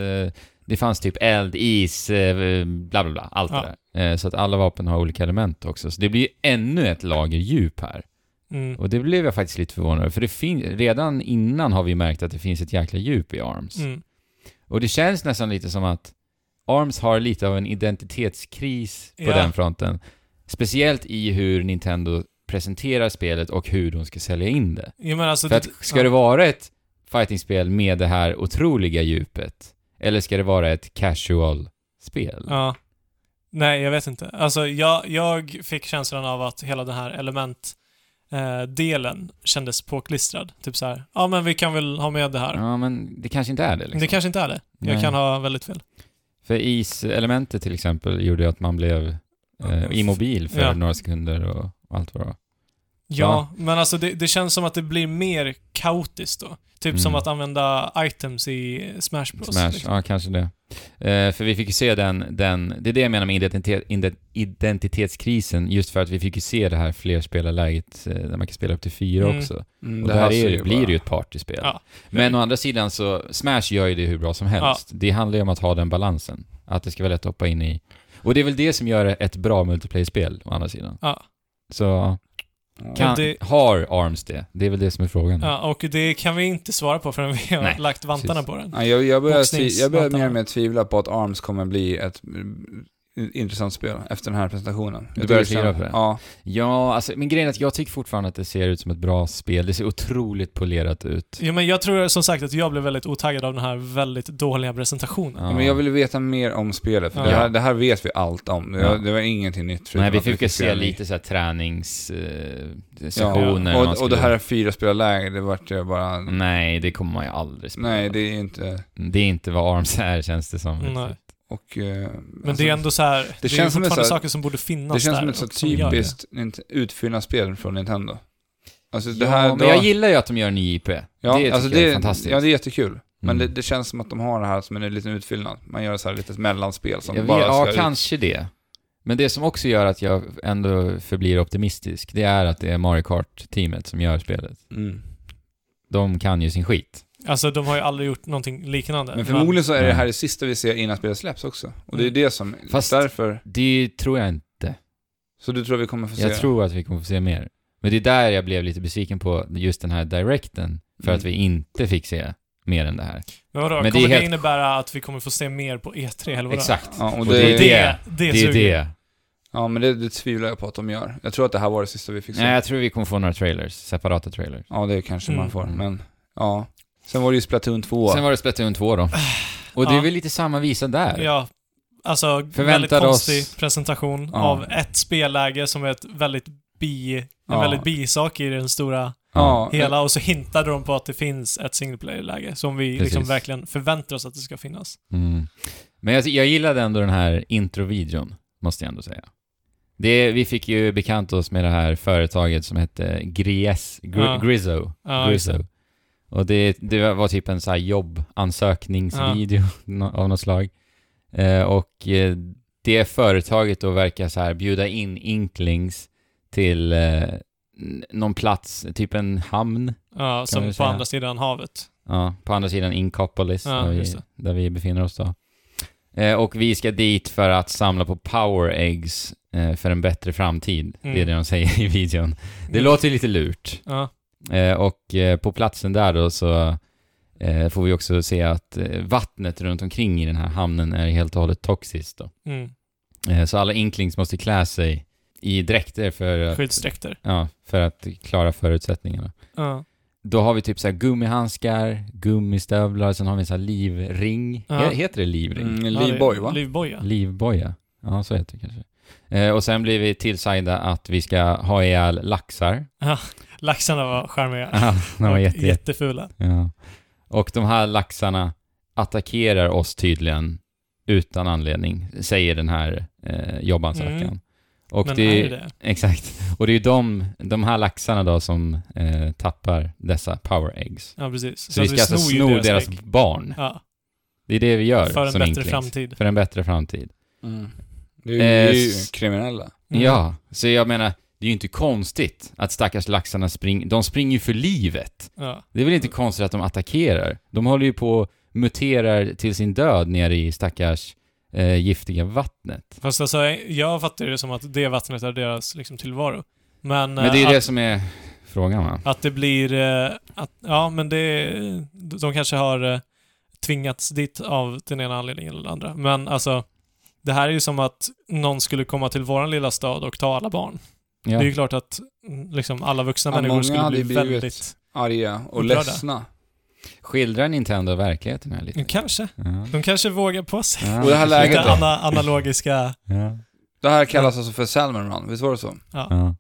S2: det fanns typ eld, is, eh, bla bla bla, allt
S3: Ja.
S2: det där. Eh, så att alla vapen har olika element också. Så det blir ju ännu ett lager djup här.
S3: Mm.
S2: Och det blev jag faktiskt lite förvånad över, för det fin- redan innan har vi märkt att det finns ett jäkla djup i ARMS.
S3: Mm.
S2: Och det känns nästan lite som att ARMS har lite av en identitetskris på
S3: Ja.
S2: den fronten. Speciellt i hur Nintendo presenterar spelet och hur de ska sälja in det.
S3: Ja, men alltså,
S2: För att ska
S3: ja.
S2: det vara ett fightingspel med det här otroliga djupet? Eller ska det vara ett casual-spel?
S3: Ja. Nej, jag vet inte. Alltså, jag, jag fick känslan av att hela den här elementdelen kändes påklistrad. Typ så här, ja men vi kan väl ha med det här.
S2: Ja, men det kanske inte är det liksom.
S3: Det kanske inte är det. Jag
S2: Nej.
S3: kan ha väldigt fel.
S2: För iselementet till exempel gjorde ju att man blev eh, immobil för
S3: Ja.
S2: några sekunder och och allt vad det var.
S3: Ja,
S2: Ja.
S3: men alltså det, det känns som att det blir mer kaotiskt då. Typ
S2: Mm.
S3: som att använda items i Smash Bros.
S2: Smash,
S3: liksom.
S2: ja kanske det. Eh, för vi fick ju se den, den, det är det jag menar med identitet, inde- identitetskrisen, just för att vi fick ju se det här flerspelarläget eh, där man kan spela upp till fyra
S3: Mm.
S2: också.
S1: Mm,
S2: Och det här är,
S1: ser
S2: ju-
S1: jag
S2: blir
S1: bara.
S2: ju ett partyspel.
S3: Ja.
S2: Men å andra sidan så, Smash gör ju det hur bra som helst. Det handlar ju om att ha den balansen. Att det ska vara lätt att hoppa in i. Och det är väl det som gör ett bra multiplayer-spel, å andra sidan.
S3: Ja.
S2: Så,
S1: Ja.
S2: kan,
S3: Och det-
S2: har ARMS det? Det är väl det som är frågan.
S3: Ja, och det kan vi inte svara på förrän vi har
S2: Nej,
S3: lagt vantarna
S2: precis.
S3: på den.
S1: Ja, jag, jag börjar, tvi- jag börjar
S3: Boxningsmattan.
S1: mer och mer tvivla på att ARMS kommer bli ett mm, intressant spel efter den här presentationen. Jag tycker
S2: börjar
S1: liksom-
S2: tvivla på det?
S1: Ja.
S2: Ja, alltså, men grejen är att jag tycker fortfarande att det ser ut som ett bra spel. Det ser otroligt polerat ut.
S3: Ja, men jag tror som sagt att jag blev väldigt otaggad av den här väldigt dåliga presentationen.
S2: Ja.
S1: Men jag vill veta mer om spelet, för
S3: Ja.
S1: det, här, det här vet vi allt om.
S2: Ja.
S1: Det, det var ingenting nytt. förutom
S2: Nej, vi
S1: att
S2: fick ju se
S1: spela i-
S2: lite så här träningssessioner.
S1: Ja,
S2: sessioner när man
S1: och, och det
S2: skulle- Mm.
S1: här är fyra spelarläger, det vart jag bara...
S2: Nej, det kommer man ju aldrig spela.
S1: Nej, det är inte...
S2: Det är inte vad ARMS är, känns det som.
S3: Nej.
S1: Och, eh,
S3: Men
S2: alltså
S3: det är ändå så här, det, är
S1: känns som ett
S3: fortfarande
S1: så här-
S3: saker som borde finnas
S1: det känns
S3: där
S1: som ett så
S3: och gör det.
S1: typiskt nint- utfyllnadsspel från Nintendo. Alltså det
S2: ja,
S1: här...
S2: men
S1: det var-
S2: jag gillar ju att de gör en ny IP.
S1: ja,
S2: det
S1: alltså
S2: tycker jag är
S1: det-
S2: fantastiskt.
S1: Ja, det är jättekul. Men
S2: Mm.
S1: det, det känns som att de har det här som en liten utfyllnad. Man gör så här litet mellanspel som
S2: Jag vet,
S1: bara
S2: ja,
S1: ska ut.
S2: kanske det. Men det som också gör att jag ändå förblir optimistisk, det är att det är Mario Kart-teamet som gör spelet.
S1: Mm.
S2: De kan ju sin skit.
S3: Alltså de har ju aldrig gjort någonting liknande.
S1: Men förmodligen så är det
S2: Mm.
S1: här det sista vi ser innan spelet släpps också. Och det är
S3: Mm.
S1: det som...
S2: Fast-
S1: Därför...
S2: Det tror jag inte.
S1: Så du tror vi kommer få se...
S2: Jag tror att vi kommer få se mer. Men det är där jag blev lite besviken på just den här directen, för
S1: Mm.
S2: att vi inte fick se mer än det här.
S3: Men vadå,
S2: Men det är
S3: kommer det
S2: helt-
S3: innebära att vi kommer få se mer på E3 eller vadå?
S2: Exakt.
S1: Ja, och
S2: Och
S1: det,
S2: det är
S3: Det, det, det,
S2: Det är
S3: suger.
S2: det.
S1: Ja, men det, det tvivlar jag på att de gör. Jag tror att det här var det sista vi fick se.
S2: Nej, jag tror vi kommer få några trailers, separata trailers.
S1: Ja, det kanske man
S3: Mm.
S1: får, men ja. Sen var det ju Splatoon 2.
S2: Sen var det Splatoon 2
S1: Ah.
S2: då. Och det är
S3: Ja.
S2: väl lite samma visa där.
S3: Ja. Alltså, väldigt
S2: Förväntade oss-
S3: konstig presentation
S1: Ja.
S3: av ett spelläge som är ett väldigt bi, en
S1: Ja.
S3: väldigt bisak i den stora
S1: ja,
S3: hela och så hintade de på att det finns ett single player-läge som vi
S2: Precis.
S3: liksom verkligen förväntar oss att det ska finnas.
S2: Mm. Men jag, jag gillade ändå den här introvideon, måste jag ändå säga. Det, vi fick ju bekanta oss med det här företaget som hette Gries, Gri,
S3: Ja.
S2: Grizzo.
S3: Ja, just
S2: Grizzo. Och det, det var typ en så här jobbansökningsvideo nå- av något slag. Eh, och eh, det företaget då verkar så här bjuda in Inklings till eh, n- någon plats, typ en hamn
S3: Ja, som
S2: vi
S3: på
S2: säga.
S3: andra sidan havet.
S2: Ja, på andra sidan Inkopolis,
S3: Ja,
S2: där, vi,
S3: just det.
S2: där vi befinner oss då. Eh, och vi ska dit för att samla på power eggs eh, för en bättre framtid. Det är
S3: Mm.
S2: det de säger i videon. Det låter ju lite lurt.
S3: Ja.
S2: Eh, och eh, på platsen där då så eh, får vi också se att eh, vattnet runt omkring i den här hamnen är helt och hållet toxiskt då.
S3: Mm.
S2: Eh, så alla inklings måste klä sig i dräkter för att,
S3: Skyddsdräkter.
S2: ja, för att klara förutsättningarna.
S3: Ja.
S2: Då har vi typ så här gummihandskar, gummistövlar, sen har vi en sån här livring.
S3: Ja.
S2: He- Heter det livring?
S1: mm,
S3: Ja, det-
S1: Livboy va?
S3: Livboja.
S2: Livboja? Ja, så heter det kanske. Eh, och sen blir vi tillsagda att vi ska ha ihjäl laxar.
S3: Laxarna var charmiga.
S2: Ah, De var
S3: Och
S2: jätte,
S3: jättefula.
S2: ja. Och de här laxarna attackerar oss tydligen utan anledning, säger den här eh, jobbansökan.
S3: Mm.
S2: Och
S3: men
S2: det,
S3: är det?
S2: Exakt. Och det är ju de, de här laxarna då som eh, tappar dessa power eggs.
S3: Ja, precis. Så,
S2: Så, vi
S3: att
S2: ska alltså
S3: snor ju
S2: sno deras
S3: ägg.
S2: barn.
S3: Ja,
S2: Det är det vi gör
S3: för en
S2: som
S3: bättre
S2: Inklings.
S3: framtid.
S2: För en bättre framtid.
S1: Mm. Det är ju, det är ju
S2: Eh, s-
S1: kriminella.
S3: Mm.
S2: Ja, så jag menar, det är ju inte konstigt att stackars laxarna springer, de springer ju för livet.
S3: Ja.
S2: Det är väl inte konstigt att de attackerar? De håller ju på och muterar till sin död nere i stackars eh, giftiga vattnet.
S3: Fast alltså, jag fattar det som att det vattnet är deras liksom, tillvaro. Men, eh,
S2: Men det är
S3: att,
S2: det som är frågan va?
S3: att det blir... eh, Att, ja, men det... De kanske har eh, tvingats dit av den ena anledningen eller den andra. Men alltså, det här är ju som att någon skulle komma till våran lilla stad och ta alla barn.
S2: Ja.
S3: Det är ju klart att mm, liksom, alla vuxna
S1: Ja,
S3: människor
S1: många
S3: skulle
S1: hade
S3: bli
S1: ju blivit-
S3: väldigt...
S1: Arga och
S3: Upprörda.
S1: ledsna.
S2: Skildrar Nintendo verkligheten här lite?
S3: Mm, Kanske.
S2: Ja.
S3: De kanske vågar på sig.
S2: Ja,
S1: Och det här
S2: precis.
S1: läget
S3: Lite
S1: då?
S3: ana, analogiska...
S2: Ja.
S1: Det här kallas alltså för Salmon Run, visst var det så?
S2: Ja.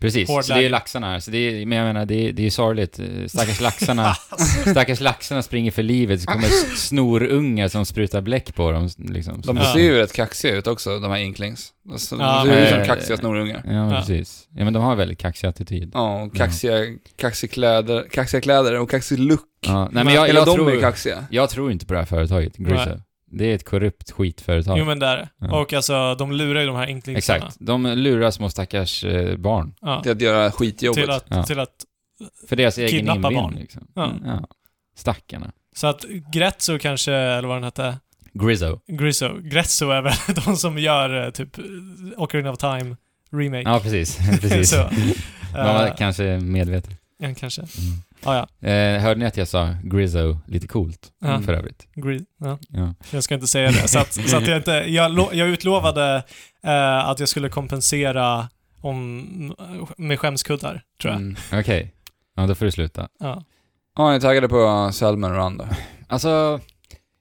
S2: Precis,
S3: Hård
S2: så det är ju
S3: läge.
S2: laxarna här. Så det är, men jag menar, det är, det är ju sorgligt. Eh, Stackars laxarna, stackars laxarna springer för livet, så kommer s- snorungar som sprutar bläck på dem. Liksom.
S1: De
S3: Ja.
S1: ser ju rätt kaxiga ut också, de här Inklings. Alltså,
S3: Ja,
S1: de ser ut som
S2: men-
S1: kaxiga snorungar.
S2: Ja, men
S3: Ja.
S2: precis. Ja, men de har en väldigt kaxig attityd.
S1: Ja, och kaxiga, kaxiga, kläder, kaxiga kläder och kaxig look.
S2: Ja. Nej,
S3: Men
S2: men jag,
S1: Hela
S2: jag,
S1: de är
S2: tror,
S1: kaxiga.
S2: jag tror inte på det här företaget, Grizzle. Det är ett korrupt skitföretag.
S3: Jo men där. är det.
S2: Ja.
S3: Och alltså, de lurar ju de här enklingsarna.
S2: Exakt. De lurar små stackars eh, barn.
S3: Ja.
S1: Till att göra
S3: Till
S1: skitjobbet.
S3: att,
S2: Ja.
S3: till att...
S2: För deras egen
S3: Kidnappa
S2: inbillning.
S3: barn.
S2: Liksom.
S3: Ja.
S2: Ja. Stackarna.
S3: Så att Gretzo kanske, eller vad den hette,
S2: Grizzo.
S3: Grizzo. Gretzo är väl de som gör eh, typ Ocarina of Time remake.
S2: Ja, precis. precis.
S3: Så,
S2: De var
S3: eh,
S2: kanske medvetna.
S3: ja, kanske.
S2: Mm.
S3: Ah, ja,
S2: Eh, hörde ni att jag sa Grizzo lite coolt
S3: Ja.
S2: Mm, för övrigt?
S3: Gri- ja.
S2: Ja.
S3: Jag ska inte säga det. Så att, så att jag inte... Jag, lo, jag utlovade eh, att jag skulle kompensera om, med skämskuddar, tror jag.
S1: Mm.
S2: Okej, ja, då får du sluta.
S3: Ja.
S1: Ja, ni är taggade på Salmon Run då?
S2: Alltså,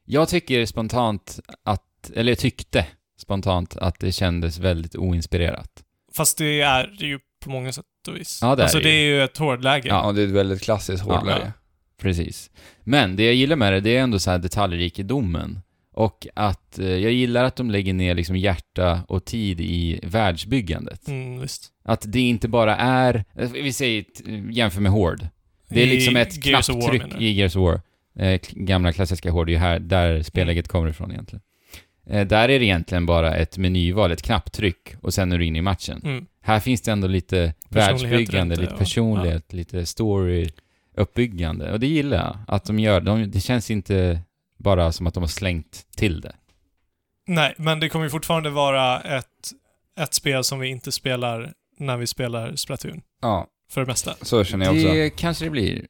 S2: jag tycker spontant att, eller jag tyckte spontant att det kändes väldigt oinspirerat.
S3: Fast det är ju på många sätt och vis.
S2: Ja, det är
S3: alltså
S2: det
S3: det
S2: ju.
S3: är ju ett hårdläge.
S1: Ja, det är ett väldigt klassiskt hårdläge.
S2: Precis. Men det jag gillar med det, det är ändå så här detaljrikedomen. Och att eh, jag gillar att de lägger ner liksom hjärta och tid i världsbyggandet.
S3: Mm, visst.
S2: Att det inte bara är, eh, vi säger, t- jämför med Horde. Det är
S3: I
S2: liksom ett
S3: Gears of War, menar
S2: knapptryck
S3: du? Mm.
S2: i Gears of War. Eh, k- gamla klassiska Horde, det är ju här, där spelläget kommer ifrån egentligen. Eh, där är det egentligen bara ett menyval, ett knapptryck och sen är du inne i matchen.
S3: Mm.
S2: Här finns det ändå lite
S3: Personlighet
S2: världsbyggande,
S3: runt det,
S2: lite
S3: ja.
S2: personlighet, lite story-uppbyggande. Och det gillar jag, att de gör. De, det känns inte bara som att de har slängt till det.
S3: Nej, men det kommer ju fortfarande vara ett, ett spel som vi inte spelar när vi spelar Splatoon,
S1: Ja,
S3: för det mesta.
S1: så känner jag också.
S2: Det kanske det blir.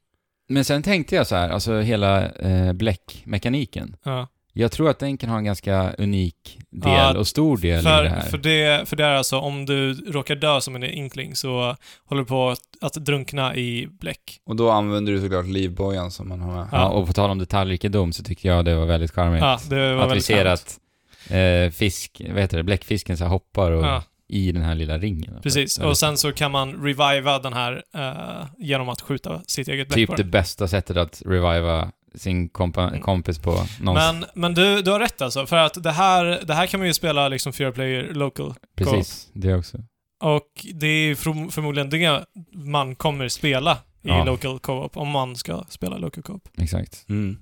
S2: Men sen tänkte jag så här, alltså hela eh, bläckmekaniken.
S3: Ja.
S2: Jag tror att den kan ha en ganska unik del
S3: Ja,
S2: och stor del i det
S3: För,
S2: här.
S3: för, det, för det är alltså, om du råkar dö som en inkling så håller du på att, att drunkna i bläck.
S1: Och då använder du såklart livbojan som man har med.
S2: ja. och på tal om detaljrikedom så tyckte jag det var väldigt charmigt.
S3: Ja, det var
S2: att vi
S3: väldigt
S2: ser
S3: skönt.
S2: att eh, fisk, vad heter det, bläckfisken så här hoppar och,
S3: Ja,
S2: i den här lilla ringen.
S3: precis. Och sen så kan man reviva den här eh, genom att skjuta sitt eget bläck på
S2: Typ det
S3: den.
S2: bästa sättet att reviva sin kompa,
S3: Mm.
S2: kompis på någon.
S3: Men, men du, du har rätt alltså, för att det här, det här kan man ju spela liksom fyra player local.
S2: precis, det också.
S3: Och det är ju from- förmodligen det man kommer spela i
S2: Ja.
S3: local co-op, om man ska spela local co-op.
S2: Exakt.
S1: Mm.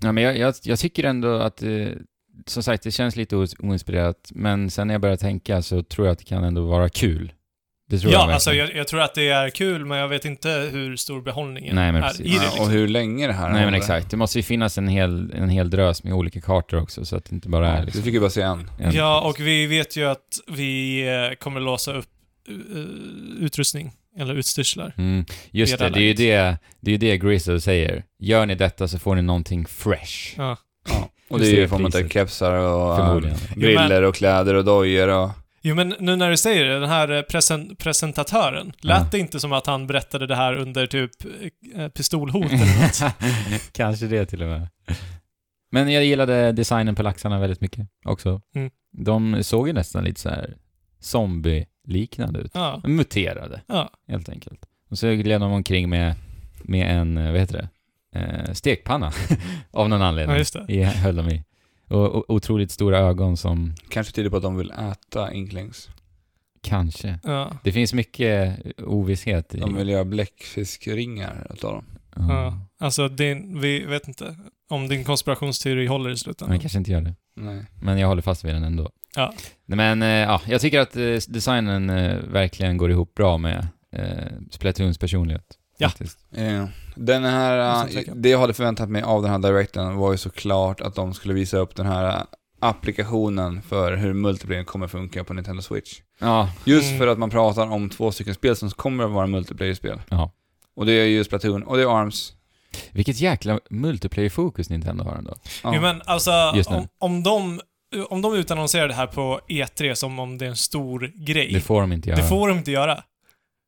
S2: Ja, men jag, jag, jag tycker ändå att, eh, som sagt, det känns lite os- oinspirerat, men sen när jag börjar tänka så tror jag att det kan ändå vara kul. Det tror jag
S3: Ja,
S2: verkligen.
S3: alltså jag, jag tror att det är kul, men jag vet inte hur stor behållningen
S2: Nej, men
S3: är
S2: precis.
S3: i det.
S1: Ja, och
S3: Liksom.
S1: hur länge det här
S2: Nej men
S1: håller.
S2: exakt, det måste ju finnas en hel, en hel drös med olika kartor också så att det inte bara är
S1: Du
S2: liksom
S1: fick ju bara se en.
S2: en.
S3: Ja, och vi vet ju att vi eh, kommer låsa upp eh, utrustning, eller utstyrslar.
S2: Mm. Just det,
S3: Det är
S2: det är ju det, det, är ju det Grizzle säger. Gör ni detta så får ni någonting fresh.
S3: Ja.
S1: Ja. Och
S2: Just
S1: det är
S2: det,
S1: ju i form av
S2: priset.
S1: kepsar och äh,
S2: Förmodligen.
S1: briller och kläder och dojor och...
S3: Jo, men nu när du säger det, den här eh, presen- presentatören, lät det inte som att han berättade det här under typ eh, pistolhot eller något?
S2: Kanske det till och med. Men jag gillade designen på laxarna väldigt mycket också.
S3: Mm.
S2: De såg ju nästan lite så här zombie-liknande ut.
S3: Ja.
S2: Muterade,
S3: Ja.
S2: helt enkelt. Och så gled de omkring med, med en, eh, vad heter det? eh, stekpanna av någon anledning.
S3: Ja, just det.
S2: I- höll de i. Och, och otroligt stora ögon som
S1: Kanske tyder på att de vill äta inklings.
S2: kanske.
S3: Ja.
S2: Det finns mycket ovisshet i.
S1: De vill göra bläckfiskringar utav dem.
S2: Mm.
S3: Ja. Alltså, din, vi vet inte om din konspirationsteori håller i slutändan.
S2: Men kanske inte gör det.
S1: Nej.
S2: Men jag håller fast vid den ändå.
S3: Ja.
S2: Nej, Men eh, ja, jag tycker att eh, designen eh, verkligen går ihop bra med eh, Splatoons personlighet.
S3: Ja.
S2: Faktiskt.
S1: Eh, Den här, eh,
S3: Måste tacka.
S1: det jag hade förväntat mig av den här directen var ju såklart att de skulle visa upp den här eh, applikationen för hur multiplayer kommer funka på Nintendo Switch.
S2: Ja,
S1: Just
S3: Mm.
S1: för att man pratar om två stycken spel som kommer att vara multiplayer-spel.
S2: Ja.
S1: Och det är ju Splatoon och det är Arms.
S2: vilket jäkla multiplayer-fokus Nintendo har ändå.
S1: Ja.
S3: Jo, men alltså,
S2: Just nu.
S3: om, om, de, om de utannonserar det här på E3 som om det är en stor grej,
S2: Det får de inte göra.
S3: det får de inte göra.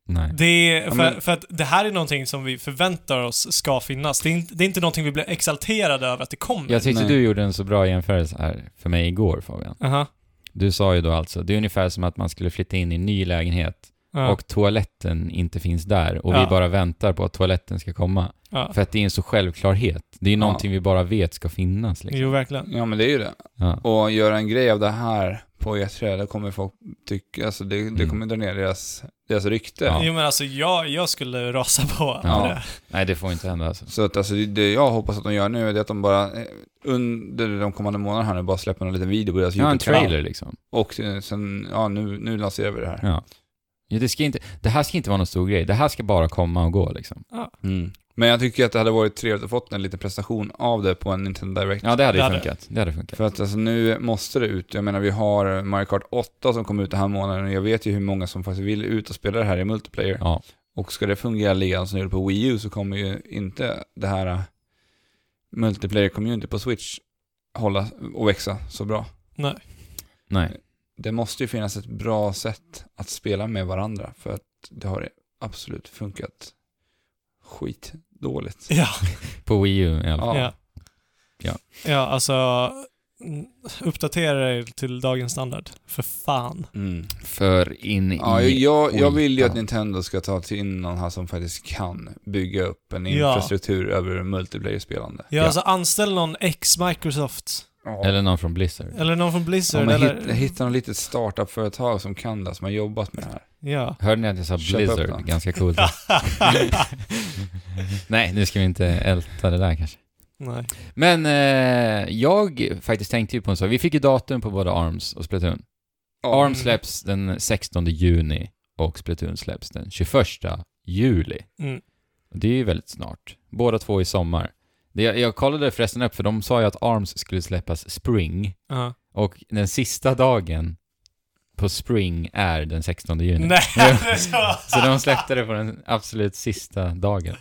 S2: Nej.
S3: Det är,
S1: Ja,
S3: för,
S1: men-
S3: för att det här är någonting som vi förväntar oss ska finnas. Det är inte, det är inte någonting vi blir exalterade över att det kommer.
S2: Jag tyckte
S1: Nej.
S2: du gjorde en så bra jämförelse här för mig igår Fabian.
S3: Aha.
S2: Du sa ju då alltså, det är ungefär som att man skulle flytta in i en ny lägenhet
S3: Ja.
S2: och toaletten inte finns där och vi
S3: Ja.
S2: bara väntar på att toaletten ska komma.
S3: ja.
S2: För att det är en så självklarhet. Det är ju någonting vi bara vet ska finnas liksom.
S3: Jo, verkligen.
S1: Ja men det är ju det.
S2: Ja.
S1: Och göra en grej av det här på E3, då kommer folk tycka, alltså det, det
S2: Mm.
S1: kommer dra ner deras, deras rykte.
S2: Ja.
S3: Jo, men alltså jag, jag skulle rasa på
S2: Ja.
S3: det.
S2: Nej, det får inte hända alltså.
S1: Så att alltså det- det jag hoppas att de gör nu är det att de bara eh, under de kommande månaderna här nu bara släpper en liten video på deras
S2: Ja, en
S1: YouTube-kanal.
S2: trailer liksom.
S1: Och eh, sen, ja nu, nu lanserar vi det här.
S2: Ja. Ja, det, ska inte, det här ska inte vara någon stor grej. Det här ska bara komma och gå liksom.
S1: Mm. Men jag tycker att det hade varit trevligt att fått en liten presentation av det på en Nintendo Direct.
S2: Ja, det hade
S3: Det
S2: ju
S3: hade-
S2: funkat. Det hade funkat.
S1: För att alltså, nu måste det ut. Jag menar vi har Mario Kart 8 som kom ut den här månaden och jag vet ju hur många som faktiskt vill ut och spela det här i multiplayer.
S2: Ja.
S1: Och ska det fungera likadant som det gjorde på Wii U så kommer ju inte det här eh, multiplayer-community på Switch hålla och växa så bra.
S3: Nej.
S2: Nej.
S1: Det måste ju finnas ett bra sätt att spela med varandra för att det har absolut funkat skitdåligt.
S3: Ja.
S2: På Wii U i alla fall.
S1: Ja.
S3: Ja.
S2: Ja.
S3: ja, alltså mm, uppdatera er till dagens standard. För fan.
S1: Mm.
S2: För in i...
S1: Ja, jag, jag vill ju
S2: skiten.
S1: att Nintendo ska ta till in någon här som faktiskt kan bygga upp en
S3: Ja.
S1: infrastruktur över multiplayer-spelande.
S3: Ja,
S2: Ja.
S3: alltså anställ någon ex-Microsoft.
S2: Eller någon från Blizzard.
S3: Eller någon från
S1: Ja,
S3: Blizzard.
S1: men
S3: eller,
S1: hitta, hitta något litet startup-företag som kan det, som har jobbat med det här.
S3: Ja.
S2: Hörde ni att jag sa
S1: Köp upp
S2: Blizzard?
S1: den.
S2: Ganska coolt. Nej, nu ska vi inte älta det där kanske.
S3: Nej.
S2: Men eh, jag faktiskt tänkte ju på en sak. Vi fick ju datum på både Arms och Splatoon.
S1: Ja.
S2: Arms släpps den 16 juni och Splatoon släpps den 21 juli.
S3: Mm.
S2: Det är ju väldigt snart. Båda två i sommar. Det, jag, jag kollade förresten upp, för de sa ju att Arms skulle släppas Spring.
S3: Ja.
S2: Och den sista dagen på Spring är den 16 juni.
S3: Nej, det är
S2: Mm. Så
S3: så.
S2: de släppte det på den absolut sista dagen.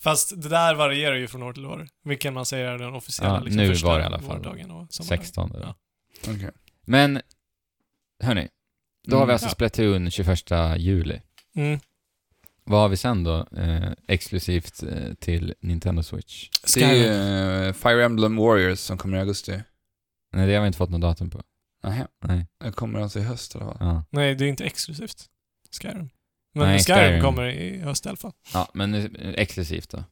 S3: Fast det där varierar ju från år till år. Vilken man säger är den officiella
S2: Ja,
S3: liksom,
S2: nu
S3: första
S2: var det i alla fall
S3: vårdagen och sommardagen.
S2: 16.
S3: Ja.
S1: Okej.
S2: Men, hörni. Då
S1: Mm.
S2: har vi alltså
S3: Ja.
S2: Splatoon 21 juli.
S3: Mm.
S2: Vad har vi sen då, eh, exklusivt eh, till Nintendo Switch?
S1: Det är ju
S3: Skyrim.
S1: eh, Fire Emblem Warriors som kommer i augusti.
S2: Nej, det har vi inte fått något datum på.
S1: Nähä.
S2: Nej.
S1: Det kommer alltså i höst i alla fall.
S2: Ja.
S3: Nej, det är inte exklusivt. Skyrim. Men
S2: Nej,
S3: Skyrim,
S2: Skyrim.
S3: kommer i höst i alla fall.
S2: Ja, men eh, exklusivt då.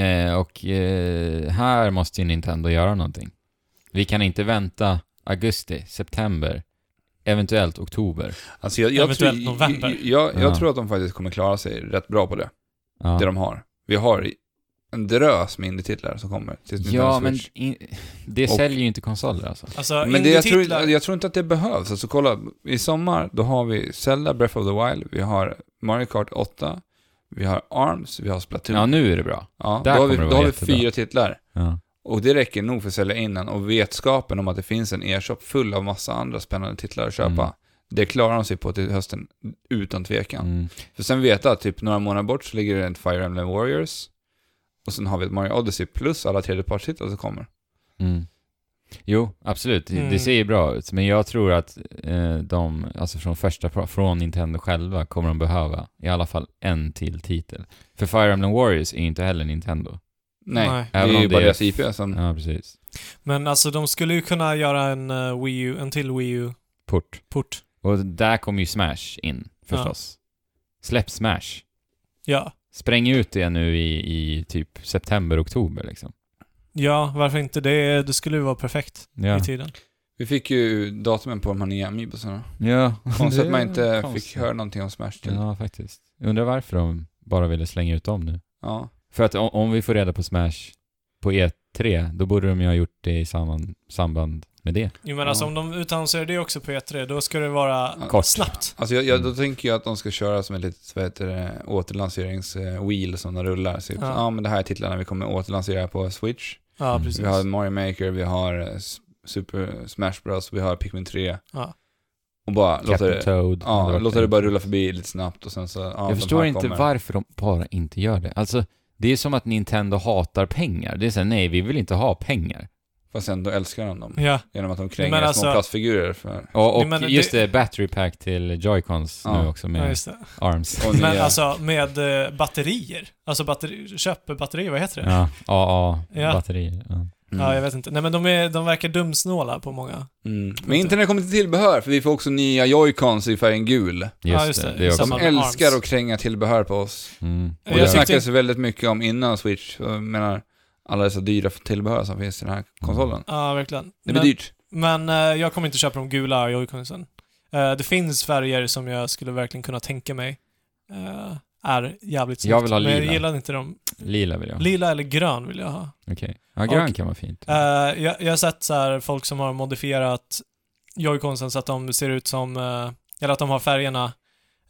S2: Eh, och eh, här måste ju Nintendo göra någonting. Vi kan inte vänta augusti, september, eventuellt oktober.
S1: Alltså jag, jag, tror,
S3: Eventuellt november.
S1: jag, jag, jag
S2: Ja.
S1: tror att de faktiskt kommer klara sig rätt bra på det.
S2: Ja,
S1: det de har. Vi har en drös med indie-titlar som kommer till Nintendo
S2: ja men
S1: Switch.
S2: in, det
S1: Och-
S2: säljer ju inte konsoler alltså.
S3: Alltså,
S1: Men det, jag, tror,
S3: indie-titlar-
S1: jag tror inte att det behövs. Alltså kolla, i sommar då har vi Zelda Breath of the Wild, vi har Mario Kart 8, vi har Arms, vi har Splatoon.
S2: Ja,
S1: Ja,
S2: nu är det bra. där
S1: då har vi,
S2: kommer det
S1: då
S2: vara
S1: har vi
S2: jättebra.
S1: fyra titlar.
S2: Ja.
S1: Och det räcker nog för att sälja in den och vetskapen om att det finns en e-shop full av massa andra spännande titlar att köpa.
S2: Mm.
S1: Det klarar de sig på till hösten utan tvekan.
S2: Mm.
S1: För sen veta att typ några månader bort så ligger det ett Fire Emblem Warriors och sen har vi ett Mario Odyssey plus alla tredjepartstitlar som kommer.
S2: Mm. Jo, absolut. Det-
S3: Mm.
S2: Det ser ju bra ut. Men jag tror att eh, de, alltså från första, från Nintendo själva, kommer de behöva i alla fall en till titel. För Fire Emblem Warriors är ju inte heller Nintendo.
S1: Nej,
S3: Nej.
S1: det
S2: Även
S1: är
S2: om
S1: ju bara
S2: det är-
S1: deras IP som...
S2: Ja, precis.
S3: Men alltså de skulle ju kunna göra en eh, Wii U, en till Wii U-port.
S2: Port. Och där kommer ju Smash in, förstås. Släpp Smash.
S3: Ja.
S2: Spräng ut det nu i, i typ september, oktober liksom.
S3: Ja, varför inte? Det, det skulle ju vara perfekt
S2: Ja.
S3: i tiden.
S1: Vi fick ju datumen på de här nya Amiibosarna.
S2: ja.
S1: Konstigt att man
S2: Det är
S1: inte
S2: konstigt.
S1: fick höra någonting om Smash typ. till. Ja.
S2: Ja, faktiskt. Jag Undrar varför de bara ville slänga ut dem nu.
S1: ja.
S2: För att om, om vi får reda på Smash på E3, då borde de ju ha gjort det i samband, samband med det.
S3: Jo, men
S1: Ja.
S3: alltså om de utannonserar det också på E3, då ska det vara
S2: Kort.
S3: snabbt.
S1: Alltså jag, jag, då
S2: Mm.
S1: tänker jag att de ska köra som ett litet, vad heter det, återlanseringswheel som de rullar. Så ja.
S3: Ja.
S1: ja men det här är titlarna vi kommer återlansera på Switch.
S3: Ja,
S2: Mm.
S3: precis.
S1: Vi har Mario Maker, vi har eh, S- Super Smash Bros, vi har Pikmin 3.
S3: Ja.
S1: Och bara låta
S2: Captain
S1: det,
S2: Toad. hade
S1: ja,
S2: varit
S1: låta det
S2: en-
S1: bara rulla förbi lite snabbt och sen så, ja, de
S2: jag förstår
S1: här
S2: inte
S1: kommer.
S2: varför de bara inte gör det. Alltså, det är som att Nintendo hatar pengar. Det är såhär, nej, vi vill inte ha pengar.
S1: Fast ändå älskar de dem.
S3: Ja,
S1: Genom att de kränger
S3: Mm. Men
S1: små
S3: alltså-
S1: plastfigurer för,
S2: Och, och
S3: Nej, men
S2: just det, battery pack till Joy-Cons
S1: Ja.
S2: nu också med
S3: ja just det.
S2: arms.
S1: och
S3: Men
S1: nya-
S3: alltså med eh, batterier. Alltså batteri, köpbatterier, vad heter det?
S2: Ja,
S3: Ja.
S2: AA-batterier. Ja.
S1: Mm.
S3: Ja, jag vet inte. Nej, men de, är, de verkar dumsnåla på många.
S1: Mm. Men inte när det kommer till tillbehör, för vi får också nya joycons i färgen gul.
S2: Just,
S3: Ja, just
S2: det.
S3: det.
S2: det är
S3: I
S2: också.
S1: De
S3: Samma med
S1: älskar
S3: arms.
S1: att kränga tillbehör på oss.
S2: Mm.
S1: Och
S3: Jag
S1: det
S2: Ja.
S3: tyckte-
S1: snackades väldigt mycket om innan Switch, jag menar alla dessa dyra tillbehör som finns i den här konsolen.
S3: Ja, verkligen.
S1: Det blir
S3: men
S1: dyrt.
S3: men eh, jag kommer inte köpa de gula joyconsen. Eh, det finns färger som jag skulle verkligen kunna tänka mig eh, är jävligt snyggt.
S2: Jag vill ha
S3: Men
S2: lila.
S3: jag gillar inte dem.
S2: Lila vill jag ha.
S3: Lila eller grön vill jag ha.
S2: Okej. Ja, grön
S3: Och-
S2: kan vara fint.
S3: Eh, jag, jag har sett så här, folk som har modifierat joyconsen så att de ser ut som, eh, eller att de har färgerna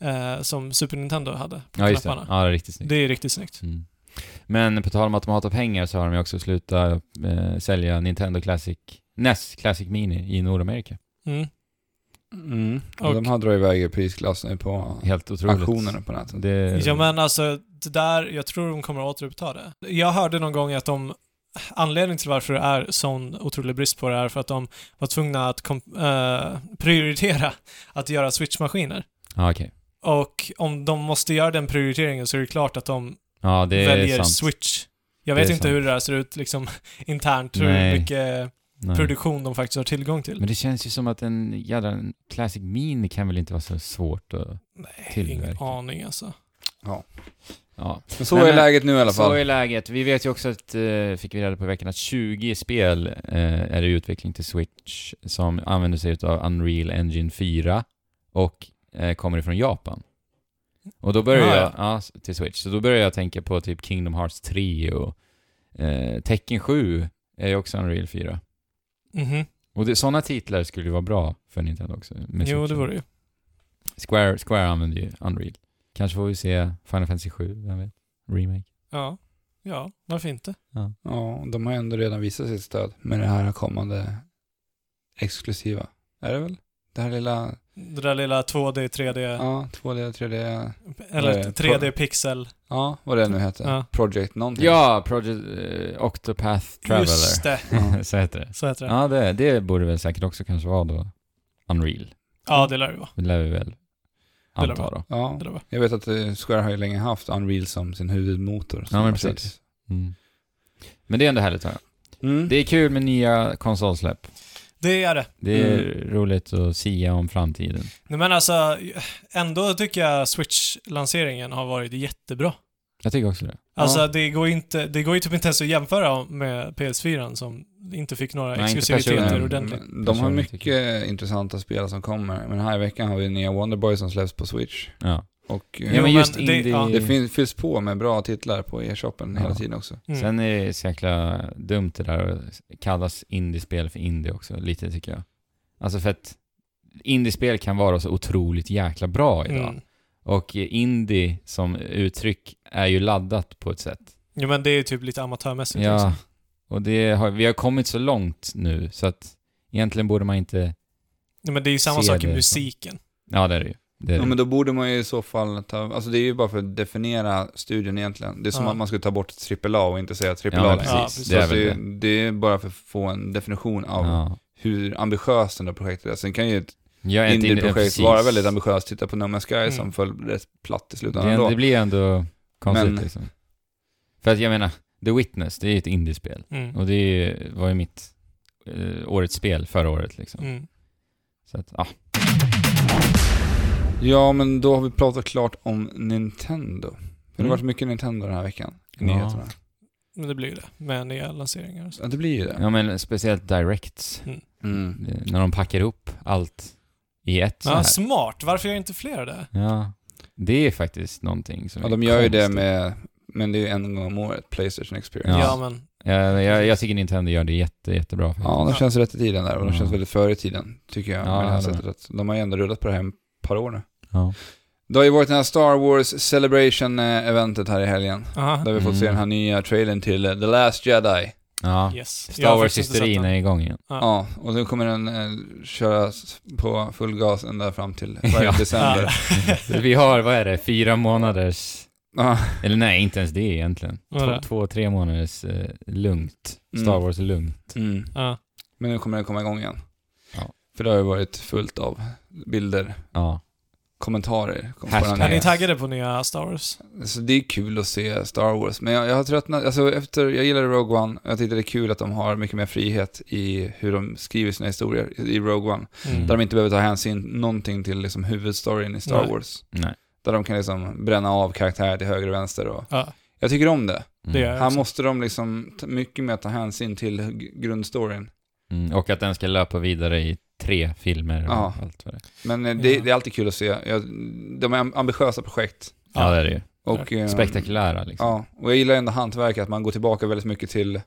S3: eh, som Super Nintendo hade på
S2: ja, just det.
S3: knapparna.
S2: Ja, det är riktigt snyggt.
S3: Det är riktigt snyggt.
S2: Mm. Men på tal om att de hatar pengar så har de ju också slutat eh, sälja Nintendo Classic, NES Classic Mini i Nordamerika.
S3: Mm.
S1: Mm. Och
S3: Och-
S1: de har dragit iväg i prisklass nu på
S2: Helt otroligt.
S1: auktionerna på nätet.
S2: Det,
S3: Ja men alltså, det där, jag tror de kommer att återuppta det. Jag hörde någon gång att de, anledningen till varför det är sån otrolig brist på det är för att de var tvungna att kom, eh, prioritera att göra switchmaskiner.
S2: Ja, okej.
S3: Och om de måste göra den prioriteringen så är det klart att de
S2: Ja, det är
S3: väljer
S2: sant.
S3: switch. Jag
S2: Det
S3: vet
S2: är
S3: inte
S2: sant.
S3: hur det där ser ut liksom internt, hur
S2: Nej.
S3: mycket
S2: Nej.
S3: produktion de faktiskt har tillgång till.
S2: Men det känns ju som att en jävla en Classic Mini kan väl inte vara så svårt att...
S3: Nej, ingen
S2: tillverkning.
S3: aning alltså.
S2: Ja.
S1: Men så
S2: Nej,
S1: är
S2: men-
S1: läget nu i alla
S2: Så
S1: fall.
S2: är läget. Vi vet ju också att, eh, fick vi reda på i veckan, att 20 spel eh, är i utveckling till Switch som använder sig av Unreal Engine 4 och eh, kommer ifrån Japan. Och då börjar
S3: Ah,
S2: jag, ja. s- till Switch, så då börjar jag tänka på typ Kingdom Hearts 3 och eh, Tekken 7 är ju också Unreal 4.
S3: Mhm.
S2: Och det, sådana titlar skulle ju vara bra för Nintendo också. med
S3: Jo, det
S2: Switchen.
S3: vore det ju.
S2: Square, Square använder ju Unreal. Kanske får vi se Final Fantasy 7, vem vet? Remake.
S3: Ja. ja, varför inte?
S1: Ja, de har ändå redan visat sitt stöd med det här kommande exklusiva. Är det väl? Det här lilla,
S3: Det där lilla 2D, 3D...
S1: ja, 2D, 3D,
S3: Eller
S1: Eh,
S3: 3D pixel.
S1: ja, vad det nu heter.
S3: Ja.
S1: Project någonting.
S2: Ja, Project eh, Octopath
S3: Just
S2: Traveler.
S3: det,
S1: Ja.
S2: så heter det.
S3: så heter det. Ja,
S2: Ja, det, det borde väl säkert också kanske vara då Unreal.
S3: det lär det vara.
S2: Det lär vi väl
S3: lär det
S2: anta
S3: vara.
S2: då.
S1: Ja,
S3: Det lär det vara.
S1: jag vet att eh, Square har ju länge haft Unreal som sin huvudmotor.
S2: Ja, men precis. Mm. Men det är ändå härligt. va?
S1: Mm.
S2: Det är kul med nya konsolsläpp.
S3: Det är det.
S2: Det är
S3: Mm.
S2: roligt att sia om framtiden.
S3: Nej, men alltså, ändå tycker jag Switch-lanseringen har varit jättebra.
S2: Jag tycker också det.
S3: Alltså
S1: Ja.
S3: det, går inte, det går ju typ inte ens att jämföra med PS4 som inte fick några
S2: Nej, inte
S1: Men-
S3: exklusiviteter
S2: personen.
S3: ordentligt.
S1: men De har
S2: Personligen
S1: mycket intressanta spel som kommer. Men den här veckan har vi nya Wonderboy som släpps på Switch.
S2: Ja.
S1: Och eh,
S3: Jo,
S2: ja men just
S3: men det-
S2: indie...
S3: ja.
S1: det fin- fylls på med bra titlar på e-shoppen
S2: Ja.
S1: hela tiden också.
S3: Mm.
S2: Sen är det så jäkla dumt det där att kallas indiespel för indie också, lite tycker jag. Alltså för att indiespel kan vara så otroligt jäkla bra idag.
S3: Mm.
S2: Och indie som uttryck är ju laddat på ett sätt.
S3: Jo men det är typ lite amatörmässigt
S2: Ja,
S3: också.
S2: och det har, vi har kommit så långt nu så att egentligen borde man inte...
S3: Nej, men det är ju samma
S2: Ser
S3: sak i
S2: det.
S3: musiken.
S2: Ja, det är det ju. Det är
S1: Ja,
S2: det.
S1: men då borde man ju i så fall ta, alltså det är ju bara för att definiera studion egentligen. Det är som
S3: Ja.
S1: att man skulle ta bort AAA och inte säga AAA
S2: Ja, men
S1: längre.
S2: precis.
S3: Ja, precis.
S1: Så
S2: Det är
S1: att
S2: väl
S1: det,
S2: det.
S1: det är bara för att få en definition av
S2: Ja.
S1: hur ambitiöst det här projektet är. Sen kan ju ett
S2: Jag är inte inne- ja,
S1: indieprojekt
S2: precis.
S1: vara väldigt ambitiöst. Titta på No Man's Sky
S3: Mm.
S1: som föll rätt platt i slutändan
S2: det,
S1: ändå.
S2: det blir ändå konstigt
S1: Men-
S2: liksom. För att jag menar, The Witness, det är ju ett indiespel.
S3: Mm.
S2: Och det är- var ju mitt eh, årets spel förra året liksom.
S3: Mm.
S2: Så att, ja.
S1: Ja, men då har vi pratat klart om Nintendo. Det har
S2: Mm.
S1: varit mycket Nintendo den här veckan. I
S2: Ja.
S1: nyheterna.
S3: Men det blir ju det, med nya lanseringar och så.
S1: Ja, det blir ju det.
S2: Ja men speciellt directs.
S1: Mm.
S2: Eh, När de packar ihop allt i ett så
S3: Ja,
S2: här.
S3: smart. Varför gör inte fler det?
S2: Ja. Det är faktiskt någonting som
S1: Ja,
S2: är
S1: de gör ju det
S2: konstigt.
S1: med, men det är ju en gång om året, Playstation Experience.
S3: Ja,
S2: Ja.
S3: men...
S2: Jag, jag, jag tycker Nintendo gör det jätte, jättebra faktiskt.
S1: Ja, de känns rätt i tiden där och de
S2: Ja.
S1: känns väldigt före i tiden, tycker jag. med det
S2: Ja,
S1: här
S2: jag håller
S1: sättet. att De har ju ändå rullat på det här ett par år nu.
S2: Ja.
S1: Det har ju varit den här Star Wars Celebration-eventet här i helgen.
S3: Aha.
S1: Där vi fått se
S2: Mm.
S1: den här nya trailern till eh, The Last Jedi.
S2: ja.
S3: Yes. Jag
S2: Star
S3: har faktiskt inte sett
S2: Wars-hysterin
S3: den.
S2: är igång igen.
S3: Ja.
S1: Ja, och nu kommer den eh, köras på full gas ända fram till varje
S2: Ja.
S1: december.
S2: Vi har, vad är det, fyra månaders...
S1: Ja.
S2: Eller nej, inte ens det egentligen.
S3: Vad är
S2: Två,
S3: det?
S2: två tre månaders eh, lugnt.
S1: Mm.
S2: Star Wars lugnt.
S1: Mm.
S3: Ja.
S1: Men nu kommer den komma igång igen.
S2: Ja.
S1: För det har ju varit fullt av bilder,
S2: Ja.
S1: kommentarer. kom på
S2: Hashtag.
S1: den
S3: Är
S1: här.
S3: ni taggade på nya Star Wars?
S1: Så Alltså, det är kul att se Star Wars, men jag, jag har tröttnat, alltså efter, jag gillade Rogue One, jag tyckte det är kul att de har mycket mer frihet i hur de skriver sina historier i i Rogue One.
S3: Mm.
S1: Där de inte behöver ta hänsyn någonting till liksom huvudstoryn i Star
S3: Nej.
S1: Wars.
S2: Nej.
S1: Där de kan liksom bränna av karaktärer till höger och vänster och...
S3: Ja,
S1: Jag tycker om det.
S2: Mm.
S3: det gör jag.
S1: Här
S3: också.
S1: måste de liksom ta- mycket mer ta hänsyn till hu- grundstoryn.
S2: Mm. Och att den ska löpa vidare i tre filmer och
S1: Ja.
S2: allt vad det är.
S1: Men eh, det,
S3: Ja.
S1: det är alltid kul att se. Jag, de är am- ambitiösa projekt.
S3: Ja.
S2: Ja, det är det ju.
S1: Och, eh,
S2: Spektakulära liksom.
S1: Ja, och jag gillar ändå hantverket, att man går tillbaka väldigt mycket till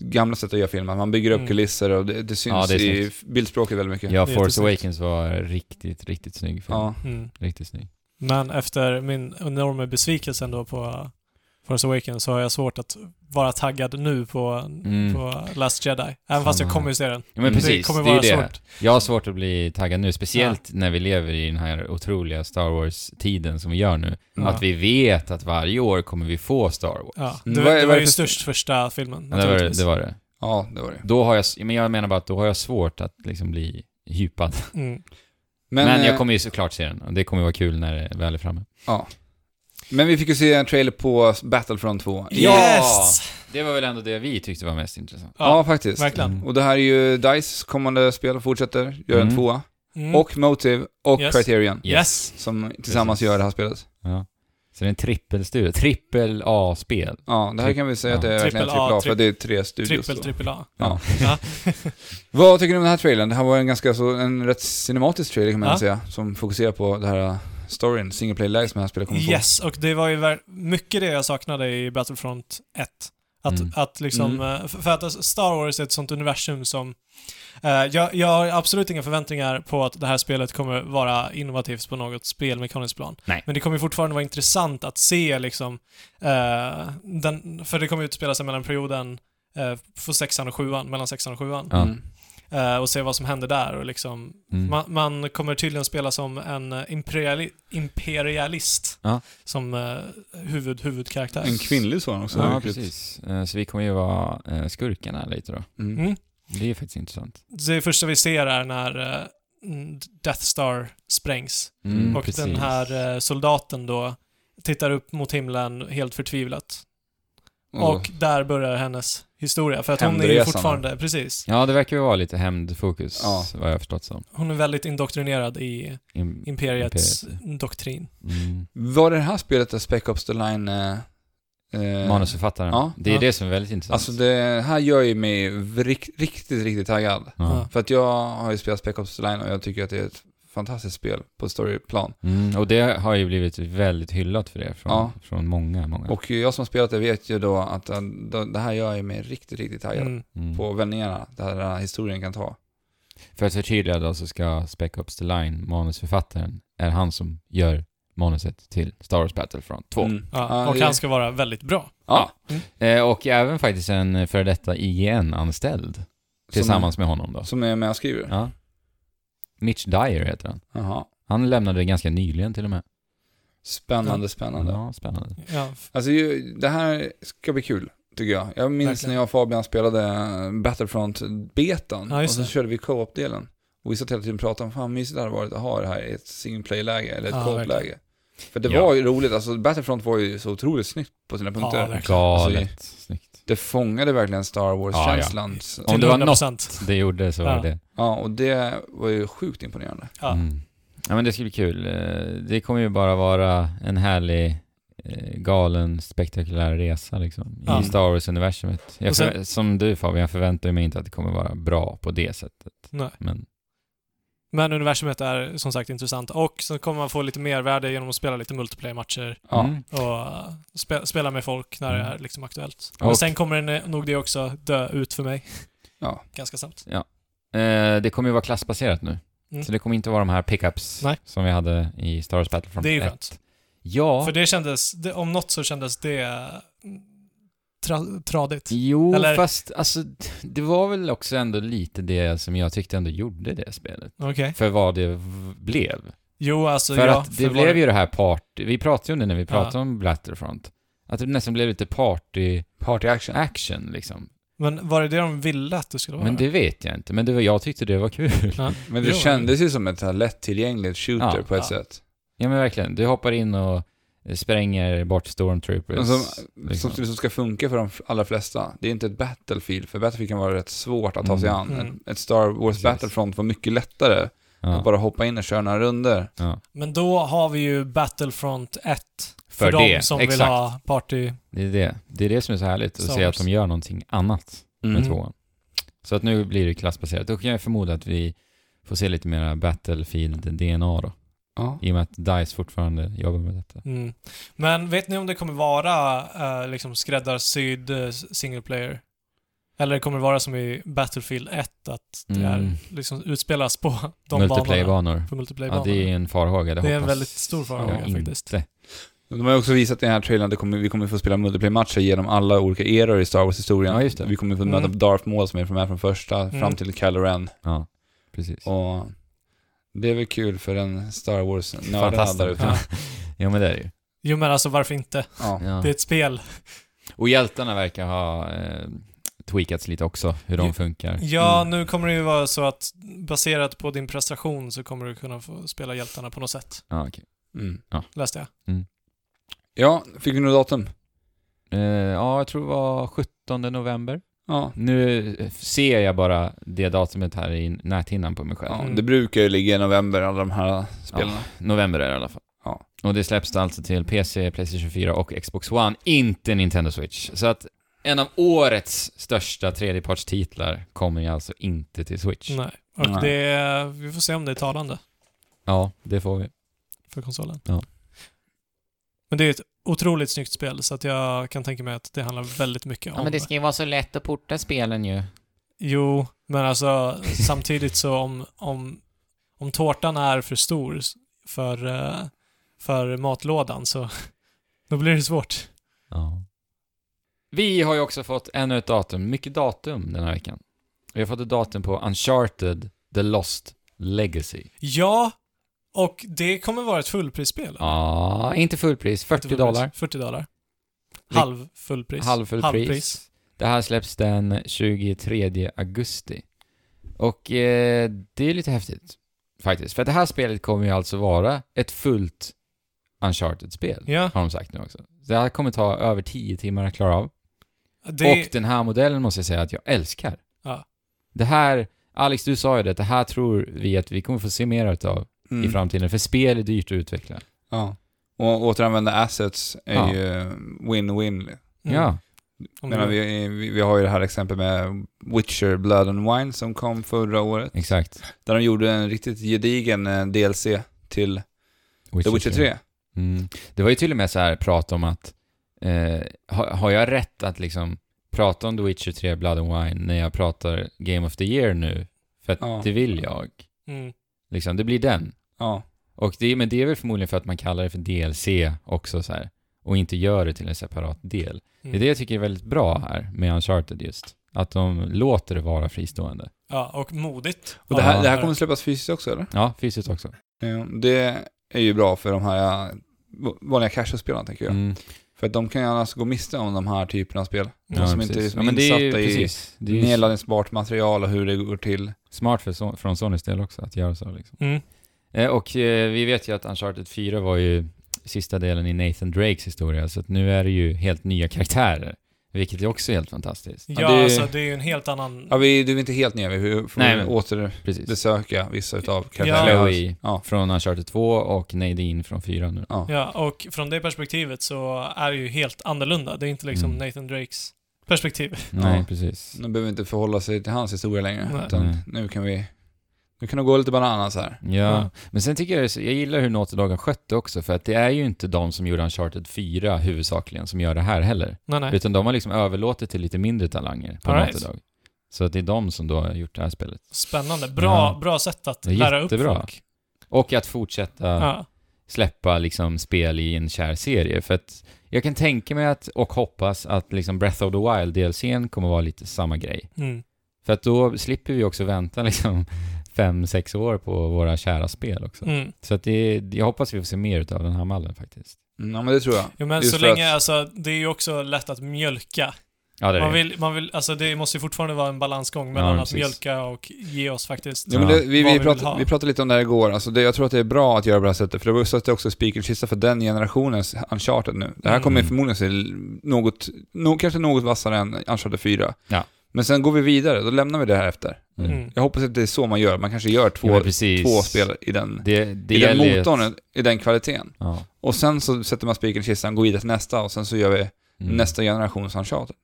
S1: gamla sätt att göra filmer. Man bygger upp
S3: Mm.
S1: kulisser och det, det syns
S2: Ja, det är
S1: i bildspråket väldigt mycket.
S2: Ja,
S3: Det är
S2: Force
S3: jättesnyggt.
S2: Awakens var riktigt, riktigt snygg film.
S1: Ja.
S3: Mm.
S2: Riktigt snygg.
S3: Men efter min enorma besvikelse ändå på Force Awakens så har jag svårt att vara taggad nu på,
S2: Mm.
S3: på Last Jedi. Även fast jag
S2: vad
S3: kommer ju se den.
S2: Ja, men
S1: Mm.
S2: precis.
S3: det kommer
S2: det är
S3: vara
S2: ju det.
S3: svårt.
S2: Jag har svårt att bli taggad nu, speciellt när vi lever i den här otroliga Star Wars-tiden som vi gör nu.
S1: Ja.
S2: Att vi vet att varje år kommer vi få Star Wars.
S3: Ja.
S1: Mm.
S3: Det,
S1: Vad är-
S3: det
S1: vad
S3: var
S1: är
S3: ju
S1: för-
S3: störst första filmen
S2: Ja, det, var,
S3: naturligtvis.
S2: det var det.
S1: ja, det var det.
S2: Då har jag, s- men jag menar bara att då har jag svårt att liksom bli hypad.
S3: Mm.
S1: Men,
S2: Men, jag
S1: eh,
S2: kommer ju såklart se den och det kommer vara kul när det väl är framme.
S1: men vi fick ju se en trailer på Battlefront 2.
S2: Ja!
S3: Yes!
S2: Det var väl ändå det vi tyckte var mest intressant.
S1: Ja,
S3: Ja,
S1: faktiskt.
S3: verkligen.
S1: Och det här är ju Dices kommande spel, fortsätter, gör en
S2: Mm.
S1: tvåa.
S3: Mm.
S1: Och Motive och
S3: Yes.
S1: Criterion,
S2: Yes.
S3: Yes.
S1: som tillsammans
S2: Precis.
S1: gör det här spelet.
S2: Ja. Så det är en trippelstudio, trippel A-spel.
S1: Ja, det här kan vi säga att det är
S3: Ja.
S1: verkligen
S3: Triple A,
S1: trippel A, för
S3: tri-
S1: det är tre studios
S3: Trippel,
S1: då.
S3: trippel A.
S1: Ja.
S3: Ja.
S1: Vad tycker ni om den här trailern? Det här var en ganska så, en rätt cinematisk trailer kan man
S3: Ja.
S1: säga, som fokuserar på det här uh, storyn, single play läget som det här spelet kommer få.
S3: Yes, och det var ju ver- mycket det jag saknade i Battlefront 1. Att,
S2: Mm.
S3: att liksom,
S1: Mm.
S3: eh, för för att Star Wars är ett sånt universum som... eh, jag, jag har absolut inga förväntningar på att det här spelet kommer vara innovativt på något spelmekaniskt plan.
S2: Nej.
S3: Men det kommer fortfarande vara intressant att se liksom, eh, den, för det kommer utspela sig mellan perioden eh, för sexan och sjuan, mellan sexan och sjuan.
S2: Ja.
S1: Mm.
S3: Eh, och se vad som händer där och liksom
S2: Mm.
S3: man, man kommer tydligen spela som en eh, imperiali imperialist
S2: Ja.
S3: som eh, huvud, huvudkaraktär.
S1: En kvinnlig sådan också.
S2: Ja,
S1: vilket-
S2: precis. Eh, Så vi kommer ju vara eh, skurkarna lite då.
S1: Mm.
S3: Mm.
S2: Det är faktiskt intressant.
S3: Det första vi ser är när eh, mm, Death Star sprängs
S1: Mm,
S3: och den här eh, soldaten då tittar upp mot himlen helt förtvivlat.
S1: Och-
S3: Och där börjar hennes historia, för att hon är ju
S1: Hämndresan.
S3: fortfarande, precis,
S2: Ja, det verkar ju vara lite hämndfokus,
S1: Ja.
S2: vad jag har förstått som.
S3: hon är väldigt indoktrinerad i
S2: Im-
S3: imperiets doktrin.
S2: Mm.
S1: Var det här spelet där Spec Ops The Line... Eh, eh,
S2: Manusförfattaren.
S1: Ja.
S2: Det är
S3: Ja.
S2: det som är väldigt intressant.
S1: Alltså det här gör ju mig rik, riktigt, riktigt taggad.
S2: ja.
S1: För att jag har ju spelat Spec Ops The Line och jag tycker att det är ett fantastiskt spel på storyplan.
S2: mm. Och det har ju blivit väldigt hyllat för det från,
S1: Ja.
S2: från många,
S3: Mm.
S2: många.
S1: Och jag som har spelat det vet ju då att eh, det här gör ju mig riktigt, riktigt taggad.
S3: Mm.
S2: mm.
S1: På vändningarna, det här, den här historien kan ta.
S2: För att förtydliga då så ska Spec Ops The Line, manusförfattaren, är han som gör manuset till Star Wars Battlefront 2.
S1: Mm.
S3: Ja, och
S1: det-
S3: han ska vara väldigt bra.
S1: ja.
S2: Eh, och även faktiskt en före detta IGN-anställd tillsammans med honom då.
S1: Som, som är med och skriver.
S2: Ja. Mitch Dyer heter han.
S1: Jaha.
S2: Han lämnade ganska nyligen till och med.
S1: Spännande, spännande.
S2: Ja, spännande.
S3: Ja,
S1: Alltså ju- det här ska bli kul, tycker jag. Jag minns
S3: Verkligen.
S1: när jag och Fabian spelade Battlefront-betan
S3: Ja,
S1: och
S3: just
S1: så
S3: det.
S1: körde vi co-op-delen. Och vi satt hela tiden och pratade om fan mysigt det hade varit att ha det här i ett single play-läge eller ett
S3: Ja,
S1: co-op-läge.
S3: verkligen.
S1: För det
S2: Ja.
S1: var ju roligt, alltså Battlefront var ju så otroligt snyggt på sina punkter.
S3: Ja, verkligen.
S2: Galet
S1: Alltså,
S2: snyggt.
S1: det fångade verkligen Star Wars-känslan. Ja, ja.
S2: Om
S3: till
S2: det var något-
S3: 100%.
S2: Det gjorde så
S3: Ja.
S2: var det.
S1: och det var ju sjukt imponerande.
S3: Ja.
S2: Mm. ja, men det ska bli kul. Eh, Det kommer ju bara vara en härlig eh, eh, galen, spektakulär resa liksom,
S3: Ja.
S2: i Star Wars-universumet. Jag
S3: Och sen-
S2: förvä- som du Fabian, jag förväntar mig inte att det kommer vara bra på det sättet.
S3: Nej.
S2: Men
S3: Men universumet är som sagt intressant och så kommer man få lite mervärde genom att spela lite multiplayer-matcher
S1: Ja.
S2: mm.
S3: och eh, spe, spela med folk när det
S2: Mm.
S3: är liksom aktuellt.
S2: Och-
S3: Men sen kommer den, nog det också dö ut för mig
S1: Ja.
S3: ganska snabbt.
S2: eh, det kommer ju vara klassbaserat nu.
S3: Mm.
S2: Så det kommer inte vara de här pickups
S3: Nej.
S2: som vi hade i Star Wars Battlefront
S3: Det är ju
S2: 1.
S3: skönt.
S2: Ja,
S3: För det kändes, det, om något så kändes det mm, tra, tradigt.
S2: Jo,
S3: Eller-
S2: fast alltså, det var väl också ändå lite det som jag tyckte ändå gjorde det spelet.
S3: Okej.
S2: För vad det v- blev.
S3: Jo, alltså
S2: Mm. för
S3: ja,
S2: att
S3: för
S2: det
S3: vad
S2: blev ju det här party, vi pratade ju om det när vi pratade om Battlefront. Att det nästan blev lite party-action
S1: Party action.
S2: liksom.
S3: Men var det det de ville att det skulle vara?
S2: Men det vet jag inte, men det var, jag tyckte det var kul.
S3: Ja.
S1: Men det
S3: Jo.
S1: kändes ju som ett så här lättillgängligt shooter
S2: Ja,
S1: på ett
S3: ja.
S1: sätt.
S2: Ja men verkligen, du hoppar in och spränger bort stormtroopers.
S1: Men som,
S2: liksom.
S1: Alltså, som, som ska funka för de allra flesta. Det är inte ett Battlefield, för Battlefield kan vara rätt svårt att ta sig
S2: Mm.
S1: an.
S3: Mm.
S1: Ett, ett Star Wars
S2: Precis.
S1: Battlefront var mycket lättare
S2: ja.
S1: att bara hoppa in och köra några runder.
S2: ja.
S3: Men då har vi ju Battlefront 1. För,
S2: För
S3: de
S2: det,
S3: som vill
S2: exakt.
S3: ha party.
S2: Det är det. Det är det som är så härligt, att
S3: Star
S2: se att
S3: Wars.
S2: de gör någonting annat. med
S1: Mm.
S2: tvåan. Så att nu blir det klassbaserat. Då kan jag förmoda att vi får se lite mera Battlefield-DNA då.
S1: Ja.
S2: I och med att DICE fortfarande jobbar med detta.
S3: Mm. Men vet ni om det kommer vara eh, liksom skräddarsydd eh, single player? Eller kommer det vara som i Battlefield 1, att det
S2: Mm.
S3: är, liksom utspelas på de banorna?
S2: Multiplayer-banor.
S3: På multiplayer
S2: Ja, det är en farhåga. Det,
S3: Det är en
S2: hoppas
S3: väldigt stor farhåga
S2: jag
S3: faktiskt.
S2: Inte.
S1: De har ju också visat i den här trailern att det kommer, vi kommer få spela multiplayer-matcher genom alla olika eror i Star Wars-historien.
S2: Ja, just det.
S1: Vi kommer få
S3: Mm.
S1: möta Darth Maul som är med från första, fram
S3: Mm.
S1: till Kylo Ren.
S2: Ja, precis.
S1: Och det är väl kul för en Star Wars-nördad
S2: Fantastiskt.
S1: där ute.
S2: Ja. ja, men det är det ju.
S3: Jo men alltså varför inte?
S1: Ja.
S2: Ja.
S3: Det är ett spel.
S2: Och hjältarna verkar ha eh, tweakats lite också, hur de
S3: Ja.
S2: funkar.
S3: Ja,
S1: Mm.
S3: nu kommer det ju vara så att baserat på din prestation så kommer du kunna få spela hjältarna på något sätt.
S2: Ja, okej.
S1: Mm.
S3: Läste jag.
S1: ja, fick vi något datum?
S2: Eh, ja, jag tror det var 17 november.
S1: Ja.
S2: Nu ser jag bara det datumet här i näthinnan på mig själv.
S1: ja.
S3: Mm.
S1: Det brukar ju ligga i november, alla de här spelen.
S2: November är det i alla fall.
S1: Ja.
S2: Och det släpps då alltså till PC, Playstation 4 och Xbox One, inte Nintendo Switch. Så att en av årets största tredjepartstitlar kommer ju alltså inte till Switch.
S3: Nej. Och
S1: Nej.
S3: det är, vi får se om det är talande
S2: Ja, det får vi.
S3: för konsolen.
S2: Ja.
S3: Men det är ett otroligt snyggt spel så att jag kan tänka mig att det handlar väldigt mycket om...
S2: ju vara så lätt att porta spelen ju.
S3: Jo, men alltså samtidigt så om, om, om tårtan är för stor s- för, eh, för matlådan så då blir det svårt.
S2: Ja. Vi har ju också fått ännu ett datum, mycket datum den här veckan. Vi har fått ett datum på Uncharted The Lost Legacy.
S3: Ja, och det kommer vara ett fullprisspel.
S2: Ja, inte fullpris, 40
S3: fullpris.
S2: dollar.
S3: 40 dollar.
S2: Vil-
S3: Halv fullpris.
S2: Halvfull
S3: Halvpris.
S2: pris. Det här släpps den 23 augusti. Och eh, det är lite häftigt faktiskt. För att det här spelet kommer ju alltså vara ett fullt Uncharted-spel.
S3: Ja,
S2: Har de sagt nu också. Så Det här kommer ta över 10 timmar att klara av.
S3: det,
S2: Och den här modellen måste jag säga att jag älskar.
S3: Ja.
S2: Det här, Alex du sa ju det, det här tror vi att vi kommer få se mer utav i
S1: Mm.
S2: framtiden. För spel är dyrt att utveckla.
S1: Ja. Och återanvända assets är
S2: Ja.
S1: ju win-win.
S3: Mm,
S2: Ja.
S3: om
S1: Menar,
S3: du-
S1: vi, vi, vi har ju det här exemplet med Witcher Blood and Wine som kom förra året.
S2: Exakt.
S1: Där de gjorde en riktigt gedigen eh, DLC till The Witcher 3.
S2: Mm. Det var ju till och med så här prat om att eh, har, har jag rätt att liksom prata om The Witcher 3 Blood and Wine när jag pratar Game of the Year nu? För att
S1: Ja.
S2: det vill jag.
S3: Mm.
S2: Liksom, det blir den.
S1: Ja.
S2: Och det, men det är väl förmodligen för att man kallar det för DLC också så här. Och inte gör det till en separat del.
S1: Mm.
S3: mm.
S2: Det är det jag tycker är väldigt bra här med Uncharted just. Att de låter det vara fristående.
S3: Ja, och modigt.
S1: Och det här,
S2: Ja.
S1: det här kommer släppas fysiskt också eller?
S2: Ja, fysiskt också.
S1: Ja, Det är ju bra för de här eh, vanliga casual-spelarna tänker jag.
S2: Mm.
S1: För att de kan ju annars gå miste om de här typerna av spel.
S3: Ja,
S1: som
S2: precis.
S1: inte är liksom
S2: ja, men det är ju,
S1: insatta i
S2: precis. Det är ju
S1: nedladdningsbart material och hur det går till.
S2: smart för, Son- från Sonys del också att göra så liksom.
S3: Mm.
S2: Eh, Och eh, vi vet ju att Uncharted 4 var ju sista delen i Nathan Drakes historia, så att nu är det ju helt nya karaktärer Vilket är också helt fantastiskt.
S1: Ja,
S3: Ja,
S1: det-
S3: alltså det är ju en helt annan...
S1: Ja, vi, du är inte helt nere, vi får
S2: Nej, men- Precis.
S1: återbesöka vissa utav
S3: Ja.
S1: karaktärerna.
S2: Chloe
S1: Ja.
S2: från Uncharted 2 och Nadine från 4 nu.
S1: Ja.
S3: Ja, och från det perspektivet så är det ju helt annorlunda. Det är inte liksom
S2: Mm.
S3: Nathan Drakes perspektiv.
S2: Nej,
S1: Ja.
S2: precis.
S1: Nu behöver vi inte förhålla sig till hans historia längre.
S3: Nej.
S1: Utan
S2: Nej.
S1: nu kan vi... Nu kan det gå lite bananas här.
S2: Ja.
S3: Ja.
S2: men sen tycker jag, det är så- jag gillar hur Naughty Dog har skött det också, för att det är ju inte de som gjorde Uncharted 4 huvudsakligen som gör det här heller.
S3: Nej, nej.
S2: Utan de har liksom överlåtit till lite mindre talanger på
S3: All
S2: Naughty
S3: right.
S2: Dog. Så att det är de som då har gjort det här spelet.
S3: Spännande. Bra,
S2: Ja.
S3: bra sätt att
S2: Det är
S3: lära upp
S2: jättebra.
S3: folk.
S2: Och att fortsätta
S3: Ja.
S2: släppa liksom spel i en kär serie. För att jag kan tänka mig att, och hoppas, att liksom Breath of the Wild DLCn kommer vara lite samma grej.
S3: Mm.
S2: För att då slipper vi också vänta liksom fem, sex år på våra kära spel också.
S3: Mm.
S2: Så att det, jag hoppas vi får se mer av den här mallen faktiskt.
S1: Mm, Ja, men det tror jag.
S3: Jo, men
S1: Just
S3: så
S1: för
S3: länge,
S1: att-
S3: alltså, det är ju också lätt att mjölka.
S2: Ja, det är
S3: Man
S2: det.
S3: vill, man vill, alltså det måste ju fortfarande vara en balansgång
S2: Ja,
S3: mellan
S2: men
S3: att
S2: precis.
S3: mjölka och ge oss faktiskt.
S1: Ja, men
S2: Ja.
S1: det, vi,
S3: Vad
S1: vi,
S3: vi vill
S1: pratade,
S3: ha.
S1: vi pratade lite om det här igår. Alltså det, jag tror att det är bra att göra på det här sättet, för det var så att det också är spikelkista för den generationens Uncharted nu. Det här
S3: Mm.
S1: kommer förmodligen se något, no, kanske något vassare än Uncharted 4.
S2: Ja.
S1: Men sen går vi vidare, då lämnar vi det här efter.
S2: Mm.
S3: Mm.
S1: Jag hoppas att det är så man gör, man kanske gör
S2: Ja,
S1: två,
S2: men precis.
S1: två spel i den,
S2: Det, det
S1: i den
S2: gäller ju
S1: motorn,
S2: att-
S1: i den kvaliteten.
S2: Ja.
S1: Och sen så sätter man spiken i kistan, går vidare till nästa och sen så gör vi
S2: Mm.
S1: nästa generations Uncharted.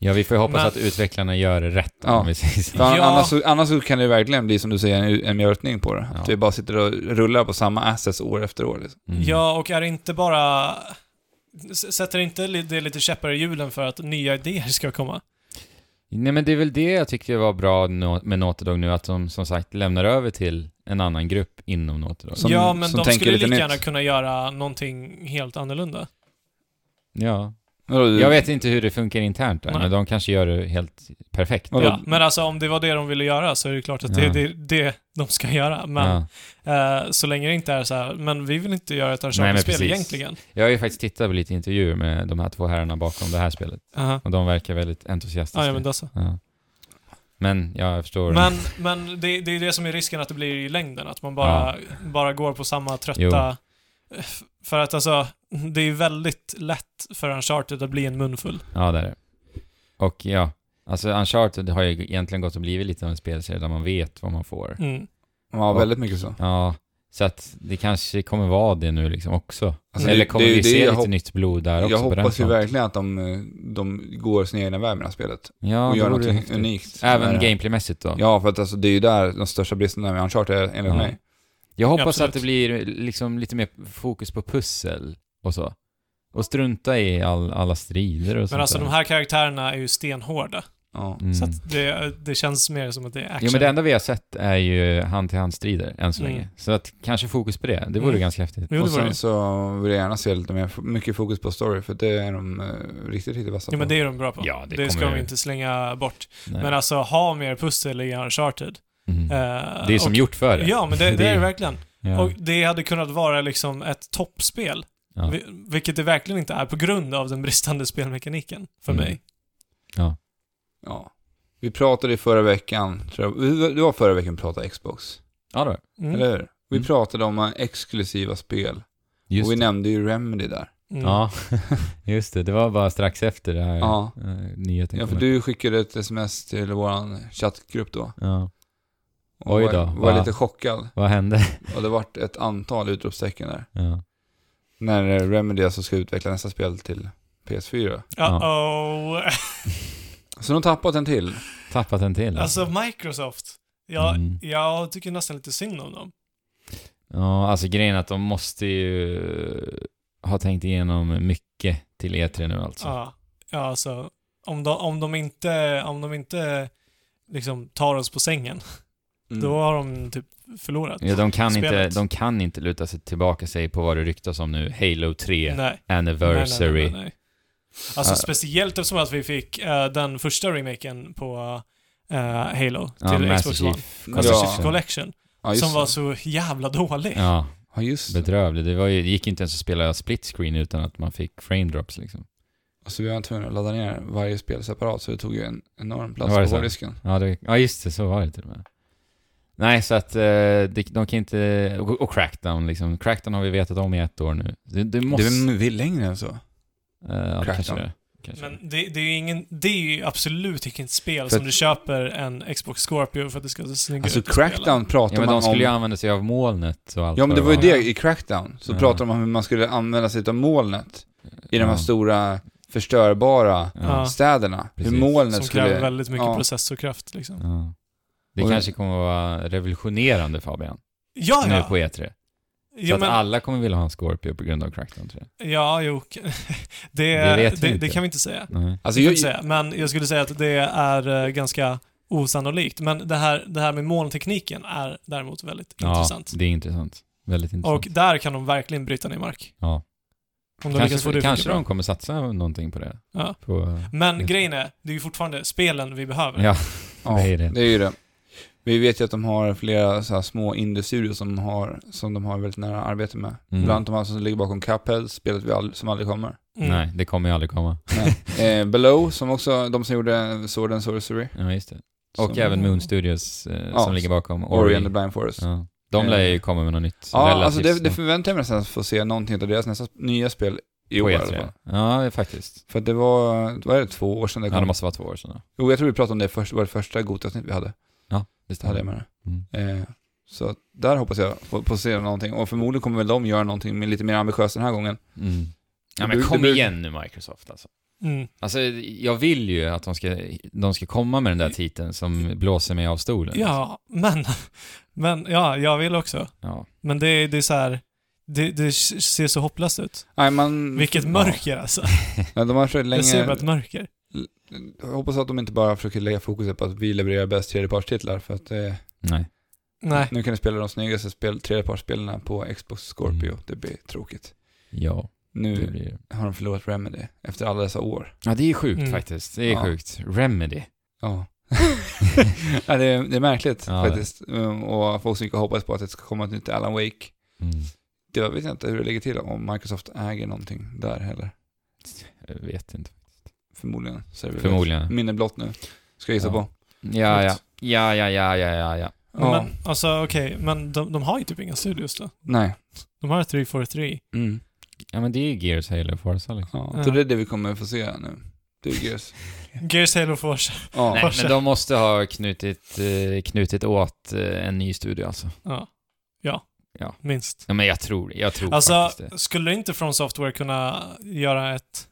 S2: Ja, vi får ju hoppas
S3: Men-
S2: att utvecklarna gör det rätt om
S1: Ja.
S2: vi säger så.
S1: För an-
S3: Ja.
S1: annars, så, annars så kan det verkligen bli som du säger, en, en mjölkning på det.
S2: Ja.
S1: Att vi bara sitter och rullar på samma assets år efter år. Liksom.
S2: Mm.
S3: Ja, och är det inte bara... s- Sätter inte li- det lite käppar i hjulen för att nya idéer ska komma?
S2: Nej, men det är väl det jag tycker var bra nå- med Naughty Dog nu, att de som sagt lämnar över till en annan grupp inom Naughty Dog.
S1: Som-
S3: ja, men
S1: som
S3: de
S1: tänker
S3: skulle
S1: lite
S3: lika
S1: nytt.
S3: gärna kunna göra någonting helt annorlunda.
S2: Ja.
S1: Vadå, du-
S2: Jag vet inte hur det funkar internt där,
S3: Nej.
S2: men de kanske gör det helt perfekt.
S1: Vadå?
S3: Ja, men alltså om det var det de ville göra så är det klart att det
S2: Ja.
S3: är det, det de ska göra. Men
S2: Ja.
S3: eh, så länge det inte är så här, men vi vill inte göra ett
S2: Nej, men
S3: Uncharted-spel
S2: precis.
S3: egentligen.
S2: Jag har ju faktiskt tittat på lite intervjuer med de här två herrarna bakom det här spelet,
S3: Aha.
S2: och de verkar väldigt entusiastiska.
S3: Ja, ja, men då så.
S2: Ja. Men ja, jag förstår.
S3: Men, men det, det är det som är risken att det blir i längden, att man bara, bara går på samma trötta... För att alltså, det är väldigt lätt för Uncharted att bli en munfull.
S2: Ja, det är det. Och ja, alltså Uncharted har ju egentligen gått och blivit lite av en spelserie där man vet vad man får.
S3: Mm.
S1: Ja, väldigt mycket så.
S2: Ja, så att det kanske kommer vara det nu liksom också.
S1: Alltså,
S2: Eller
S1: det-
S2: kommer
S1: det-
S2: vi
S1: det-
S2: se
S1: jag
S2: lite
S1: hop-
S2: nytt blod där också
S1: Jag
S2: på den
S1: hoppas ju
S2: fronten?
S1: verkligen att de, eh, de går sin egna väg med det här spelet.
S2: ja,
S1: och
S2: det
S1: gör
S2: vore
S1: någonting
S2: häftigt.
S1: unikt.
S2: Även
S1: med det.
S2: gameplaymässigt då.
S1: Ja, för att alltså, det är ju där de största bristerna med Uncharted är, enligt
S2: Ja.
S1: mig.
S2: Jag hoppas
S3: Absolut.
S2: att det blir liksom lite mer fokus på pussel och så. Och strunta i all, alla strider och sånt
S3: Men alltså
S2: där.
S3: de här karaktärerna är ju stenhårda.
S1: Ja.
S2: Mm.
S3: Så att det, det känns mer som att det är action.
S2: Jo men det enda vi har sett är ju hand-till-hand-strider än så
S3: Mm.
S2: länge. Så att kanske fokus på det. Det vore
S3: Mm.
S2: ganska häftigt.
S3: Jo,
S1: Och
S3: det var det.
S1: sen så vill jag gärna se lite mer, mycket fokus på story, för det är de eh, riktigt, riktigt vassa
S3: Jo, men
S1: på.
S3: det är de bra på.
S2: Ja, det
S3: ska
S2: kommer-
S3: vi inte slänga bort.
S2: Nej.
S3: Men alltså, ha mer pussel i Uncharted.
S2: Mm.
S3: Eh,
S2: Det är som
S3: och,
S2: gjort för det.
S3: Ja, men det, det är det verkligen.
S2: Ja.
S3: Och det hade kunnat vara liksom ett toppspel.
S2: Ja.
S3: Vi- Vilket det verkligen inte är på grund av den bristande spelmekaniken, för
S2: Mm.
S3: mig.
S1: Ja. Vi pratade i förra veckan, tror jag, det var förra veckan vi pratade Xbox,
S2: ja, då.
S3: Mm.
S1: eller hur? Vi
S2: Mm.
S1: pratade om eh, exklusiva spel,
S2: Just
S1: och vi
S2: det.
S1: nämnde ju Remedy där.
S3: Mm.
S2: Ja, just det. Det var bara strax efter det här
S1: Ja.
S2: eh, nyheten
S1: Ja, för
S2: kom
S1: du skickade ett sms till vår chattgrupp då.
S2: upp. Ja.
S1: Och
S2: Oj då,
S1: Var, var
S2: va?
S1: lite chockad.
S2: Vad hände?
S1: Och det vart ett antal utropstecken där.
S2: Ja.
S1: När eh, Remedy alltså ska utveckla nästa spel till PS4.
S3: Uh-oh.
S1: Så de har tappat en till.
S2: Tappat en till.
S3: alltså Microsoft. Jag,
S2: Mm.
S3: jag tycker nästan lite synd om dem.
S2: Ja, alltså grejen är att de måste ju ha tänkt igenom mycket till E3 nu alltså.
S3: Ja, ja alltså. Om de, om de inte, om de inte liksom tar oss på sängen,
S1: Mm.
S3: då har de typ förlorat.
S2: Ja, de, kan inte,
S3: Spelet.
S2: de kan inte luta sig tillbaka sig på vad det ryktas om nu, Halo 3
S3: Nej.
S2: Anniversary.
S3: Nej, nej, nej, nej. Alltså
S2: Ah.
S3: speciellt eftersom att vi fick eh, den första remaken på eh, Halo till
S2: Ja, Master
S3: Xbox One.
S2: Chief
S3: Master
S1: Ja.
S3: Chief Collection.
S1: ja, just
S3: som var
S1: det.
S3: så jävla dålig.
S2: Ja,
S1: Ja, just det.
S2: bedrövlig. Det, var ju, det gick inte ens att spela split screen utan att man fick frame drops liksom.
S1: Så Alltså, vi var tvungna att ladda ner varje spel separat, så det tog ju en enorm plats
S2: Var det
S1: på
S2: så?
S1: hårddisken.
S2: Ja, det, ja just det, så var det till och med. Nej, så att eh, de, de kan inte... Och, och Crackdown liksom. Crackdown har vi vetat om i ett år nu. Det, det måste...
S1: Det är väl längre än så?
S2: eh, ja, kanske
S1: Crackdown.
S2: det. kanske.
S3: Men det, det är ju ingen, det är ju absolut inget spel
S1: För
S3: som
S1: att-
S3: du köper en Xbox Scorpio för att det ska se snyggare
S1: Alltså
S3: ut att spela.
S1: Crackdown pratar
S2: ja, men
S1: man
S2: de skulle ju
S1: om...
S2: använda sig av molnet och allt
S1: Ja men det var
S2: vad
S1: ju
S3: Ja.
S1: det i Crackdown. Så
S2: Ja.
S1: pratade de om hur man skulle använda sig av molnet i de här
S2: Ja.
S1: stora förstörbara
S3: Ja.
S1: städerna. Hur
S2: Precis.
S1: molnet
S3: Som
S1: skulle...
S3: kräver väldigt mycket
S1: ja.
S3: processorkraft liksom.
S2: Ja. Det
S1: Och-
S2: kanske kommer att vara revolutionerande Fabian,
S3: Ja,
S2: nu på
S3: ja.
S2: E3. Så
S3: Ja,
S2: att
S3: men,
S2: alla kommer vilja ha en Scorpio på grund av Crackdown 3.
S3: ja jo. Det,
S2: Det
S3: det,
S2: vet vi
S3: det,
S2: inte.
S3: kan vi inte säga.
S2: Nej.
S1: Alltså,
S3: Det kan vi
S1: jag,
S3: inte säga. Men jag skulle säga att det är eh, ganska osannolikt. Men det här, det här med molntekniken är däremot väldigt
S2: Ja,
S3: intressant.
S2: det är intressant. Väldigt intressant.
S3: Och där kan de verkligen bryta ner mark.
S2: ja.
S3: Om de lyckas få det
S2: Kanske,
S3: att
S2: kanske
S3: funka
S2: de
S3: bra.
S2: kommer satsa någonting på det.
S3: Ja.
S2: På,
S3: Men
S2: Just-
S3: grejen är, det är ju fortfarande spelen vi behöver.
S2: ja,
S1: ja,
S2: det är det.
S1: det är ju det. Vi vet ju att de har flera så här små indie-studios som, har, som de har väldigt nära arbete med.
S2: Mm.
S1: Bland annat de här som ligger bakom Cuphead, spelet vi all, som aldrig kommer.
S3: Mm.
S2: Nej, det kommer ju aldrig komma.
S1: Eh, Below, som också, de som gjorde Sword and Sorcery.
S2: Ja, just det. Och
S1: Som-
S2: även Moon Studios eh,
S1: Ja,
S2: som ligger bakom.
S1: Ori
S2: Ori.
S1: and the Blind Forest.
S2: Ja. De lär ju komma med något nytt.
S1: Ja,
S2: relativt
S1: alltså det, det
S2: snabbt
S1: förväntar jag mig nästan att få se någonting av deras nästa, nya spel i
S2: på E
S1: år i alla fall.
S2: E3. Ja, det är faktiskt.
S1: För att det var, vad är det, två år sedan det
S2: Ja,
S1: kom?
S2: det måste vara två år sedan. då.
S1: Jo, jag tror vi pratade om det först, var det första Gota-avsnitt vi hade.
S2: Det
S1: Det hade jag
S2: stämmer.
S1: med
S2: Mm.
S1: det. Eh, så att där hoppas jag på, på att se någonting. Och förmodligen kommer väl de göra någonting med lite mer ambitiöst den här gången.
S2: Mm. Ja,
S1: Det
S2: men
S1: bru-
S2: kom
S1: det bru-
S2: igen nu Microsoft alltså.
S3: Mm.
S2: Alltså, jag vill ju att de ska, de ska komma med den där titeln som blåser mig av stolen. Alltså.
S3: Ja, men, men ja, jag vill också.
S2: ja.
S3: Men det, det är så här, det, det ser så hopplöst ut.
S1: Nej, man...
S3: Vilket mörker alltså.
S1: Ja, de har försökt
S3: Jag ser
S1: Mm. länge...
S3: bara ett mörker.
S1: Jag hoppas att de inte bara försöker lägga fokuset på att vi levererar bäst tredjepartstitlar. För att eh,
S2: Nej.
S3: Nej.
S1: nu kan du spela de snyggaste spel, tredjepartsspelarna på Xbox Scorpio. Det blir tråkigt.
S2: Ja, Mm. det
S1: Nu
S2: blir det.
S1: har de förlorat Remedy efter alla dessa år.
S2: Ja, det är sjukt
S3: Mm.
S2: faktiskt. Det är
S1: Ja.
S2: sjukt. Remedy.
S1: Ja. ja, det, är, det är märkligt
S2: Ja, det-
S1: faktiskt. Mm, Och folk som gick och hoppades på att det ska komma ett nytt Alan Wake. Mm. Det jag vet jag inte hur det ligger till om Microsoft äger någonting där heller.
S2: Jag vet inte.
S1: Förmodligen. Så är det väl ett
S2: Förmodligen.
S1: Minne blott nu. Ska jag gissa
S2: Ja.
S1: på.
S2: Ja, ja. Ja, ja, ja, ja, ja, ja.
S1: Ja.
S3: Men alltså okej, men de, de har ju typ inga studios då.
S1: Nej.
S3: De har 343.
S1: Mm.
S2: Ja, men det är ju Gears Halo Forza liksom.
S1: Ja.
S3: Ja.
S1: Så det är det vi kommer få se nu. Du Gears.
S3: Gears Halo Force.
S1: Ja.
S2: Nej, men de måste ha knutit, eh, knutit åt eh, en ny studio alltså.
S3: Ja. Ja.
S2: Ja.
S3: Minst.
S2: Ja, men jag tror, jag tror
S3: Alltså,
S2: faktiskt det.
S3: skulle inte From Software kunna göra ett,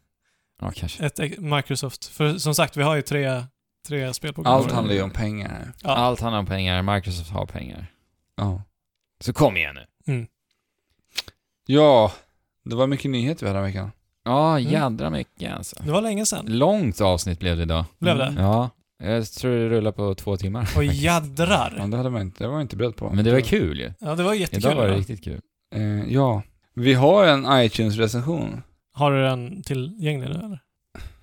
S2: Ja, kanske.
S3: ett e- Microsoft? För som sagt, vi har ju tre, tre spel på gång.
S1: Allt handlar ju om pengar här.
S3: Ja.
S2: Allt handlar om pengar, Microsoft har pengar.
S1: Ja.
S2: Så kom igen nu.
S3: Mm.
S1: Ja, det var mycket nyheter vi hade den här veckan.
S2: Ja,
S3: Mm.
S2: jädra mycket alltså.
S3: Det var länge sedan.
S2: Långt avsnitt blev det idag.
S3: Blev det?
S2: Ja, jag tror det rullar på två timmar.
S3: Och jädrar.
S1: Ja, det, hade man inte, det var jag inte beredd på.
S2: Men det var kul ju.
S3: Ja, det var jättekul.
S2: Idag var det
S3: va?
S2: riktigt kul.
S1: Eh, ja. Vi har en iTunes-recension.
S3: Har du den tillgänglig nu eller?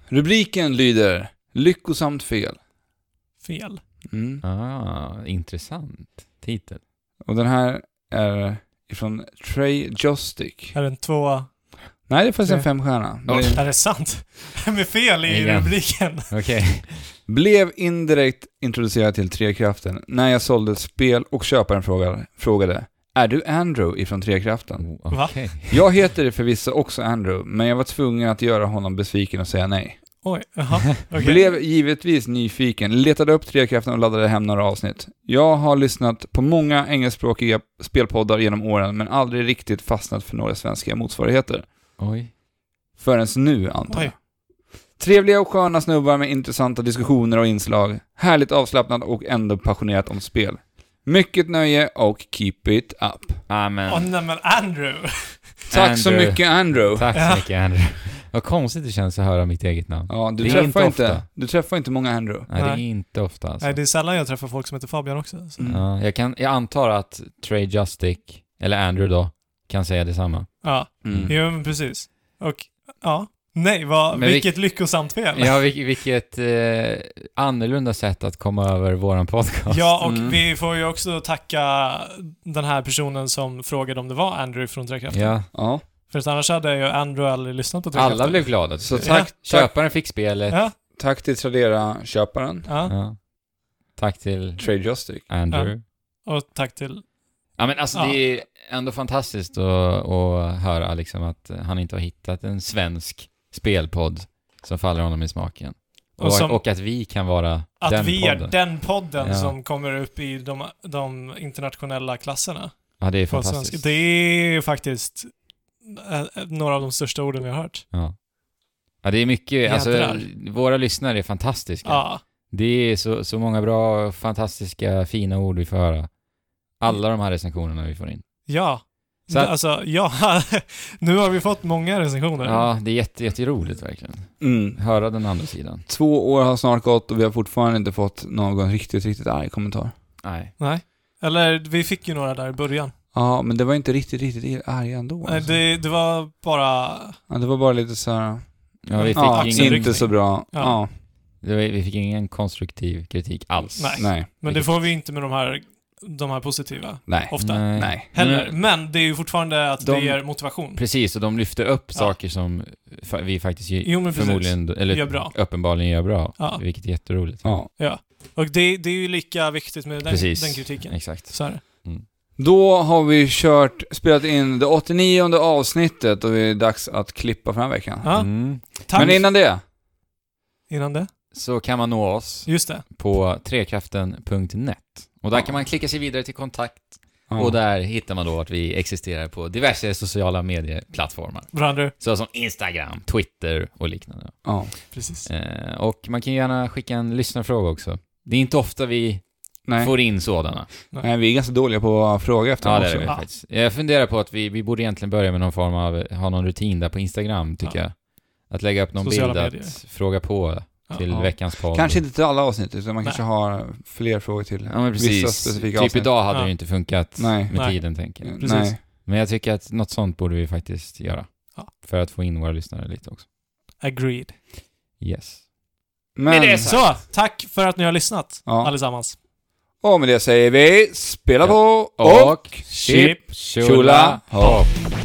S1: Rubriken lyder Lyckosamt fel.
S3: Fel.
S1: Mm.
S2: Ah, intressant titel.
S1: Och den här är ifrån Trey Jostick.
S3: Är den två...
S1: Nej, det är faktiskt en
S3: Tre.
S1: femstjärna.
S2: Oj.
S1: Det
S3: Är det sant? Med fel i
S2: Igen.
S3: rubriken.
S2: Okej.
S1: Blev indirekt introducerad till Trekraften när jag sålde ett spel och köparen frågade, frågade Är du Andrew ifrån Trekraften?
S2: Oh,
S3: Va?
S2: Okej.
S1: Jag heter förvisso också Andrew, men jag var tvungen att göra honom besviken och säga nej.
S3: Oj, jaha. okej.
S1: Blev givetvis nyfiken, letade upp Trekraften och laddade hem några avsnitt. Jag har lyssnat på många engelskspråkiga spelpoddar genom åren, men aldrig riktigt fastnat för några svenska motsvarigheter.
S2: Oj.
S1: Förrän nu, antar jag.
S3: Oj.
S1: Trevliga och sköna snubbar med intressanta diskussioner och inslag. Härligt avslappnat och ändå passionerat om spel. Mycket nöje och keep it up.
S2: Ah, men,
S3: Åh nej men Andrew!
S1: Tack så
S2: Andrew.
S1: mycket Andrew.
S2: Tack så
S3: Ja.
S2: mycket Andrew. Vad konstigt det känns att höra mitt eget namn.
S1: Ja, du
S2: Det är
S1: träffar
S2: inte
S1: inte,
S2: ofta.
S1: du träffar inte många Andrew.
S2: Nej, det är
S3: Nej.
S2: inte ofta alltså.
S3: Nej, det är sällan jag träffar folk som heter Fabian också. Så.
S1: Mm.
S2: ja, jag, kan, jag antar att Trey Justic, eller Andrew då, kan säga detsamma.
S3: Ja,
S1: Mm.
S3: jo men precis. Och, ja. Nej, vad,
S2: Men vi-
S3: vilket lyckosamt fel.
S2: Ja, vil- vilket eh, annorlunda sätt att komma över våran podcast.
S3: Ja, och
S1: Mm.
S3: vi får ju också tacka den här personen som frågade om det var Andrew från Träkraften.
S2: Ja,
S1: Ja,
S3: För att annars hade jag ju Andrew aldrig lyssnat på Träkraften.
S2: alla blev glada.
S1: så
S3: Ja.
S1: tack, tack,
S2: Köparen fick spelet.
S3: Ja,
S1: tack till Tradera-köparen,
S3: ja.
S2: Ja. Tack till
S1: Trade Justic.
S2: Andrew.
S3: Och tack till...
S2: Ja men alltså
S3: Ja.
S2: det är ändå fantastiskt att, att höra liksom att han inte har hittat en svensk spelpodd som faller honom i smaken.
S3: Och
S2: Och,
S3: som-
S2: och att vi kan vara
S3: Att
S2: den
S3: vi
S2: podden.
S3: är den podden
S2: Ja.
S3: som kommer upp i de, de internationella klasserna.
S2: Ja, det är
S3: På svenska.
S2: fantastiskt.
S3: Det är faktiskt eh, några av de största orden jag har hört.
S2: Ja. ja, det är mycket. Alltså,
S3: Jädrar.
S2: våra lyssnare är fantastiska.
S3: Ja.
S2: Det är så, så många bra, fantastiska, fina ord vi får höra. Alla de här recensionerna vi får in.
S3: Ja.
S2: Så att-
S3: Alltså, ja. nu har vi fått många recensioner.
S2: Ja, det är jätte, jätteroligt verkligen.
S1: Mm.
S2: Höra den andra sidan.
S1: Två år har snart gått och vi har fortfarande inte fått någon riktigt, riktigt arg kommentar.
S2: Nej.
S3: Eller, vi fick ju några där i början.
S1: Ja, men det var inte riktigt, riktigt arg ändå.
S3: Nej,
S1: alltså.
S3: Det, det var bara...
S1: Ja, det var bara lite så här.
S2: Ja, vi fick,
S1: ja,
S2: ingen,
S1: inte så bra.
S3: Ja.
S1: Ja.
S2: det var- vi fick ingen konstruktiv kritik alls.
S3: Nej.
S1: Nej.
S3: Men det får vi inte med de här, de här positiva
S1: Nej.
S3: ofta.
S2: Nej.
S1: Nej.
S3: Heller.
S2: Men-
S3: Men det är ju fortfarande att det
S2: De-
S3: ger motivation.
S2: Precis, och de lyfter upp
S3: Ja.
S2: saker som fa- vi faktiskt ju-
S3: Jo, men precis.
S2: förmodligen, eller
S3: Gör bra.
S2: uppenbarligen gör bra.
S3: Ja.
S2: Vilket är jätteroligt.
S1: Ja.
S3: Och det, det är ju lika viktigt med den,
S2: Precis.
S3: den kritiken.
S2: Exakt.
S3: Så är det.
S1: Då har vi kört, spelat in det 89 avsnittet och det är dags att klippa för den här veckan.
S3: Ja.
S2: Mm.
S3: Tack.
S1: Men innan det.
S3: Innan det?
S2: Så kan man nå oss
S3: Just det.
S2: på trekraften.net. Och där
S1: Ja.
S2: kan man klicka sig vidare till kontakt
S1: Ja.
S2: Och där hittar man då att vi existerar på diverse sociala medieplattformar.
S3: Bra Andrew.
S2: Såsom Instagram, Twitter och liknande.
S1: Ja.
S3: Precis.
S2: Eh, och man kan gärna skicka en lyssnarfråga också. Det är inte ofta vi
S1: Nej.
S2: får in sådana.
S1: Nej, vi är ganska dåliga på att fråga efter
S2: Ja,
S1: dem
S2: det är
S1: också.
S2: det
S3: Ja.
S2: faktiskt. Jag funderar på att vi, vi borde egentligen börja med någon form av, ha någon rutin där på Instagram, tycker
S3: Ja.
S2: jag. Att lägga upp någon
S3: Sociala
S2: bild
S3: medier.
S2: att fråga på till
S1: Ja.
S2: veckans podd.
S1: Kanske inte till alla avsnitt, utan man
S3: Nej.
S1: kanske har fler frågor till
S2: Ja, men
S1: vissa
S2: precis.
S1: specifika
S2: Typ
S1: avsnitt.
S2: idag hade
S3: Ja.
S2: det ju inte funkat
S1: Nej.
S2: med
S3: Nej.
S2: tiden, tänker jag.
S1: Nej.
S3: Precis.
S2: Men jag tycker att något sånt borde vi faktiskt göra.
S3: Ja.
S2: För att få in våra lyssnare lite också.
S3: Agreed.
S2: Yes.
S1: Men,
S3: Så, tack för att ni har lyssnat
S1: Ja.
S3: allesammans.
S1: och med det säger vi, spela
S2: Ja.
S1: på
S2: Och
S1: chip, tjola, hopp.
S2: hopp.